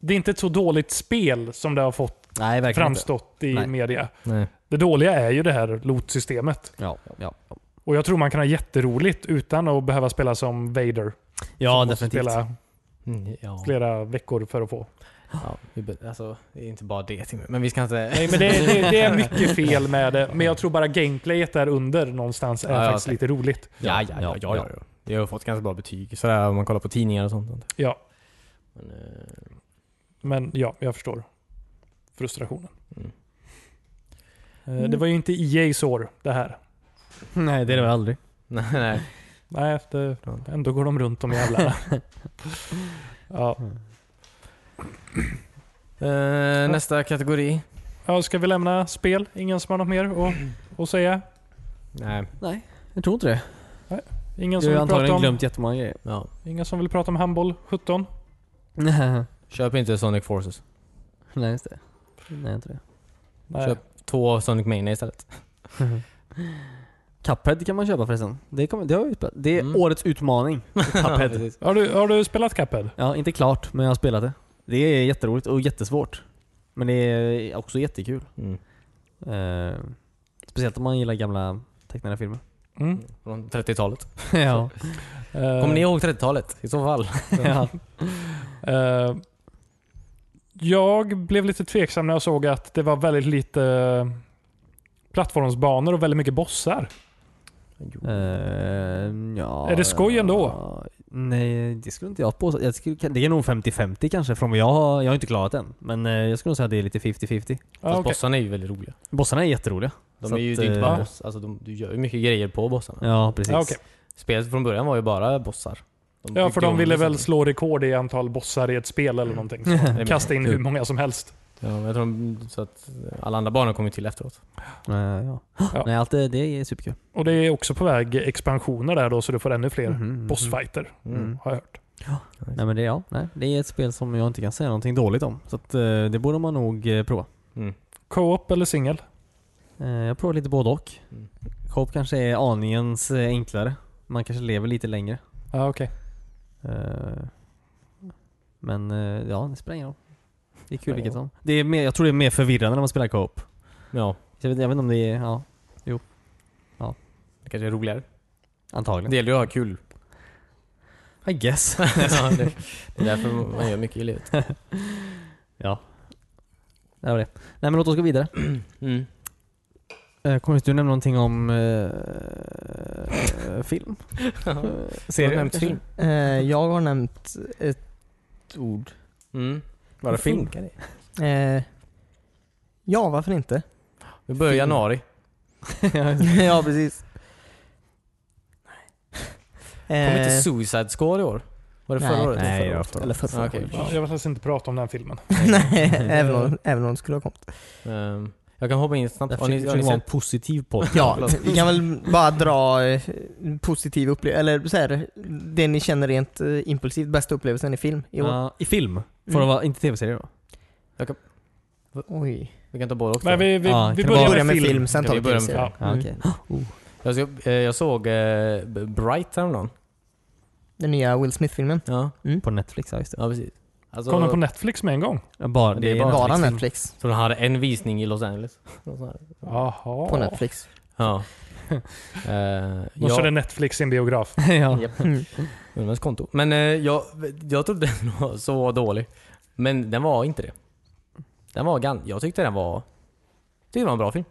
Det är inte ett så dåligt spel som det har fått Nej verkligen framstått i Nej. media. Nej. Det dåliga är ju det här loot-systemet. inte. Ja, ja. Och jag tror man kan ha jätteroligt utan att behöva spela som Vader. Ja som måste definitivt. Spela Mm, ja. flera veckor för att få. ja vi be- alltså, det är inte bara det Timmy. Men vi ska inte... Nej, men det, det, det är mycket fel med det. Men jag tror bara gameplayet där under någonstans är Ja, ja, faktiskt okej. lite roligt. Ja, ja, ja, ja, ja. Det har fått ganska bra betyg sådär, om man kollar på tidningar och sånt. Ja, Men, eh, men ja, jag förstår frustrationen. Mm. Eh, Det var ju inte EA's år det här. Nej det är det väl aldrig. nej, nej. Nej, det, ändå går de runt de jävlarna. Ja. Eh, nästa kategori? Ja, ska vi lämna spel? Ingen som har något mer att, att säga? Nej. Nej. Jag tror inte det. Ingen Jag som, vill har ju prata antagligen om, glömt jättemånga grejer. Ja. ingen som vill prata om handboll 17? Köp inte Sonic Forces. Nej just det. Nej inte det. Nej. Köp. Två Sonic Mania istället. Cuphead kan man köpa förresten. Det, kommer, det, har jag ju spelat. det är Mm. årets utmaning. Cuphead. Har, du, har du spelat Cuphead? ja, inte klart, men jag har spelat det. Det är jätteroligt och jättesvårt. Men det är också jättekul. Mm. Eh, speciellt om man gillar gamla tecknade filmer. Mm. Från 30-talet. ja. Mm. Kommer ni ihåg 30-talet? I så fall. ja. Eh, jag blev lite tveksam när jag såg att det var väldigt lite eh, plattformsbanor och väldigt mycket bossar. Eh, ja, Är det skoj ändå? ja, Nej, det skulle inte jag påstå. Jag skulle, det är nog 50-50 kanske från vad jag har, jag har inte klarat än. Men eh, jag skulle nog säga att det är lite 50-50. Fast Ja, Ah, okej. bossarna är ju väldigt roliga. Bossarna är jätteroliga. De Så är ju, att, det är inte eh, bara boss, alltså de, du gör ju mycket grejer på bossarna. Ja, precis. Ja, Ah, okej. Spelet från början var ju bara bossar. De ja, byggde för de om ville det väl sen. slå rekord i antal bossar i ett spel eller någonting. Så Mm. men- typ. Kasta in kul. hur många som helst. Ja, men jag tror de, så att eh, alla andra banor kom ju till efteråt. Eh, ja. Nej, allt det, det är superkul. Och det är också på väg expansioner där då, så du får ännu fler Mm-hmm. Mhm, mhm. bossfighter, Mm. har jag hört. Nej men det, ja, nej, det är ett spel som jag inte kan säga någonting dåligt om. Så att, eh, det borde man nog eh, prova. Co-op eller singel? Eh, jag provar lite både och. Mm. Co-op kanske är aningens eh, enklare. Man kanske lever lite längre. Ja, Ah, okej. Eh, men eh, ja, det spelar ingen roll. Det är kul Spelar vilket ingen som. Det är mer, jag tror det är mer förvirrande när man spelar co-op. Ja, Jag vet, jag vet inte om det är, ja, det kanske är roligare. antagligen. Det gäller ju att ha kul. I guess. ja, det, det är därför man gör mycket i livet. ja. Det var det. Nej men låt oss gå vidare. Mm. Eh, Kommer du nämna någonting om eh, film? Har Serier du nämnt kanske? film? Eh, jag har nämnt ett ord. Mm. Bara film? Funkar Eh, ja, varför inte? Vi börjar i januari. ja, precis. Nej. Kom Eh, inte Suicide Squad i år? Var det Nej. förra året? Nej, Förra jag året. tror- Eller för, för Ah, okej. Ja, jag vill helst inte prata om den filmen. Nej, även om, även om det skulle ha kommit. Ehm, jag kan hoppa in snabbt. Därför Har ni, försöker har ni det vara en sett? positiv podd. Ja, vi kan väl bara dra eh, positiv upplevelse, eller så här, det ni känner rent eh, impulsivt, bästa upplevelsen i film i år. Ja, I film? Får det Mm. vara, inte tv-serier då? Oj. Vi kan ta båda också. Men vi, vi, Ja, vi kan det börjar med, Börja vara- med film, film. sen Okej, tar vi vi börjar med tv-serier. Ja. Ja, Mm. okej. Jag, såg- eh, jag såg eh, B- Bright häromdagen. Den nya Will Smith-filmen. Ja, På Netflix, ja just det. ja precis. Alltså, Kom den på Netflix med en gång? Ja, Bara, Det det, är är bara Bara Netflix-film. Netflix. så de hade en visning i Los Angeles. Något sånt här. Jaha. På Netflix. Ja. Eh, Då jag- körde Netflix i en biograf. ja. Japp. Mm. Unnas konto. Men eh, jag, jag trodde den var så dålig. Men den var inte det. Den var gan, Jag tyckte den var... Tyckte det var en bra film.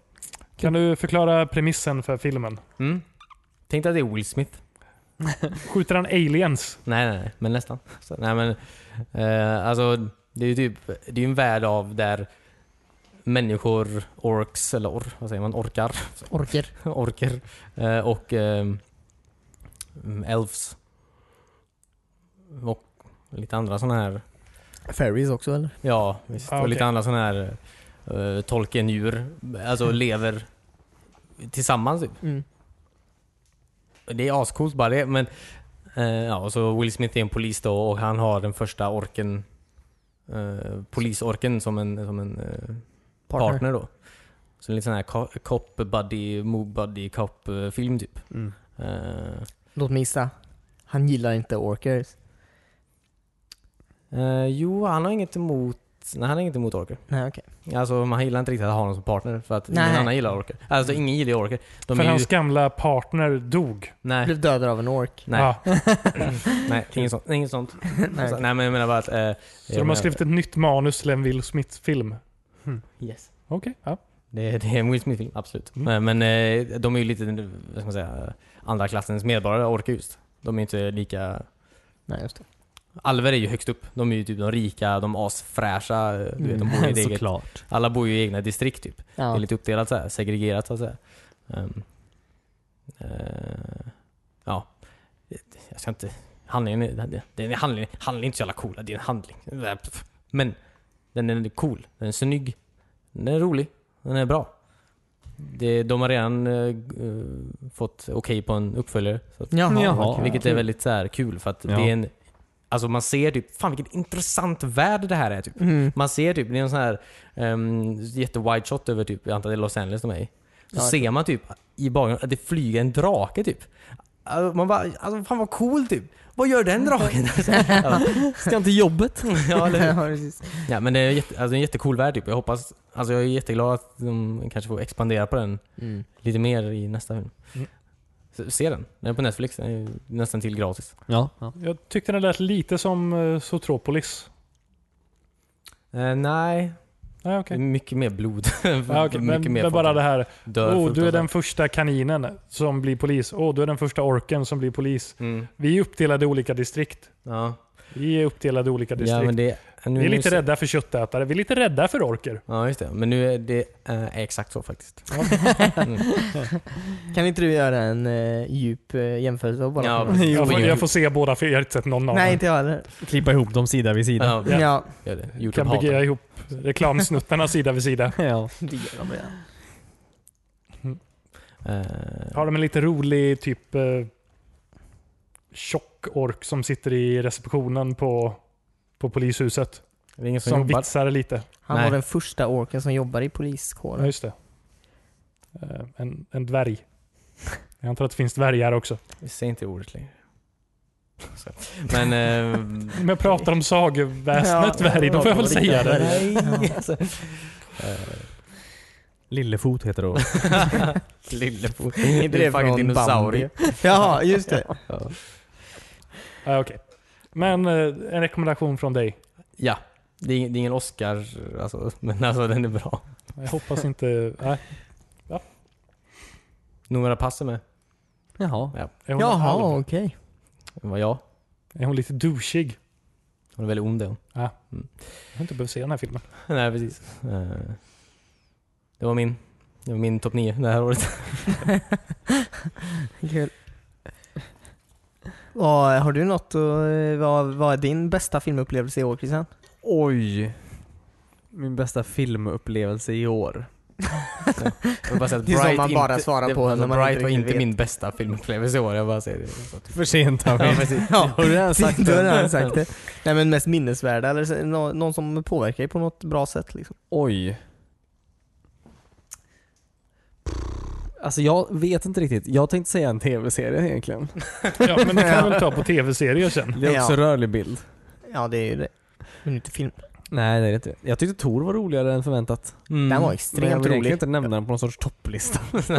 Kan du förklara premissen för filmen? Mm. Tänkte att det är Will Smith. Skjuter han aliens? Nej, nej, nej. Men nästan. Så, nej, men, eh, alltså, det är ju typ, det är ju en värld av där människor, orks, eller or, vad säger man, orkar, Orker. orker eh, och ehm, mm, elves. Och lite andra sådana här Fairies också eller? Ja, visst. Ah, Och okej. lite andra sådana här uh, tolkendjur. Alltså lever tillsammans typ. Mm. Det är ascoolt bara det. Men, eh, ja, och så Will Smith är en polis då och han har den första orken, eh, polisorken som en, som en eh, partner. då. Så lite sån här co- cop buddy, move buddy cop eh, film typ. Mm. Eh, Låt mig gissa. Han gillar inte orkers. eh, jo, han har inget emot Nej, han har inget emot orker. Nej okej. Alltså man gillar inte riktigt att ha någon som partner för att Nej. ingen annan gillar orker. Alltså ingen gillar orker. De för är ju- hans gamla partner dog. Nej, Blev dödad av en ork. nej, Ja, nej, inget sånt. Inget sånt. Nej, Alltså, okej. nej men jag menar bara att... Eh, jag så de menar- har skrivit ett nytt manus till en Will Smith-film. Yes. Okej. ja. Det, det är en Will Smith-film, absolut. Mm. Men, eh, de är ju lite, vad ska man säga, andra klassens medborgare, orkar just. De är ju inte lika... Nej just det. Alver är ju högst upp. De är ju typ de rika, de asfräscha. eh, Du vet, de bor i ett eget, Mm. Såklart. alla bor ju i egna distrikt typ. Det Ja. är lite uppdelat så här, segregerat så att säga. Ehm, eh, ja, jag ska inte... Handlingen är, det- det är en handling, handling är inte så jävla cool. Det är en handling. Men den är cool. Den är snygg. Den är rolig. Den är bra. Det, de har redan eh, eh, fått okej på en uppföljare. Så att, Jaha. Jaha. okej. vilket är väldigt så här, kul för att Ja. det är en... Alltså man ser typ, fan vilken intressant värld det här är typ. Mm. Man ser typ, det är en sån här um, jätte-wide shot över typ, jag antar det är Los Angeles de är i. Så Ja, ser man typ i bakgrunden att det flyger en drake typ. Alltså, man bara, alltså fan vad cool typ. Vad gör den Mm. draken? Ska inte jobbet? ja, eller hur? Ja, precis. ja, men det är jätte, alltså, en jättecool värld typ. Jag hoppas, alltså jag är jätteglad att de kanske får expandera på den Mm. lite mer i nästa film. Mm. Så, se den. Den är på Netflix. Den är ju nästan till gratis. Ja. ja. Jag tyckte den lät lite som eh, Zootropolis. Eh, nej. Nej, Det är okej. Mycket mer blod. Ja, okej. mycket Men, mer men folk bara som det här. Dör Oh, du är fruktansvärt. den första kaninen som blir polis. Oh, du är den första orken som blir polis. Mm, Vi är uppdelade i olika distrikt. ja. Vi är uppdelade i olika distrikt. ja, men det... Nu, vi är nu lite ser- rädda för köttätare. Vi är lite rädda för orker. Ja, just det. Men nu är det eh, är exakt så faktiskt. Mm. Kan inte du göra en eh, djup eh, jämförelse av båda? Ja, filmerna? Jo, Jag får, men- jag får se båda för jag har inte sett någon av Nej, dem. inte jag heller. Klippa ihop dem sida vid sida. Ja, Ja. Ja. gör det. Jag kan Youtube hatar bygga det. ihop reklamsnuttarna sida vid sida. Ja. Eh, Har de en lite rolig typ eh, tjock ork som sitter i receptionen på, på polishuset. det är ingen som, Som jobbar. vitsar lite. Han Nej. var den första orken som jobbar i Ja, poliskåren. just det. Eh, en, en dvärg. Jag antar att det finns dvärgar också. Vi säger inte ordet längre. Så. Men... ehm, Om jag pratar om sagoväsendet Ja, dvärg, då får jag väl det var säga riktigt det. dvärg. nej, alltså. Lillefot heter det. Lillefot. Inte det från dinosaurie. Jaha, just det. Ja. Ja, Ah, okej. Men eh, en rekommendation från dig. ja. Det är, ing- det är ingen Oscar, alltså, men alltså den är bra. Jag hoppas inte... eh, Nej. Nora Passe med. Jaha. Är hon Jaha, halv? okej. Det var jag. Är hon lite douchig? Hon är väldigt ond hon. Jag har inte behövt se den här filmen. Nej, precis. Eh, Det var min, det var min topp 9 det här året. Kul. Vad- Har du något och vad, vad är din bästa filmupplevelse i år Christian? Oj. Min bästa filmupplevelse i år. Jag vill bara säga att Det är som Bright man bara inte- svarar det- på alltså, när man Bright inte var riktigt inte min bästa filmupplevelse i år. Jag bara säger det. Så att- För sent har Ja, vi. precis. Ja, Har du redan sagt du har redan det? sagt det. Nej men mest minnesvärda eller så- nå- någon som påverkar dig på något bra sätt liksom. Oj. Alltså jag vet inte riktigt. Jag tänkte säga en tv-serie egentligen. Ja, men det kan vi väl ta på tv-serier sen. Det är också Ja. rörlig bild. Ja det är ju det. Men inte film. Nej, det är det inte. Jag tyckte Tor var roligare än förväntat. Den var Men jag extremt vill egentligen rolig. inte nämna den på någon sorts topplista. Fast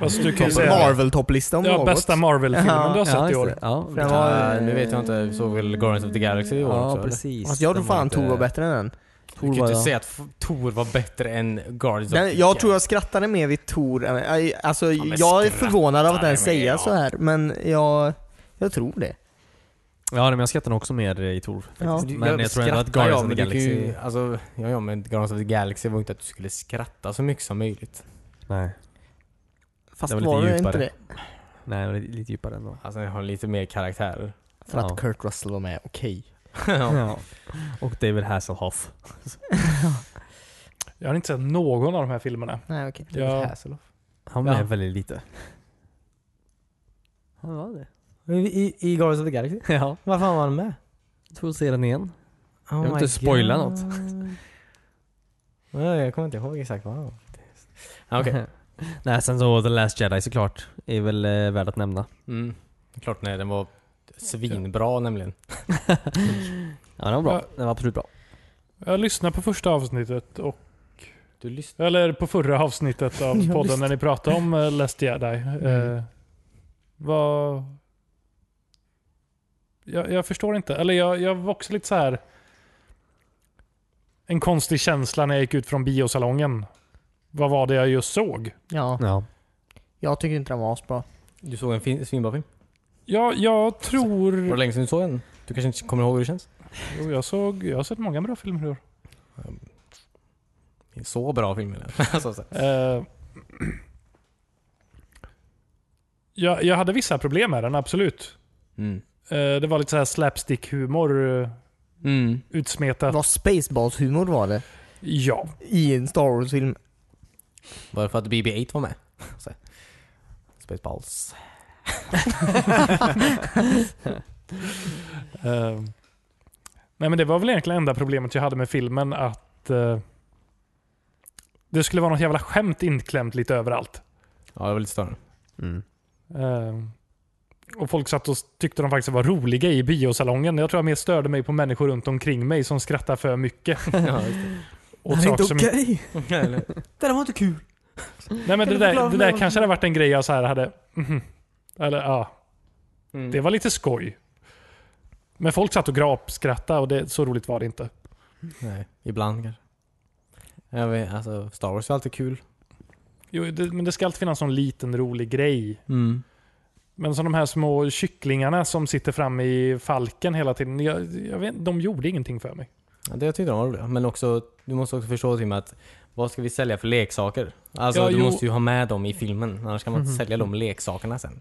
Alltså, du kan ju Top säga... Alltså, Marvel-topplista om ja, något. bästa Marvel-filmen Ja, du har sett i just år. det. Ja, Den var- Ah, nu vet jag inte, vi såg väl Guardians of the Galaxy i år ja också? eller? precis. Alltså jag tror Den var fan inte- Tor var bättre än den. Du kan Tor ju var inte jag. säga att f- Tor var bättre än Guardians of den the jag tror jag skrattade mer vid Tor än... aj, Alltså men jag är förvånad av att skrattar, den men säger ja. så här men jag, jag tror det. Ja, nej, men jag skrattar nog också mer eh, i Tor. Ja. Men jag, tror ändå att skrattar, Guardians ja, of men the du kan Galaxy... Ju, alltså, ja, ja, men Guardians of the Galaxy var ju inte att du skulle skratta så mycket som möjligt. Nej. Fast Det var var, lite det djupare. inte det? Nej, det var lite lite djupare ändå. Alltså den har lite mer karaktärer. För att Ja. Kurt Russell var med, okej. ja. Ja. Och David Hasselhoff. Jag har inte sett någon av de här filmerna. Nej okej. Ja. David Hasselhoff. Han var med Ja. väldigt lite. Han var det. I, I Guardians of the Galaxy? Ja. Vad fan var han med? Jag får se den igen. Oh vill my inte spoila God. något. Nej, jag kommer inte ihåg exakt vad han var. Ah, Okej. Nej, sen så The Last Jedi såklart. Är väl eh, värd att nämna. Mm. Klart när den var svinbra nämligen. Ja, den var bra. Ja. Den var absolut bra. Jag lyssnade på första avsnittet, och, Du lyssnar. eller på förra avsnittet av Jag podden lyssnade. när ni pratade om eh, Last Jedi. Eh, vad... Jag, jag förstår inte. Eller jag, jag var också lite så här... En konstig känsla när jag gick ut från biosalongen. Vad var det jag just såg? Ja, Ja. jag tycker inte den var asbra. Du såg en fin, svinbra film. Mm. Ja, jag Var tror... det länge sedan du såg den? Du kanske inte kommer ihåg hur det känns? Jo, jag, såg, jag har sett många bra filmer i år. Det är Så bra film eller? alltså, så. Eh, jag, jag hade vissa problem med den, absolut. Mm. Eh, det var lite så här slapstick-humor eh, Mm. utsmetat. Vad Spaceballs-humor var det Ja. i en Star Wars-film. Var det för att BB-8 var med? Så. Spaceballs. Eh, nej, men det var väl egentligen enda problemet jag hade med filmen att eh, det skulle vara något jävla skämt inklämt lite överallt. Ja, det var lite större. Mm. Eh, och folk satt och tyckte de faktiskt var roliga i biosalongen. Jag tror jag mer störde mig på människor runt omkring mig som skrattade för mycket. ja, just det. åt saker som Eller- det där var inte kul. Nej Kan men det du där, förklara det mig där vad- kanske hade varit en grej jag så här hade... mhm. Eller ja, Mm. det var lite skoj. Men folk satt och grapskrattade och det, så roligt var det inte. Nej, ibland kanske. Jag vet, alltså, Star Wars är alltid kul. Jo, det, men det ska alltid finnas någon liten rolig grej. Mm. Men som de här små kycklingarna som sitter framme i falken hela tiden. Jag, jag vet, de gjorde ingenting för mig. Ja, det tyckte de var roliga. Men också, du måste också förstå Tim att vad ska vi sälja för leksaker? Alltså Ja, du jo. måste ju ha med dem i filmen, annars kan man inte Mhm. sälja de leksakerna sen.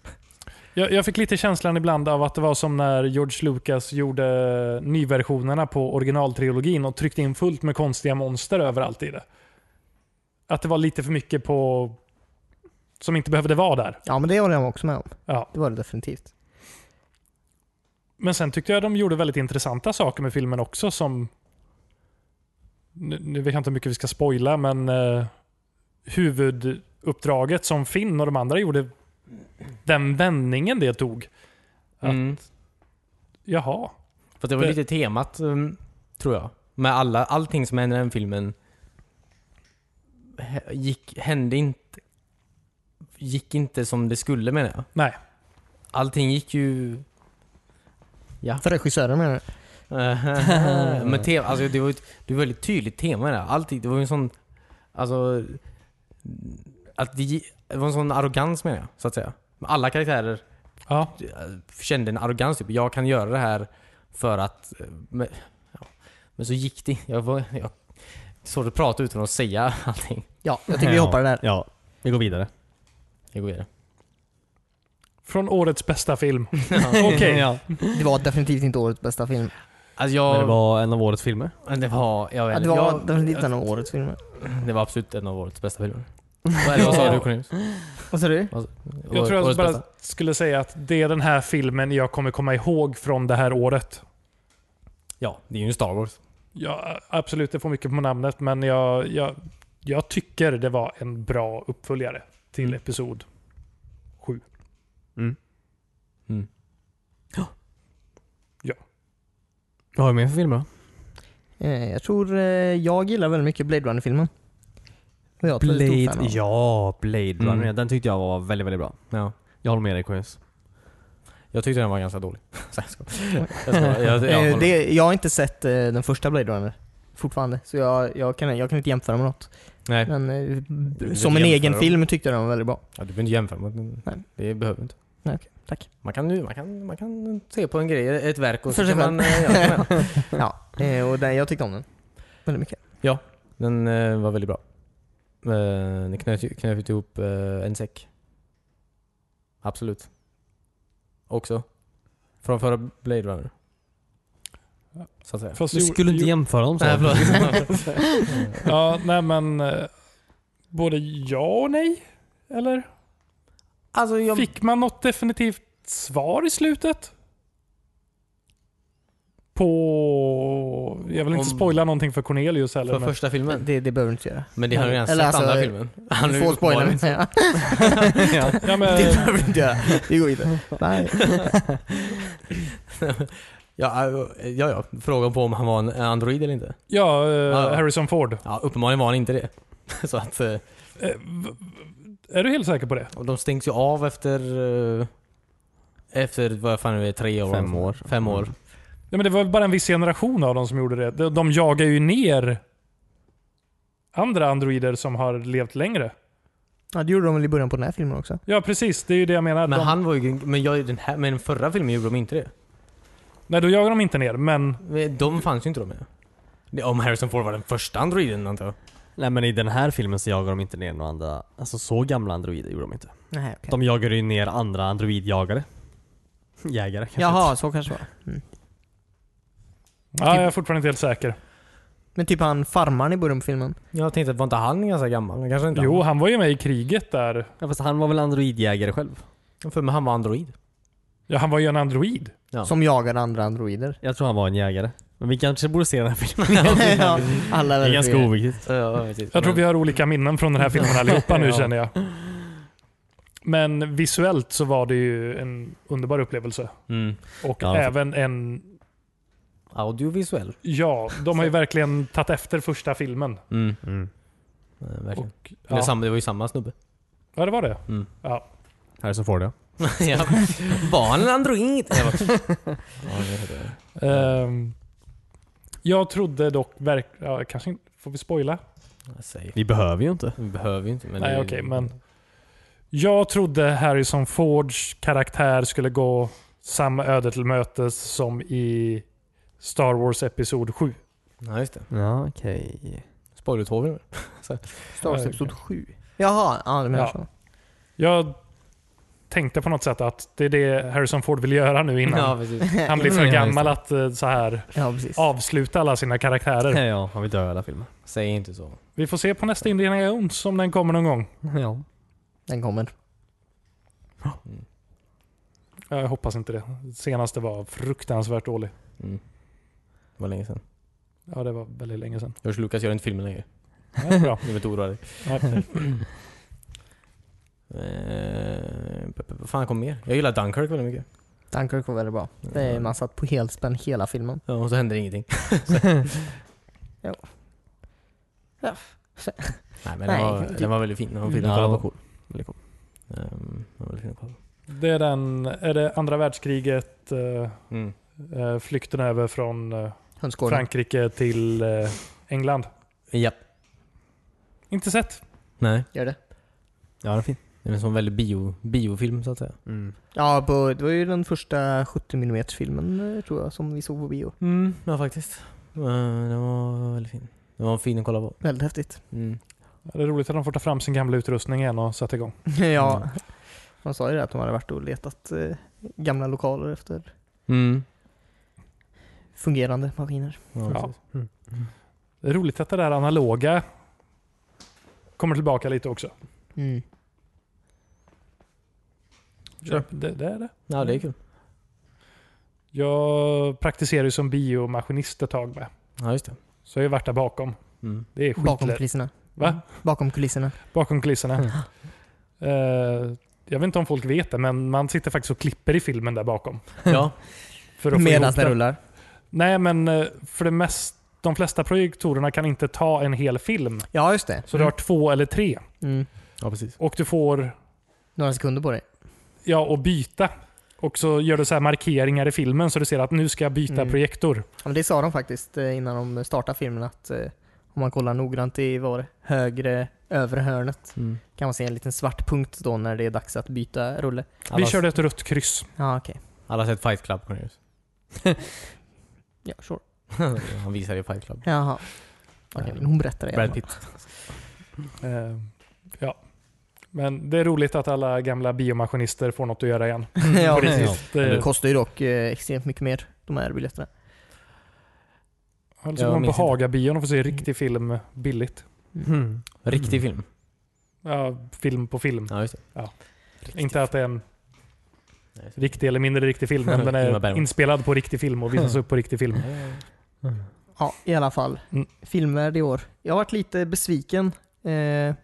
Jag, jag fick lite känslan ibland av att det var som när George Lucas gjorde nyversionerna på originaltrilogin och tryckte in fullt med konstiga monster överallt i det. Att det var lite för mycket på... Som inte behövde vara där. Ja men det håller jag också med om. Ja. Det var det definitivt. Men sen tyckte jag de gjorde väldigt intressanta saker med filmen också som... Nu, nu vet jag inte hur mycket vi ska spoila men eh, huvuduppdraget som Finn och de andra gjorde, den vändningen det tog. Att- Mm. Jaha. För det var Det- lite temat, mm, tror jag. Med alla, allting som hände i den filmen hä- gick, hände inte, gick inte som det skulle menar jag. Nej. Allting gick ju... För regissören menar du? Men tema, alltså det var ju ett, det var ett väldigt tydligt tema där. Allting, det var ju en sån... Alltså... Att det, gi- det var en sån arrogans menar jag, så att säga. Alla karaktärer Ja. kände en arrogans. Typ. Jag kan göra det här för att... eh, Men, ja. men så gick det. Jag, var, jag såg att prata utan att säga allting. Ja, jag tycker vi hoppar där. Ja, vi går vidare. Jag går vidare. Från årets bästa film. Ja. Okej. ja. Det var definitivt inte årets bästa film. Alltså jag... Men det var en av årets filmer. Det var, jag vet, Ja, det var jag, definitivt en av årets filmer. det var absolut en av årets bästa filmer. Vad- Vad sa du Cornelius? Vad sa du? Jag tror jag Årets bara bästa? skulle säga att det är den här filmen jag kommer komma ihåg från det här året. Ja, det är ju en Star Wars. Ja, absolut, det får mycket på namnet men jag, jag, jag tycker det var en bra uppföljare till Mm. episod sju. Vad har vi mer för filmer då? Eh, Jag tror eh, jag gillar väldigt mycket Blade Runner-filmen. Och jag är ett väldigt stort fan Blade, av. ja Blade Runner. Mm. Den tyckte jag var väldigt, väldigt bra. Ja. Jag håller med dig Cornelius. Jag tyckte den var ganska dålig. Så jag skojar. Jag skojar. Jag- jag Eh, håller- det, jag har inte sett eh, den första Blade Runner fortfarande, så jag, jag, kan, jag kan inte jämföra med något. Nej, Men eh, vill som en inte egen jämföra. film tyckte jag den var väldigt bra. ja, du behöver inte jämföra mot den. Nej. Det behöver du inte. Nej, okej. Tack. Man kan, ju- man, kan, man kan se på en grej, ett verk och För så sig kan man... eh, göra det med. Ja, eh, och den, jag tyckte om den. Väldigt mycket. Den eh, var väldigt bra. Eh, Den knöt, ju- knöt ihop eh, en säck. Absolut. Också. Från förra Blade Runner. Så att säga. Fast Du jo- skulle inte jo- jämföra dem så. Nej, förlåt. Ja, nej men... eh, Både ja och nej? Eller? alltså jag... Fick man något definitivt svar i slutet? På... Jag vill inte Om- spoila någonting för Cornelius heller. För men- första filmen? Det, det behöver du inte göra. Men det har du redan sett Eller alltså, andra filmen. Han Du får spoila uppenbarligen- menar jag. ja, men, Det behöver du inte göra. Det går inte. Nej. ja, eh, ja, ja. Frågan på om han var en android eller inte. ja, eh, ja. Harrison Ford. Ja, uppenbarligen var han inte det. Så att eh, Eh, v- v- Är du helt säker på det? och de stängs ju av efter... eh, Efter vad fan är det, tre år? Fem år. Fem Mm. år. Ja, men det var väl bara en viss generation av dem som gjorde det. De, de jagar ju ner andra androider som har levt längre. Ja, det gjorde de väl i början på den här filmen också? Ja precis, det är ju det jag menar. Men de, han var ju... Men, jag, den här, men den förra filmen gjorde de inte det. Nej, då jagar de inte ner. Men Men De fanns ju inte då med. Det- Om Harrison Ford var den första androiden antar jag. Nej men i den här filmen så jagar de inte ner några andra, alltså så gamla androider gjorde de inte. Nej, okej. De jagade ju ner andra androidjagare. Jägare kanske. Jaha, så kanske det var. ja, jag är fortfarande inte helt säker. Men typ han farmaren i början på filmen. Jag tänkte, var inte han ganska gammal? Men Kanske inte Jo, han var ju med i kriget där. Ja, fast han var väl androidjägare själv? han. För men han var android. Ja, han var ju en android. Ja. Som jagade andra androider. Jag tror han var en jägare. Men vi kanske borde se den här filmen. ja, alla är det är väldigt ganska fria. oviktigt. Jag tror vi har olika minnen från den här filmen allihopa nu Ja. känner jag. Men visuellt så var det ju en underbar upplevelse. Mm. Och Ja, det var- även en... Audiovisuell. Ja, de har ju verkligen tagit efter första filmen. Mm. Mm. Eh, Verkligen. Och, Det, var ja. samma, det var ju samma snubbe. ja, det var det. Mm. Ja. Harrison Ford ja. ja. Var han en android? Jag bara, ja, det heter det. Ehm, jag trodde dock verkligen... Ja, kanske inte... Får vi spoila? Safe. Vi behöver ju inte. Vi behöver ju inte men... Nej, det är- okej, men- Jag trodde Harrison Fords karaktär skulle gå samma öde till mötes som i Star Wars Episod 7. Ja, just det. Ja, okej. Spoiler-tvåvel. Star Wars Ja, Episod 7. Jaha, ja du menar Ja. så. Jag tänkte på något sätt att det är det Harrison Ford vill göra nu innan Ja, precis. han blir för Mm, ja, just gammal att eh, så här Ja, precis. avsluta alla sina karaktärer. Ja, han vill döda filmen. Säg inte så. Vi får se på nästa Indiana Jones om den kommer någon gång. Ja. Den kommer. Ja, Jag hoppas inte det. Senaste var fruktansvärt dålig. Mm. Det var länge sedan. Ja, det var väldigt länge sedan. George Lucas gör inte filmen längre. Du Ja, bra. behöver inte oroa dig. Nej. Eh, p- p- Vad fan kom mer? Jag gillar Dunkirk väldigt mycket. Dunkirk var väldigt bra. Det är man satt på helspänn hela filmen. Ja, och så händer ingenting. Ja. Nej men den, Nej, var, typ- den var väldigt fin. Den var fin Ja. att kolla på. Cool. Väldigt cool. Ehm, den var väldigt fin att kolla på. Det är den, är det andra världskriget, eh, Mm. eh, flykten över från eh, Hönsgården. Frankrike till eh, England. Japp. Inte sett. Nej. Gör det. Ja, den är fin. Det är en sån väldigt bio, biofilm så att säga. Mm. Ja, på, det var ju den första 70 mm filmen eh, tror jag som vi såg på bio. Mm, ja faktiskt. Eh, den var väldigt fin. Den var fin att kolla på. Väldigt häftigt. Mm. Det är roligt att de får ta fram sin gamla utrustning igen och sätta igång. ja. Mm. Man sa ju det att de hade varit och letat eh, gamla lokaler efter Mm. fungerande maskiner. Ja, Ja. precis. Mm. Det är roligt att det där analoga kommer tillbaka lite också. Mm. Det, det, det är det. ja, det är kul. Jag praktiserar ju som biomaskinist ett tag med. Ja, just det. Så jag har ju varit där bakom. Mm. Det är Bakom Mm. skitlätt. kulisserna. Va? Bakom kulisserna. Bakom kulisserna. Eh, jag vet inte om folk vet det, men man sitter faktiskt och klipper i filmen där bakom. Ja. För att få Medan ihop den den. rullar. Nej, men eh, för det mest, de flesta projektorerna kan inte ta en hel film. Ja, just det. Så du har två eller tre. Mm. ja, precis. Och du får Några sekunder på dig. ja, och byta. Och så gör du så här markeringar i filmen så du ser att nu ska jag byta Mm. projektor. Ja, men det sa de faktiskt eh, innan de startade filmen att eh, om man kollar noggrant i vad var det, högre övre hörnet Mm. kan man se en liten svart punkt då när det är dags att byta rulle. Vi Alla, körde ett rött kryss. Ja, okej. alla har sett Fight Club, Cornelius. Ja, sure. Han visar i Fight Club. Jaha. Okej, men hon berättar det. i alla Brad fall. Pitt. Eh, ja. Men det är roligt att alla gamla biomaskinister får något att göra igen. ja, Precis. precis. Det Det, kostar ju dock eh, extremt mycket mer, de här biljetterna. alltså Jag går man på minns inte. Hagabion och får se riktig film billigt. Riktig film. Ja, film på film. Ja, just det. Inte att det är en Nej, just det. riktig eller mindre riktig film, men den Ingmar är Bergman. inspelad på riktig film och visas upp på riktig film. Ja, i alla fall. Mm. Filmer i år. Jag har varit lite besviken eh,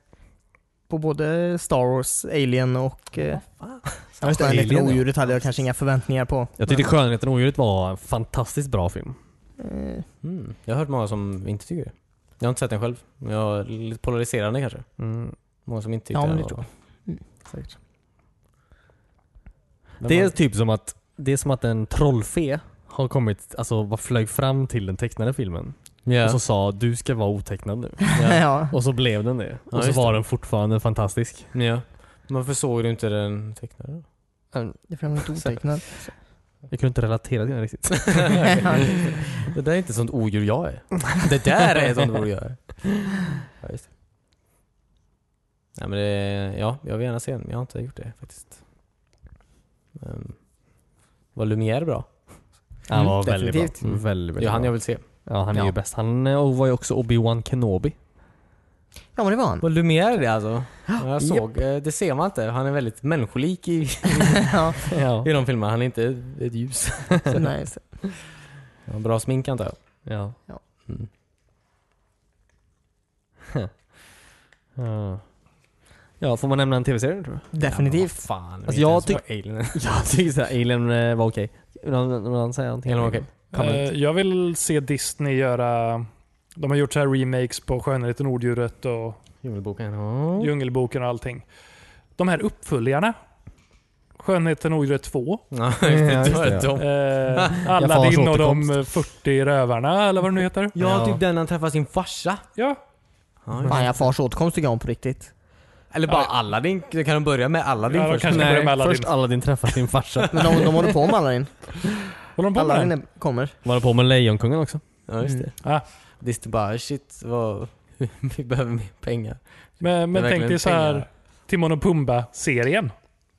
på både Star Wars, Alien och... Eh, ja, just det, Alien, Skönheten ja. och odjuret hade jag kanske inga förväntningar på. Jag tyckte Skönheten och odjuret var en fantastiskt bra film. Men, eh, Mm. Jag har hört många som inte tycker det. Jag har inte sett den själv. men Jag är lite polariserande kanske. Mm. Många som inte tyckte Ja, den men det var- tror Säkert. Det är typ som att, det är som att en trollfe har kommit, alltså vad flög fram till den tecknade filmen Ja. och så sa du ska vara otecknad nu. Ja. ja. Och så blev den det. Ja, och så just var det. den fortfarande fantastisk. ja. Men Varför såg du inte den tecknade? då? Det framgår inte otecknad. Jag kunde inte relatera till den riktigt. det där är inte sånt odjur jag är. Det där är sånt odjur jag är. Ja, just det. Nej, men det, ja, jag vill gärna se den. men Jag har inte gjort det faktiskt. Um, var Lumière bra? Ja, han var Mm, väldigt definitivt. bra. Väldigt, Det är väldigt han jag bra. vill se. Ja, han är ju Ja. bäst. Han eh, var ju också Obi-Wan Kenobi. Ja men det var han. Var Lumière det alltså? Ja, Jag såg, eh, det ser man inte. Han är väldigt människolik i, ja, Ja. i de filmerna. Han är inte ett- ett ljus. så nice. Ja, Bra smink antar jag. Ja. Ja. Mm. Ja. Ja, får man nämna en tv-serie tror jag? Definitivt. Ja, men vad fan. Alltså, jag Alien. Jag tycker såhär, Alien eh, var okej. Någon, någon säger någonting? Alien var okej. Comment. Eh, jag vill se Disney göra... De har gjort så här remakes på Skönheten och odjuret och Djungelboken. ja. Djungelboken och allting. De här uppföljarna. Skönheten och odjuret 2. Ja, just det. Ja, just det, det, var de. Eh, Jag Aladdin får och återkomst. de 40 rövarna eller vad det nu heter. Ja, typ den han träffar sin farsa. Ja, Ja, Fan, jag fars återkomst tycker jag om på riktigt. Eller bara Ja. Aladdin. Kan de börja med Aladdin Ja, de först? kanske ska börja med Aladdin. först Aladdin träffar sin farsa. Men de, de håller på med Aladdin. Håller de på med Aladdin den? är- kommer. Var på med Lejonkungen också? Mm. Ja, just det. Ja. Visst, bara shit, vad... vi behöver mer pengar. Men, men Det är tänk dig verkligen så här pengar. Timon och Pumba-serien.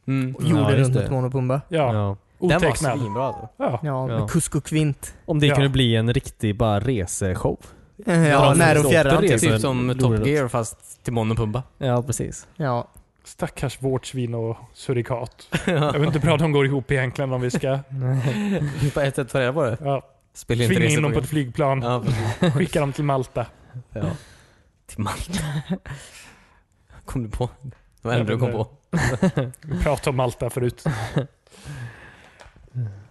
Mm. Ja, Jorden just runt det. med Timon och Pumba. Ja, Den var otecknad. svinbra alltså. Ja. Ja, Ja. med Kusk och Kvint. Om det Ja. kunde bli en riktig bara reseshow. Ja, men när och så- fjärran det är typ. så- Typ som roligt. Top Gear fast till Mono Pumba. Ja, precis. Ja. Stackars vårtsvin och surikat. Jag vet inte hur bra de går ihop egentligen om vi ska På ett sätt ta reda på det. ja, Spela inte tvinga in reseprogram. dem på ett flygplan. Ja, precis. Skicka dem till Malta. ja. Till Malta. Kom du på? Det var Jag det enda du vet kom inte. på. Vi pratade om Malta förut.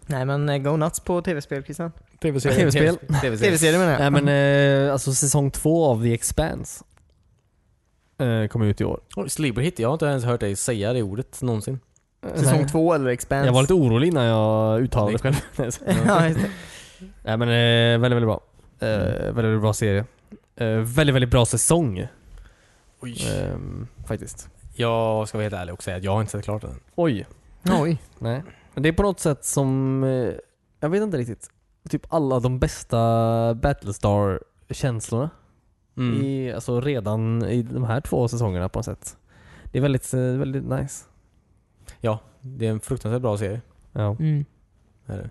Nej men eh, go nuts på tv-spel Christian. Tv-serien. Tv-spel. Tv-serie. Tv-serier menar jag. Nej men eh, alltså säsong två av The Expanse. Eh, kom ut i år. Oj, Sleeper hit. Jag har inte ens hört dig säga det ordet någonsin. Eh, Säsong Nej. två eller Expanse. Jag var lite orolig innan jag uttalade det själv. ja, just det. Nej men eh, väldigt, väldigt bra. Eh, väldigt, väldigt bra serie. Eh, väldigt, väldigt bra säsong. Ehm, faktiskt. Eh, Jag ska vara helt ärlig och säga att jag har inte sett klart den. Oj. Oj. Nej. Men det är på något sätt som, eh, jag vet inte riktigt. Typ alla de bästa Battlestar-känslorna. Mm. I, alltså redan i de här två säsongerna på något sätt. Det är väldigt, eh, väldigt nice. Det är en fruktansvärt bra serie. Ja. Mm. Är det.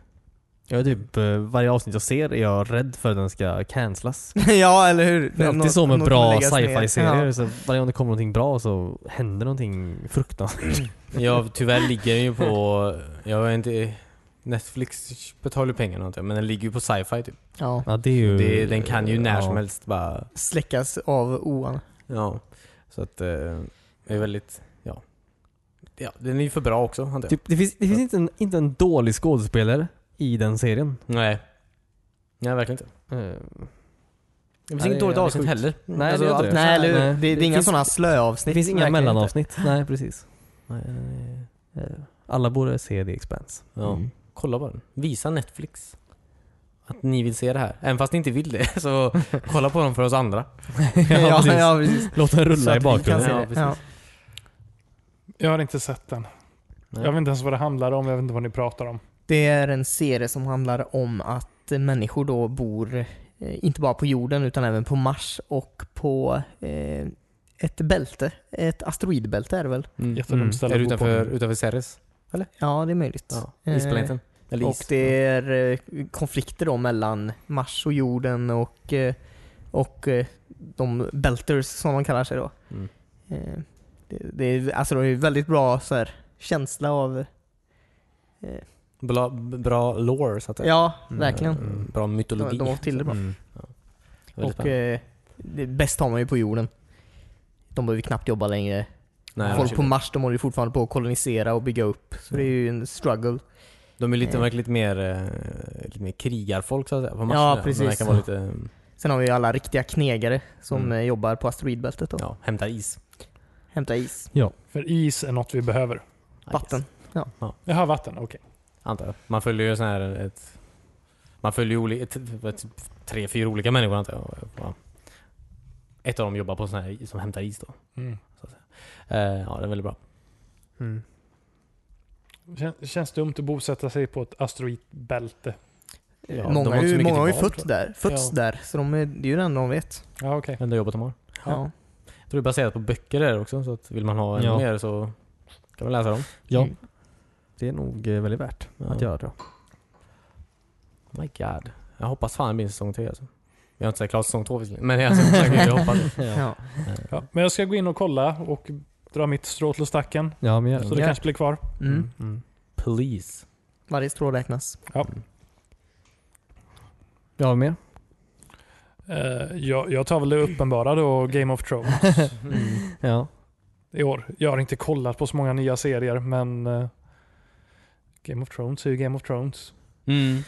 Jag är typ, eh, varje avsnitt jag ser är jag rädd för att den ska cancelas. ja eller hur. Det är alltid Något- så med något bra kommer läggas ner. sci-fi-serier. Ja. Så varje gång det kommer någonting bra så händer någonting fruktansvärt. Ja, tyvärr ligger den ju på... Jag är inte... Netflix betalar ju pengar någonting, men den ligger ju på sci-fi typ. Ja. Ja, det är ju, Det, den kan ju när ja. som helst bara... Släckas av oan. Ja. Så att... Eh, det är väldigt... Ja. ja. Den är ju för bra också, antar jag. Typ, det finns, det finns inte, en, inte en dålig skådespelare i den serien. Nej. Nej, verkligen inte. Eh, Det Nej, finns inget det är dåligt jävligt avsnitt sjukt. heller. Mm. Nej, Alltså, det gör allt- inte det. Nej eller hur. nej. Det, det är Det inga finns- sådana det slöavsnitt. finns inga verkligen inte. mellanavsnitt. Nej, precis. Eh, Alla borde se The Expanse. Ja. Kolla på den. Visa Netflix. Att ni vill se det här. Även fast ni inte vill det, så kolla på dem för oss andra. ja, precis. ja, precis. Låt den Så rulla att i vi kan bakgrunden. se Ja, det. precis. Ja. Jag har inte sett den. Nej. Jag vet inte ens vad det handlar om. Jag vet inte vad ni pratar om. Det är en serie som handlar om att människor då bor eh, inte bara på jorden utan även på Mars och på eh, ett bälte. Ett asteroidbälte är det väl? Mm. Jättedumt Mm. ställe Är det att bo på. utanför, utanför Ceres? Ja, det är möjligt. Eh, Ja. Isplaneten? Eller Och is. det är eh, konflikter då mellan Mars och jorden och, eh, och eh, de belters som de kallar sig då. Mm. Eh, Det, det, är, alltså det är väldigt bra så här, känsla av... Bra, bra lore så att säga. Ja, Mm. verkligen. Mm, Bra De, mytologi. de har till det bra. Mm. Väldigt Och spännande. eh, det bäst har man ju på jorden. De behöver knappt jobba längre. Nej, Folk de- på Mars de håller ju fortfarande på att kolonisera och bygga upp. Så det är ju en struggle. de är lite, eh. verkar lite mer, eh, lite mer krigarfolk så att säga. På Mars, Ja, De precis. verkar vara lite, eh, Sen har vi ju alla riktiga knegare som Mm. eh, jobbar på asteroidbältet och ja, hämtar is. hämtar is, För is är något vi behöver. vatten. Jag har vatten, okej. Antar jag. Man följer ju sån här ett... Man följer ju olika, ett, ett, tre, fyra olika människor antar jag. Ja. Ett av dem jobbar på sån här som hämtar is då. Mm. Eh, ja, det är väldigt bra. Mm. Kän, känns dumt att bosätta sig på ett asteroidbälte. Ja, de Eh, många har inte så har ju, mycket många har ju till val, fött där, fötts Ja. där, så de är, det är ju det enda de vet. Ja, okej. Enda jobbet de har. Ja. Ja. Jag tror det är baserat på böcker där också, så att vill man ha ännu Ja. mer så kan man läsa dem. Ja. Mm. Det är nog eh, väldigt värt Ja. att göra tror jag. Oh My god. Jag hoppas fan det blir en säsong tre alltså. Jag har inte sett klart säsong två visserligen, men alltså, jag hoppas det. Ja. Ja. Men jag ska gå in och kolla och dra mitt strå till stacken. Ja, men Så det Ja. kanske blir kvar. Mm. Mm. Please. Varje strå räknas. Jag har mer. Eh, jag, jag tar väl det uppenbara då, Game of Thrones Ja. i år. Jag har inte kollat på så många nya serier, men eh, Game of Thrones är ju Game of Thrones. Mm.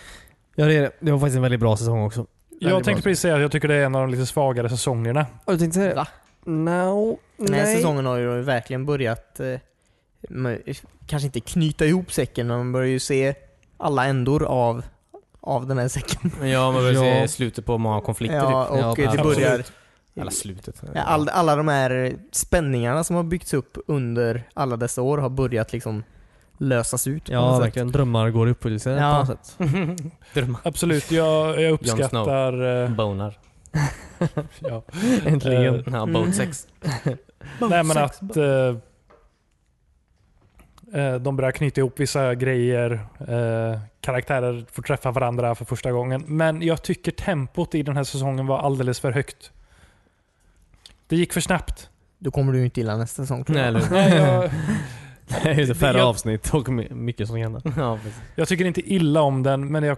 ja, det är det. Det var faktiskt en väldigt bra säsong också. Jag tänkte precis säga att jag tycker det är en av de lite svagare säsongerna. Och du tänkte säga det? Va? No, Den här nej. säsongen har ju verkligen börjat, eh, med- kanske inte knyta ihop säcken, men man börjar ju se alla ändor av, av den här säcken. Ja, man börjar Ja. se slutet på många konflikter Ja, typ. och Ja, eh, det absolut. börjar Eller slutet. Ja, all, alla de här spänningarna som har byggts upp under alla dessa år har börjat liksom lösas ut. på något Ja, sätt. verkligen. Drömmar går i uppfyllelse Ja. på något sätt. Drömmar. Absolut, jag, jag uppskattar... eh, Bonar. ja. Äntligen. Eh, Mm. Ja, boat sex. Nej men att eh, eh, de börjar knyta ihop vissa grejer. Eh, karaktärer får träffa varandra för första gången. Men jag tycker tempot i den här säsongen var alldeles för högt. Det gick för snabbt. Då kommer du ju inte gilla nästa säsong tror Nej, jag. eller hur? Nej, jag, Eh, Det är så färre jag- avsnitt och my- mycket som händer. Ja, precis. jag tycker inte illa om den men jag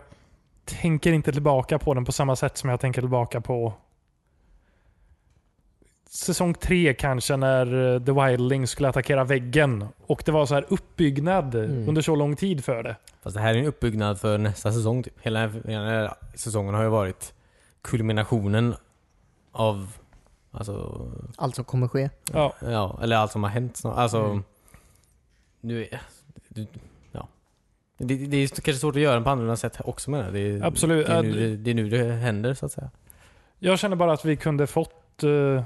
tänker inte tillbaka på den på samma sätt som jag tänker tillbaka på säsong tre kanske när eh, The Wildlings skulle attackera väggen. Och det var så här uppbyggnad Mm. under så lång tid för det. Fast det här är en uppbyggnad för nästa säsong typ. Hela den här, hela den här säsongen har ju varit kulminationen av alltså, Allt som kommer ske. Ja. ja, eller allt som har hänt snart. Alltså, nu är, du, ja. Det, det det är kanske svårt att göra den på annorlunda sätt också menar jag. det, är- Absolut. Det är, nu, det, det är nu det händer så att säga. Jag känner bara att vi kunde fått... eh,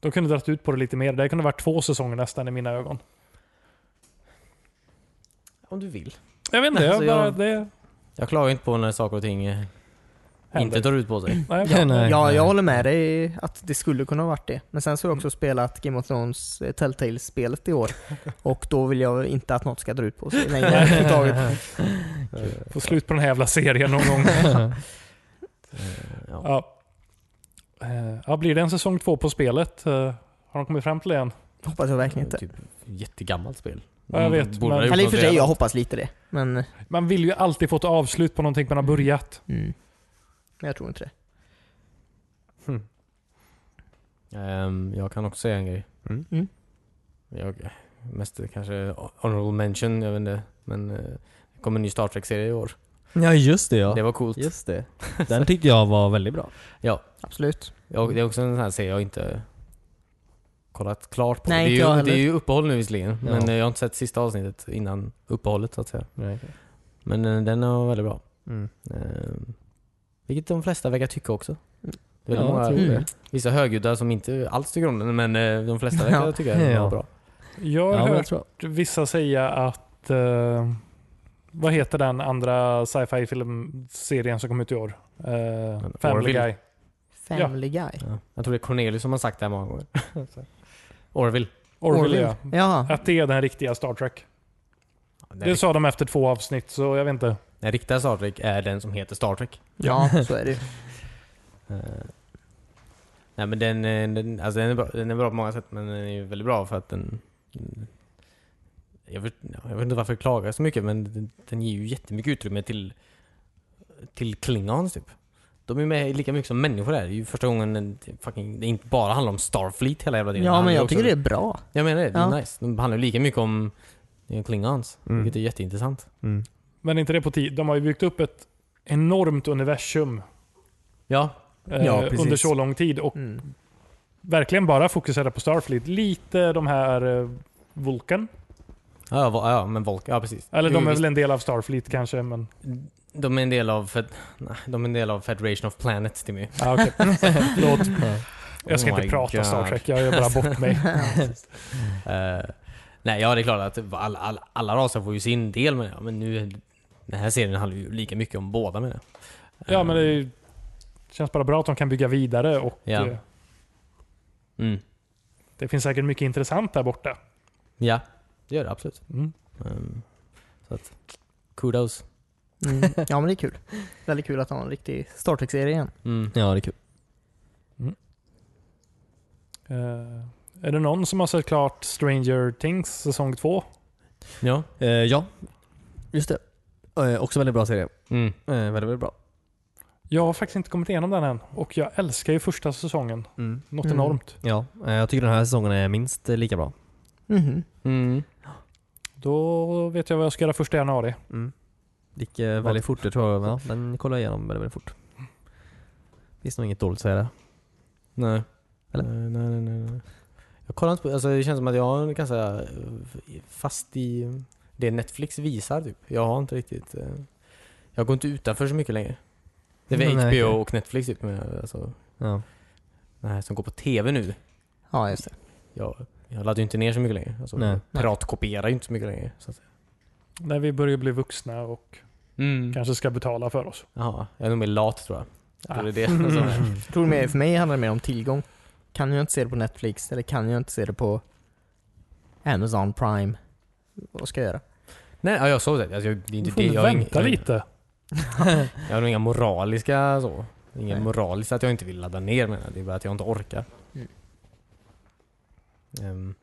De kunde dragit ut på det lite mer. Det kunde varit två säsonger nästan i mina ögon. Om du vill. Jag vet inte, Nej, jag alltså bara... jag- Det Jag klagar inte på när saker och ting eh, händer. inte drar ut på sig. Nej, Ja, nej. ja, jag nej. håller med dig att det skulle kunna ha varit det. Men sen så har jag också spelat Game of Thrones eh, Telltale-spelet i år. Och då vill jag inte att något ska dra ut på sig längre överhuvudtaget. Få slut på den här jävla serien någon gång. Ja. ja. Eh, Ja, blir det en säsong två på spelet? Eh, Har de kommit fram till det än? Hoppas jag verkligen inte. Typ jättegammalt spel. Ja, jag vet, Borde ha men- gjort Eller i och något för sig, redan. jag hoppas lite det. Men eh, Man vill ju alltid få ett avslut på någonting man har börjat. mm. Men jag tror inte det. Ehm, jag kan också säga en grej. Mm. Mm. Jag, mest kanske honorable mention, jag vet inte. Men eh, det kommer en ny Star Trek-serie i år. Ja, just det ja. Det var coolt. Just det. Den tyckte jag var väldigt bra. Absolut. Jag, det är också en sån här serie jag inte kollat klart på. Nej, det, inte jag är ju, heller. det är ju uppehåll nu visserligen. Ja. Men eh, jag har inte sett sista avsnittet innan uppehållet så att säga. Nej. Men eh, den var väldigt bra. Mm. Ehm, vilket de flesta verkar tycka också. Det är Ja, många, jag tror Mm. det. vissa högljudda som inte alls tycker om den, men eh, de flesta verkar Ja. tycka den var Ja. bra. Jag har Mm. Ja, men hört jag tror vissa säga att... eh, vad heter den andra sci-fi filmserien som kom ut i år? Eh, Family Orville. Guy. Family Guy. Ja. Jag tror det är Cornelius som har sagt det här många gånger. Så. Orville. Orville, Orville. ja. Ja. Att det är den riktiga Star Trek. Den, Det rikt- sa de efter två avsnitt, så jag vet inte. den riktiga Star Trek är den som heter Star Trek. ja, så är det ju. Eh, nej men den, eh, den, alltså den, är bra, den är bra på många sätt men den är ju väldigt bra för att den... Jag vet, ja, jag vet inte varför jag klagar så mycket men den, den ger ju jättemycket utrymme till, till klingons typ. De är med lika mycket som människor är. Det är ju första gången den, fucking, det inte bara handlar om Starfleet hela jävla tiden. Det Ja, handlar men ju jag också- tycker det är bra. Jag menar det, det är Ja. nice. De handlar ju lika mycket om eh, klingons, Mm. vilket är jätteintressant. Mm. Men inte det på tid. De har ju byggt upp ett enormt universum Ja, eh, Ja, precis. under så lång tid och Mm. verkligen bara fokuserar på Starfleet. Lite de här eh, Vulcan. ja, ja, va- ja men Volk, ja precis. Eller Jo, de är visst. väl en del av Starfleet kanske, men... De är en del av, Fed- nej, de är en del av Federation of Planets, Timmy. Ah, okej. Förlåt. Jag ska Oh inte my prata God. Star Trek, jag gör bara bort mig. Eh, nej, ja det är klart att alla, alla, alla raser får ju sin del med det. Men nu, den här serien handlar ju lika mycket om båda med det. Ja, men det är- känns bara bra att de kan bygga vidare och Ja. eh, Mm. det finns säkert mycket intressant där borta. Ja, det gör det absolut. Mm. Ehm, så att, kudos. Mm. Ja, men det är kul. Väldigt kul att ha en riktig Star Trek-serie igen. Mm. Ja, det är kul. Eh, är det någon som har sett klart Stranger Things säsong två? Ja. Eh, ja. Just det. Eh, också väldigt bra serie. Eh, Mm. väldigt, väldigt bra. Jag har faktiskt inte kommit igenom den än och jag älskar ju första säsongen. Något Mm. enormt. Ja, eh, jag tycker den här säsongen är minst eh, lika bra. Mhm. Mm. Då vet jag vad jag ska göra första januari. Gick eh, väldigt fort, det tror jag. Ja, den kollade jag igenom väldigt, väldigt fort. Finns nog inget dåligt att säga där. Nej. Eller? Nej, nej, nej, nej, nej. Jag kollar inte på, alltså det känns som att jag är ganska eh, fast i det Netflix visar typ. Jag har inte riktigt, eh, jag går inte utanför så mycket längre. Det är väl Nej, HBO okej. och Netflix typ. Men, jag- alltså, Ja. Nej, som går på TV nu. Ja, just det. Jag, jag laddar ju inte ner så mycket längre. Alltså, Nej. Piratkopierar ju inte så mycket längre. Så att, säga. När vi börjar bli vuxna och Mm. kanske ska betala för oss. Jaha, jag är nog mer lat tror jag. Jag tror Ah. Det Alltså, är det. som är- Jag tror mer, för mig handlar det mer om tillgång. Kan jag inte se det på Netflix eller kan jag inte se det på Amazon Prime? Vad ska jag göra? Nej, ja, jag såg det. Alltså, jag, det är Du inte får det. Jag har vänta ing- jag- lite. Jag har nog inga moraliska så. Inga Nej. moraliska att jag inte vill ladda ner men Det är bara att jag inte orkar. Mm. Ehm,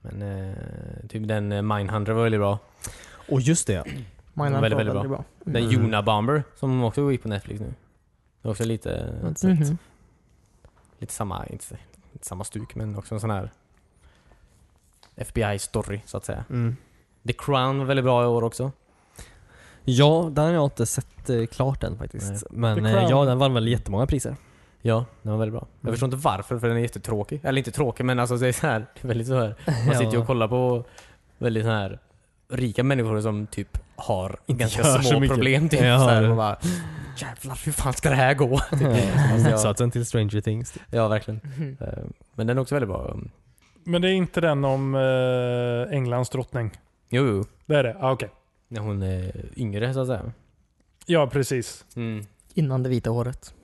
men eh, typ den eh, Mindhunter var väldigt bra. Och just det. Mindhunter Mm, Väldigt, var väldigt bra. Den Mm. Juna Bomber som också gick på Netflix nu. Det är också lite, Jag har inte Mhm. sett. lite samma, inte, inte samma stuk men också en sån här FBI-story så att säga. Mm. The Crown var väldigt bra i år också. Ja, den har jag inte sett eh, klart än faktiskt. Nej. Men The eh, Crown. ja, den vann väl jättemånga priser. Ja, den var väldigt bra. Jag Mm. förstår inte varför, för den är jättetråkig. Eller inte tråkig, men alltså det är så här, det är väldigt så här. Man sitter ju och kollar på väldigt så här rika människor som typ har Inte ganska gör så små mycket. problem. Typ, Ja. så här, och bara, Jävlar, hur fan ska det här gå? Alltså, Ja. jag- Motsatsen till Stranger Things. Ja, verkligen. Mhm. Eh, Men den är också väldigt bra. Mm. Men det är inte den om eh, Englands drottning. Jo, jo. Det är det? Ah, Okej. När hon är yngre så att säga. Ja, precis. Mm. Innan det vita håret.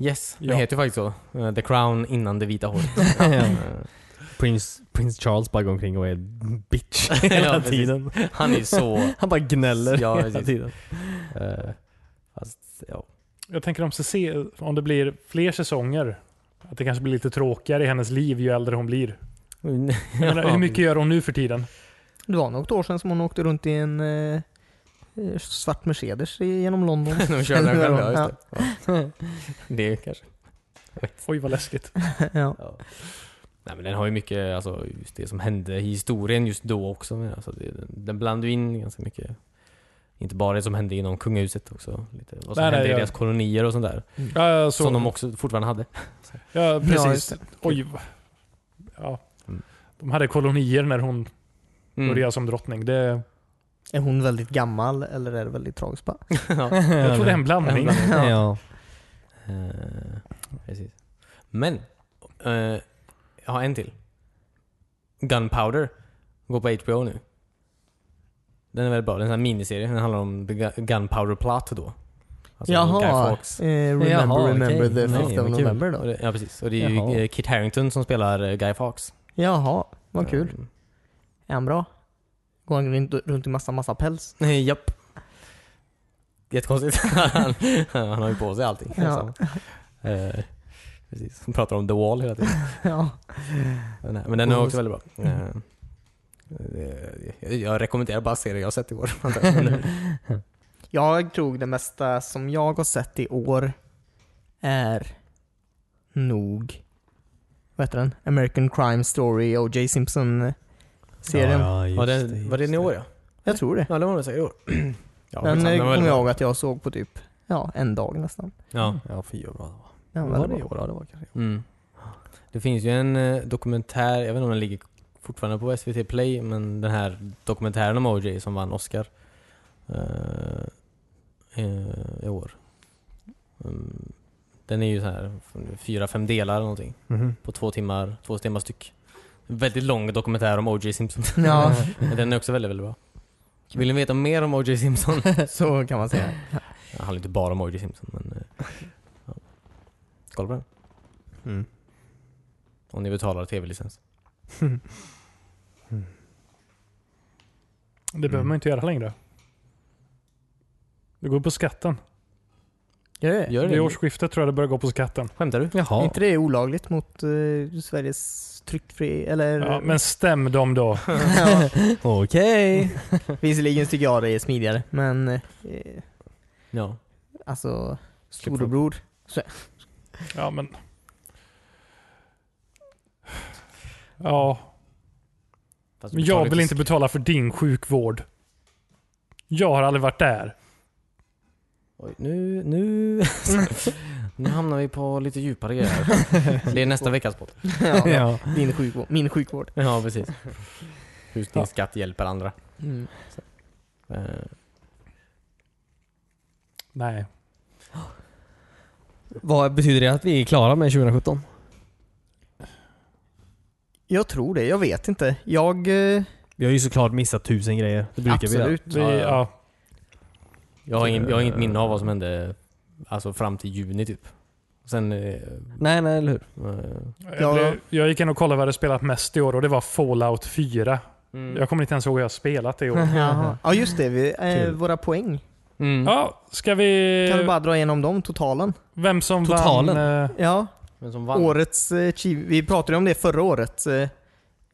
Yes, den Ja. heter ju faktiskt så. Eh, The Crown innan det vita håret. Eh, Prince, Prince Charles bara går omkring och är bitch Ja, hela precis. tiden. Han är ju så... Han bara gnäller Ja, hela precis. tiden. eh, Fast, ja. Jag tänker om, Cece- om det blir fler säsonger. Att det kanske blir lite tråkigare i hennes liv ju äldre hon blir. Jag menar, hur mycket gör hon nu för tiden? Det var något år sedan som hon åkte runt i en eh, eh, svart Mercedes i- genom London. De kör den själv, ja, Ja. just det. Ja. Det är kanske. Oj vad läskigt. ja. Ja. Nej, men den har ju mycket, alltså, just det som hände i historien just då också. Men, alltså, det, den blandar ju in ganska mycket. Inte bara det som hände inom kungahuset också. Lite, vad som Nej, nej, hände i ja. deras kolonier och sånt där. Ja, jag Mm. Som de såg. också fortfarande hade. Ja, Ja, precis. just det. Oj. vad- Ja. Mm. De hade kolonier när hon Mm. började som drottning. Det, Är hon väldigt gammal eller är det väldigt tragiskt bara? ja. jag tror det är en blandning. Ja. Ja. Eh, precis. Men, eh, jag har en till. Gunpowder. Går på HBO nu. Den är väldigt bra. Den är en sån här miniserie. Den handlar om the Gu- Gunpowder Plot då. Alltså Guy Jaha, Fawkes. eh, remember, Jaha, remember okej. the Nej, 5th of vad kul. November Och då. det- Ja precis. Och det är ju Jaha. eh, Kit Harington som spelar eh, Guy Fawkes. Jaha, vad kul. Um, Är han bra? Går han runt, runt i massa, massa päls? nej, Ehm, japp. Jättekonstigt. han, han har ju på sig allting. Ja. Så, eh, precis. Han pratar om The Wall hela tiden. ja. Men, nej, men den är också väldigt bra. Mm. Eh, eh, jag- jag rekommenderar bara serier jag har sett i år. Jag tror det mesta som jag har sett i år är nog, vad heter den? American Crime Story, O.J. Simpson-serien. Ja, ja, just den, var det just den i år ja? Jag tror det. Ja, det var den säkert i år. Ja, den skitsamma, var eh, kommer väldigt jag bra. ihåg att jag såg på typ, ja, en dag nästan. Ja. Ja, fy vad bra det var. Den var det väldigt bra. i år? Ja, det var kanske. Mm. Det finns ju en eh, dokumentär, jag vet inte om den ligger fortfarande på SVT Play, men den här dokumentären om OJ som vann Oscar eh, eh, i år. Mm. Den är ju så här f- fyra, fem delar eller någonting Mhm. på två timmar, två timmar styck. En väldigt lång dokumentär om O.J. Simpson. Ja, Men den är också väldigt, väldigt bra. Vill ni veta mer om O.J. Simpson? Mm. så kan man säga. Det handlar inte bara om O.J. Simpson, men... eh, Ja. Kolla på den. Mm. Om ni betalar tv-licens. Det behöver man inte göra längre. Det går på skatten. Gör det? Gör det? Vid årsskiftet tror jag det börjar gå på skatten. Skämtar du? Är Jaha. inte det är olagligt mot eh, Sveriges tryckfri... Eller... Ja, men stäm dem då. Ja, Okej. visserligen tycker jag det är smidigare, men eh, Ja. alltså Typ storebror. Ja, men... Ja, Fast men du betalar jag vill inte betala för din sjukvård. Jag har aldrig varit där. Oj, nu, nu... nu hamnar vi på lite djupare grejer. Det är nästa veckas podd. Ja, Ja. Din sjukvård. Min sjukvård. Ja, precis. Hur din Ja. skatt hjälper andra. Mm. Eh, Nej. Vad betyder det att vi är klara med 2017? Jag tror det, jag vet inte. Jag... eh, Vi har ju såklart missat tusen grejer. Det brukar vi. absolut. Vi, Ja, ja, ja. Jag har, ingen, jag har inget minne av vad som hände alltså, fram till juni typ. Sen... eh, Nej, nej, eller hur? eh, Ja. Jag, blev, jag gick in och kollade vad jag hade spelat mest i år och det var Fallout 4. Jag kommer inte ens ihåg hur jag har spelat det i år. Mm. Jaha. Ja just det, vi, eh, Kul. våra poäng. Mm. Ja, ska vi... Kan du bara dra igenom dem, totalen? Vem som Totalen. vann... eh, Ja, Men som vann. årets eh, achieve- Vi pratade ju om det förra året. eh,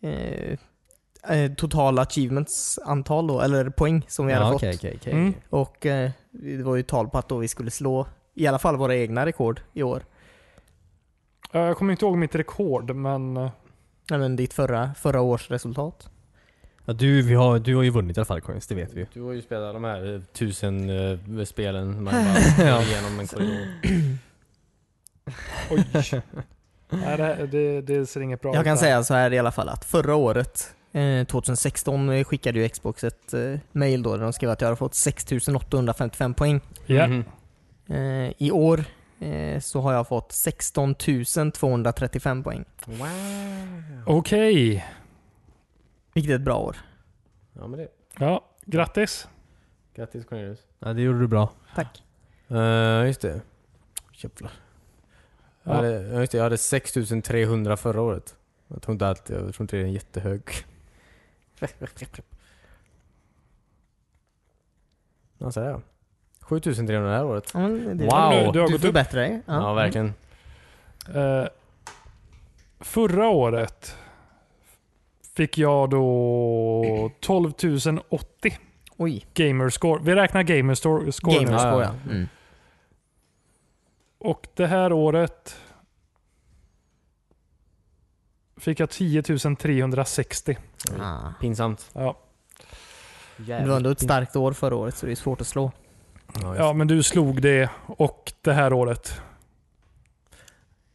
Eh, eh, total achievements antal då, eller poäng som vi hade Ja, fått. okej, okej, okej. Mm. Och eh, det var ju tal på att då vi skulle slå i alla fall våra egna rekord i år. ja, Jag kommer inte ihåg mitt rekord, men... eh, Nej men ditt förra, förra års resultat. Ja, du, vi har, du har ju vunnit i alla fall Coins, det vet vi ju. Du har ju spelat de här eh, tusen eh, spelen man bara Ja. går igenom en korridor. Oj. Nej, det, det, det ser inget bra ut. Jag kan här. säga så här i alla fall att förra året, eh, 2016, eh, skickade ju Xbox ett eh, mail då där de skrev att jag hade fått 6855 poäng. Ja. Mhm. Eh, I år eh, så har jag fått 16 235 poäng. Wow. Okej. Vilket är ett bra år. Ja men det. Ja, grattis. Grattis Cornelius. Ja, det gjorde du bra. Tack. Uh, just det. Jävlar. Jag Ja. hade, ja, just det, jag hade 6300 förra året. Jag tror inte att, jag tror inte det är en jättehög. Ja, så här. 7300 det här året. Ja, men det, Wow. Du- du har Du gått förbättrar dig. Mm. Ja, verkligen. Eh, förra året fick jag då 12 080 Oj. gamerscore. Vi räknar gamerscore score nu. Gamer. Gamerscore Ja, ja. Mm. Och det här året fick jag 10 360. Ah. Pinsamt. Ja. Det var ändå ett starkt år förra året så det är svårt att slå. Ja, ja, just. men du slog det och det här året.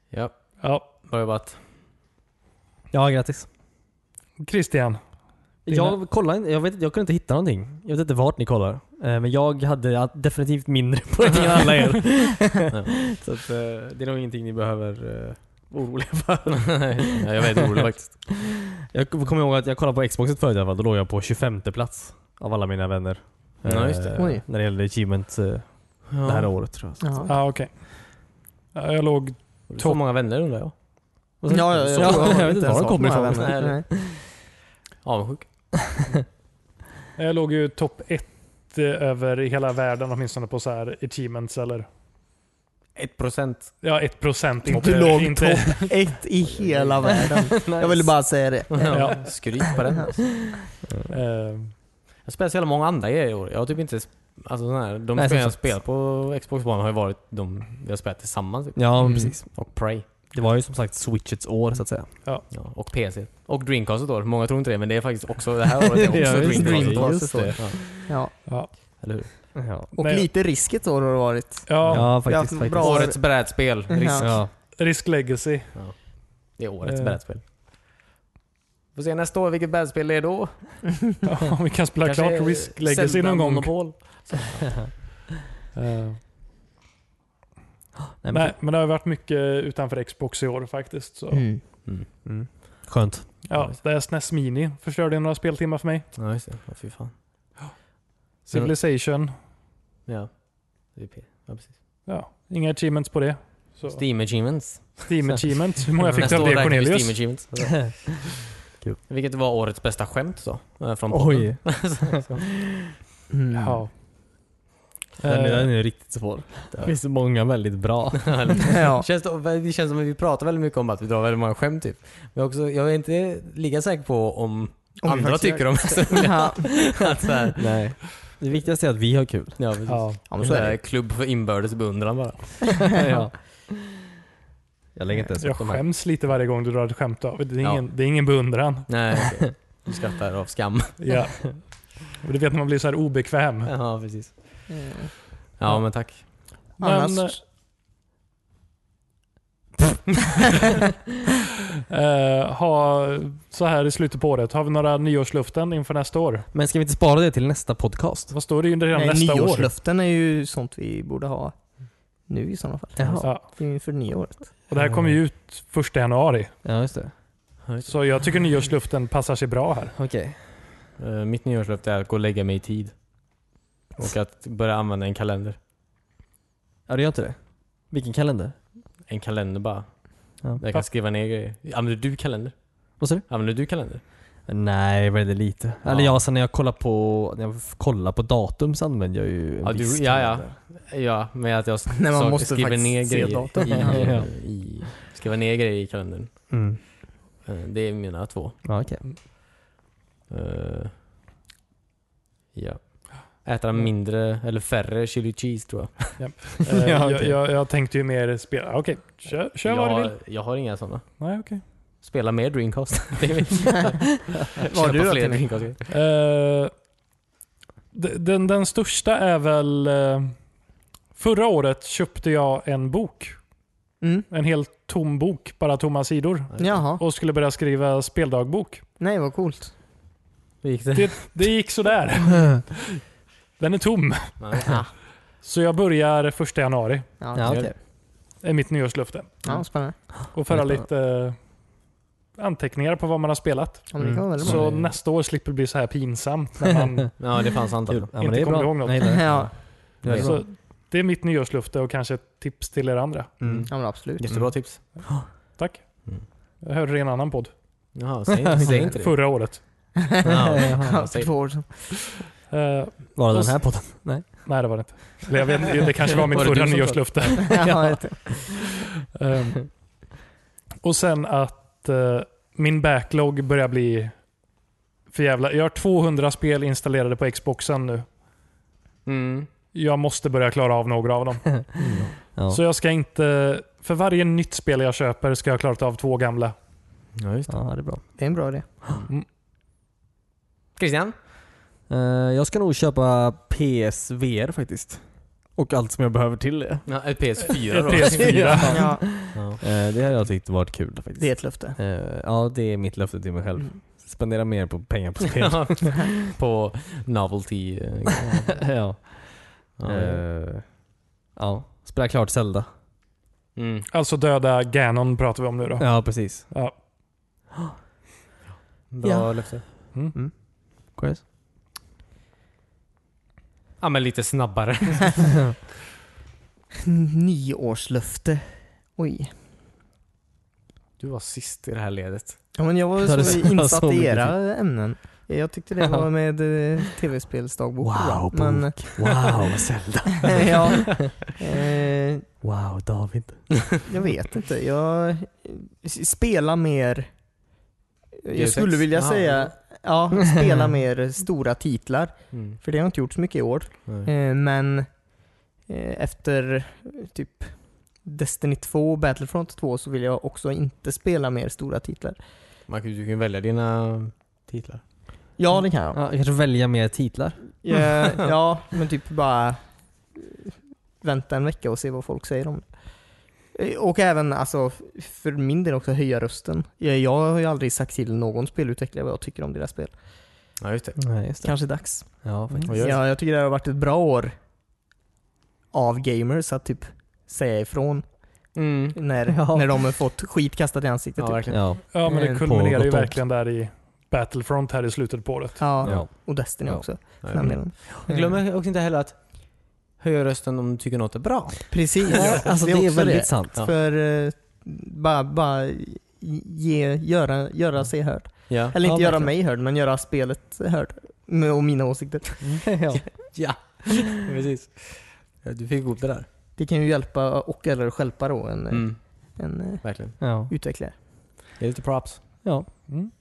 ja, Ja, bra jobbat. Ja, grattis. Christian. Dina- Jag kollade inte- jag, vet, inte- jag kunde inte hitta någonting. Jag vet inte vart ni kollar. Eh, Men jag hade att- definitivt mindre poäng än alla er. Så att, eh, det är nog ingenting ni behöver eh, vara oroliga för. Ja, jag vet orolig faktiskt. Jag kommer ihåg att jag kollade på Xboxet förut i alla fall. Då låg jag på 25 plats av alla mina vänner. Ja, just det. Eh, Oj. När det gällde achievement eh, det här året tror jag. Ja. Ja, Ah, okej. Ja, jag låg... Så många vänner undrar jag. Och sen- Ja, ja, så- ja, jag har jag vet inte inte var ens de kommer haft några ifrån. vänner. Nej. Avundsjuk. Jag låg ju topp ett eh, över i hela världen åtminstone på så här achievements eller Ett procent. ja, 1 procent. Du låg topp ett i hela världen. Jag ville bara säga det. Ja. Skryt på den. Eh, Jag spelar så jävla många andra grejer i år. Jag har typ inte... Alltså sån här, de Nej, spel jag som sagt. spelat på Xbox One har ju varit de vi har spelat tillsammans. Typ. Ja, Mm. precis. Och Prey. Det var ju som sagt switchets år så att säga. Ja, och PC. Och Dreamcast ett år. Många tror inte det, men det är faktiskt också... Det här året är också Ja, just Dreamcast. det. Dreamcast Just ett år. det. Ja, Ja. ja. eller hur? Ja, Och Nej. lite risket då har det varit. Ja, ja vi har faktiskt. haft faktiskt. bra- Årets brädspel. Risk. Ja. Ja. Risk Legacy. Det är årets Eh. brädspel. Får se nästa år vilket brädspel det är då. Ja, vi kan spela Kanske klart Risk Legacy Zelda någon gång. Monopol. Eh, Nej, men, nej, men det har varit mycket utanför Xbox i år faktiskt. Så. Mm. Mm. Skönt. Ja, det här SNES Mini förstörde några speltimmar för mig. Ja, just det. Ja, fy fan. Civilization. Ja. Det är P. Ja, precis. Ja, inga achievements på det. Så. Steam Achievements. Steam achievements. Hur många fick Nästa du av år det räknar vi Steam Cornelius? Achievements. Kul. Vilket var årets bästa skämt då. eh, Från podden. Oj. Mm. Ja. Den, är- Eh, den är riktigt svår. Det finns många väldigt bra. Ja. Känns det, det känns som att vi pratar väldigt mycket om att vi drar väldigt många skämt typ. Men också, jag är inte lika säker på om, Om vi andra faktiskt tycker om Ja. att så här, Nej. Det viktigaste är att vi har kul. Ja, precis. ja. Ja, men En så sån är här det. klubb för inbördes beundran bara. ja. Jag lägger inte ens Jag upp de här. skäms lite varje gång du drar ett skämt av. Det är Ja. ingen, det är ingen beundran. Nej, okej. Du skrattar av skam. Ja. Och du vet när man blir så här obekväm. Ja, precis. Mm. Ja, men tack. Men, Annars, eh, ha, så här i slutet på året, har vi några nyårsluften inför nästa år? Men ska vi inte spara det till nästa podcast? eh, Vad står det ju redan nej, nästa år? nyårslöften är ju sånt vi borde ha. nu i sådana fall. Jaha. Ja. Ja. Inför nyåret. Och det här kommer ju ut första januari. Ja, just det. Så jag tycker nyårsluften passar sig bra här. Okej. Eh, Mitt nyårslöfte är att gå och lägga mig i tid. Och att börja använda en kalender. Ja, det gör inte det. Vilken kalender? En kalender bara. Ja. Där jag kan skriva ner grejer. Använder du kalender? Vad sa du? Använder du kalender? Nej, väldigt lite. Ja. Eller ja, sen när jag kollar på, när jag kollar på datum så använder jag ju en Ja, du- viss ja, ja. kalender. Ja, men att jag s- Nej, man saker- måste skriver faktiskt ner se datum. grejer i, i, skriva ner grejer i kalendern. Mm. Eh, Det är mina två. Ja, okej. Eh, ja. Äta mindre, eller färre chili cheese tror jag. Eh, Ja, jag, okej. jag, jag tänkte ju mer spela. Okej, kör, kör vad du jag, vill. jag har inga sådana. Nej, okay. Spela mer Dreamcast. Det är mitt. Vad har du Köpa då, fler Timmy? Dreamcast. Eh, d- den, den största är väl... eh, Förra året köpte jag en bok. Mm. En helt tom bok, bara tomma sidor. Jaha. Och skulle börja skriva speldagbok. Nej, vad coolt. Hur gick det? Det, det gick sådär. Den är tom. Nej. Så jag börjar första januari. Ja, Mm. Ja, ja. okej. är mitt nyårslöfte. spännande. Och föra Mm. lite eh, anteckningar på vad man har spelat. Ja, men det kan vara väldigt Så bra. Mm. nästa år slipper det bli så här pinsamt. När man, Ja, det fanns antal. Kul. Ja, men Inte det är kommer bra. du ihåg något? Jag gillar det. Ja. Det är bra. så det är mitt nyårslöfte och kanske ett tips till er andra. Mm. Ja, men absolut. Jättebra tips. Tack. Mm. Jag hörde det i en annan podd. Jaha, säg inte, säg inte det. Förra året. Ja, Ja, ja, för säg. två år sedan. Eh, Var det Och den här podden? nej, det var det inte. Eller jag vet, inte, det kanske var mitt Var det förra du som nyårslöfte. Ja, jag vet. Ehm, och sen att eh, min backlog börjar bli för jävla... Jag har 200 spel installerade på Xboxen nu. Mm. Jag måste börja klara av några av dem. Ja. Så jag ska inte... För varje nytt spel jag köper ska jag ha klarat av två gamla. Ja, just det. Ja, det är bra. det är en bra idé. Christian? Eh, jag ska nog köpa PSVR faktiskt. Och allt som jag behöver till det. Ja, ett PS4 Ett då. PS4. Ja, Ja. Eh, det har jag tyckt varit kul faktiskt. det är ett löfte. Eh, ja, det är mitt löfte till mig själv. Mm. Spendera mer på pengar på spel. På novelty. eh, ja. Ja. Eh, ja. Spela klart Zelda. Mm. Alltså döda Ganon pratar vi om nu då. Ja, precis. Ja. Bra Ja. löfte. Mm. Chris? Ja, men lite snabbare. Nyårslöfte. Oj. Du var sist i det här ledet. Ja, men jag Ja, var det så sa insatt så i mycket. era ämnen. Jag tyckte det var med eh, tv-spelsdagbok. Wow, bra. men, Wow, Zelda. ja, eh, Wow, David. jag vet inte. Jag spela mer. Jag Deus skulle Ex. vilja Aha. säga ja, spela mer stora titlar. Mm. För det har jag inte gjort så mycket i år. Nej. Eh, Men eh, efter eh, typ Destiny 2 och Battlefront 2 så vill jag också inte spela mer stora titlar. Man kan, du kan välja dina titlar. Ja, det kan jag. Ja, jag kanske välja mer titlar. Eh, ja, men typ bara eh, vänta en vecka och se vad folk säger om det. Eh, Och även alltså, f- för min del också höja rösten. Eh, Jag, jag har ju aldrig sagt till någon spelutvecklare vad jag tycker om deras spel. Ja, just det. Nej, just Mm. Kanske dags. Ja, faktiskt. Vad gör Ja, jag tycker det har varit ett bra år av gamers att typ säga ifrån Mm. när, Ja. när de har fått skit kastat i ansiktet. Ja, typ. verkligen. Ja. Ja, men Eh, det kulminerar på ju gott och verkligen där i Battlefront här i slutet på året. ja. Ja. Och Destiny Ja. också. Eh, Ja, för den delen. Jag glömmer också inte heller att höja rösten om du tycker något är bra. Precis. Alltså det är, också väldigt sant. Ja. För eh, bara, bara ge, göra, göra sig hörd. Ja. Eller inte Ja, göra verkligen. mig hörd, men göra spelet hörd. Med, och mina åsikter. ja. Ja, precis. Ja, Du fick ihop det där. Det kan ju hjälpa och eller stjälpa då en, Mm. Mm. en eh, Verkligen. ja. utvecklare. Det är lite props. ja. Mm.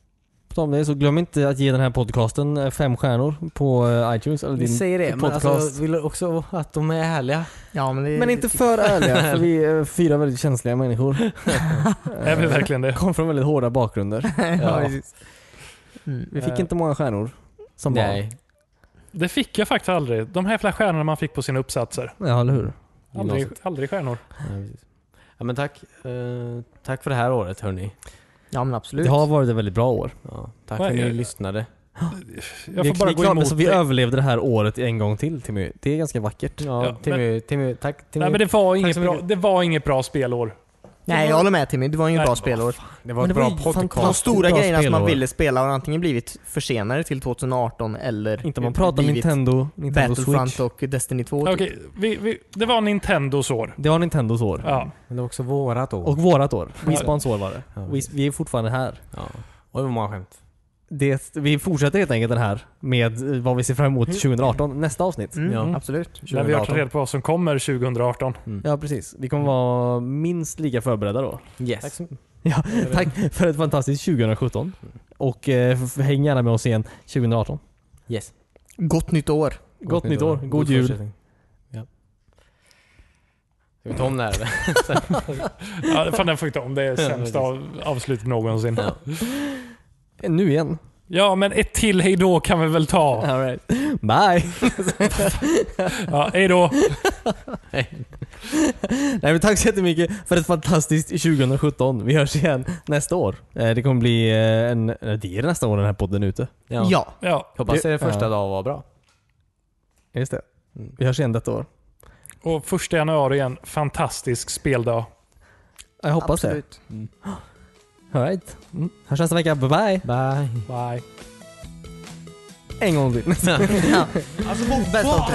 På tal om det så glöm inte att ge den här podcasten eh, fem stjärnor på eh, iTunes. Eller Vi din säger det, men podcast. alltså, jag vill också att de är ärliga. Ja, men, det, Men det inte tycker för ärliga, för vi är fyra väldigt känsliga människor. Är vi verkligen det? Kom från väldigt hårda bakgrunder. jag. ja, Ja. precis. Mm. Vi fick Eh. inte många stjärnor som barn. Nej. Det fick jag faktiskt aldrig. De här jävla stjärnorna man fick på sina uppsatser. Ja, eller hur? Aldrig, Gymnasiet. aldrig stjärnor. Ja, precis. ja, men tack. Eh, tack för det här året hörni. ja men absolut. Det har varit ett väldigt bra år. Ja, tack för Nej, att ni jag- lyssnade. Jag vi, får bara vi gå klarade- så emot vi dig. överlevde det här året en gång till Timmy. Det är ganska vackert. Ja, Ja, Timmy, Timmy, tack Timmy. Nej men det var, så inget bra, mycket. det var inget bra spelår. Nej, jag håller med Timmy. Det var inget Nej, bra vad spelår. Det var Men ett det bra var ju De fantastiskt. podcast. stora bra grejerna som man spelår. ville spela har antingen blivit försenade till 2018 eller Inte om man pratar blivit Nintendo, Nintendo Battlefront Switch. och Destiny 2. Okej, typ. vi, vi, det var Nintendos år. Det var Nintendos år. Ja. Men det var också vårat år. Och vårat år. Ja. Wispans år var det. Ja. Vi, vi är fortfarande här. Ja. Och det var många skämt. Det, vi fortsätter helt enkelt den här med eh, vad vi ser fram emot 2018. Nästa avsnitt. Mm, Ja. Absolut. När vi har tagit 2018. reda på vad som kommer 2018. Mm. Ja precis. Vi kommer vara minst lika förberedda då. Yes. Tack så Ja, tack för ett fantastiskt 2017. Och eh, f- häng gärna med oss igen 2018. Yes. Gott nytt år. Gott, nytt år. God, jul. fortsättning. Ja. Ska vi ta om det här eller? Ja, fan den får inte om. Det är sämsta av, avslut någonsin. Eh, Nu igen. Ja, men ett till hejdå kan vi väl ta. All right. Bye! Ja, hejdå. Nej, men tack så jättemycket för ett fantastiskt 2017. Vi hörs igen nästa år. Eh, Det kommer bli eh, en... eh, Det är nästa år den här podden är ute. Ja. ja. Ja, Hoppas Det- det, första ja. dagen var bra. Just det. Vi hörs igen detta år. och första januari igen. Fantastisk speldag. Jag hoppas absolut. det. All right. Mm. Hörs nästa vecka. Bye bye! Bye. Bye. En gång till. Alltså, bästa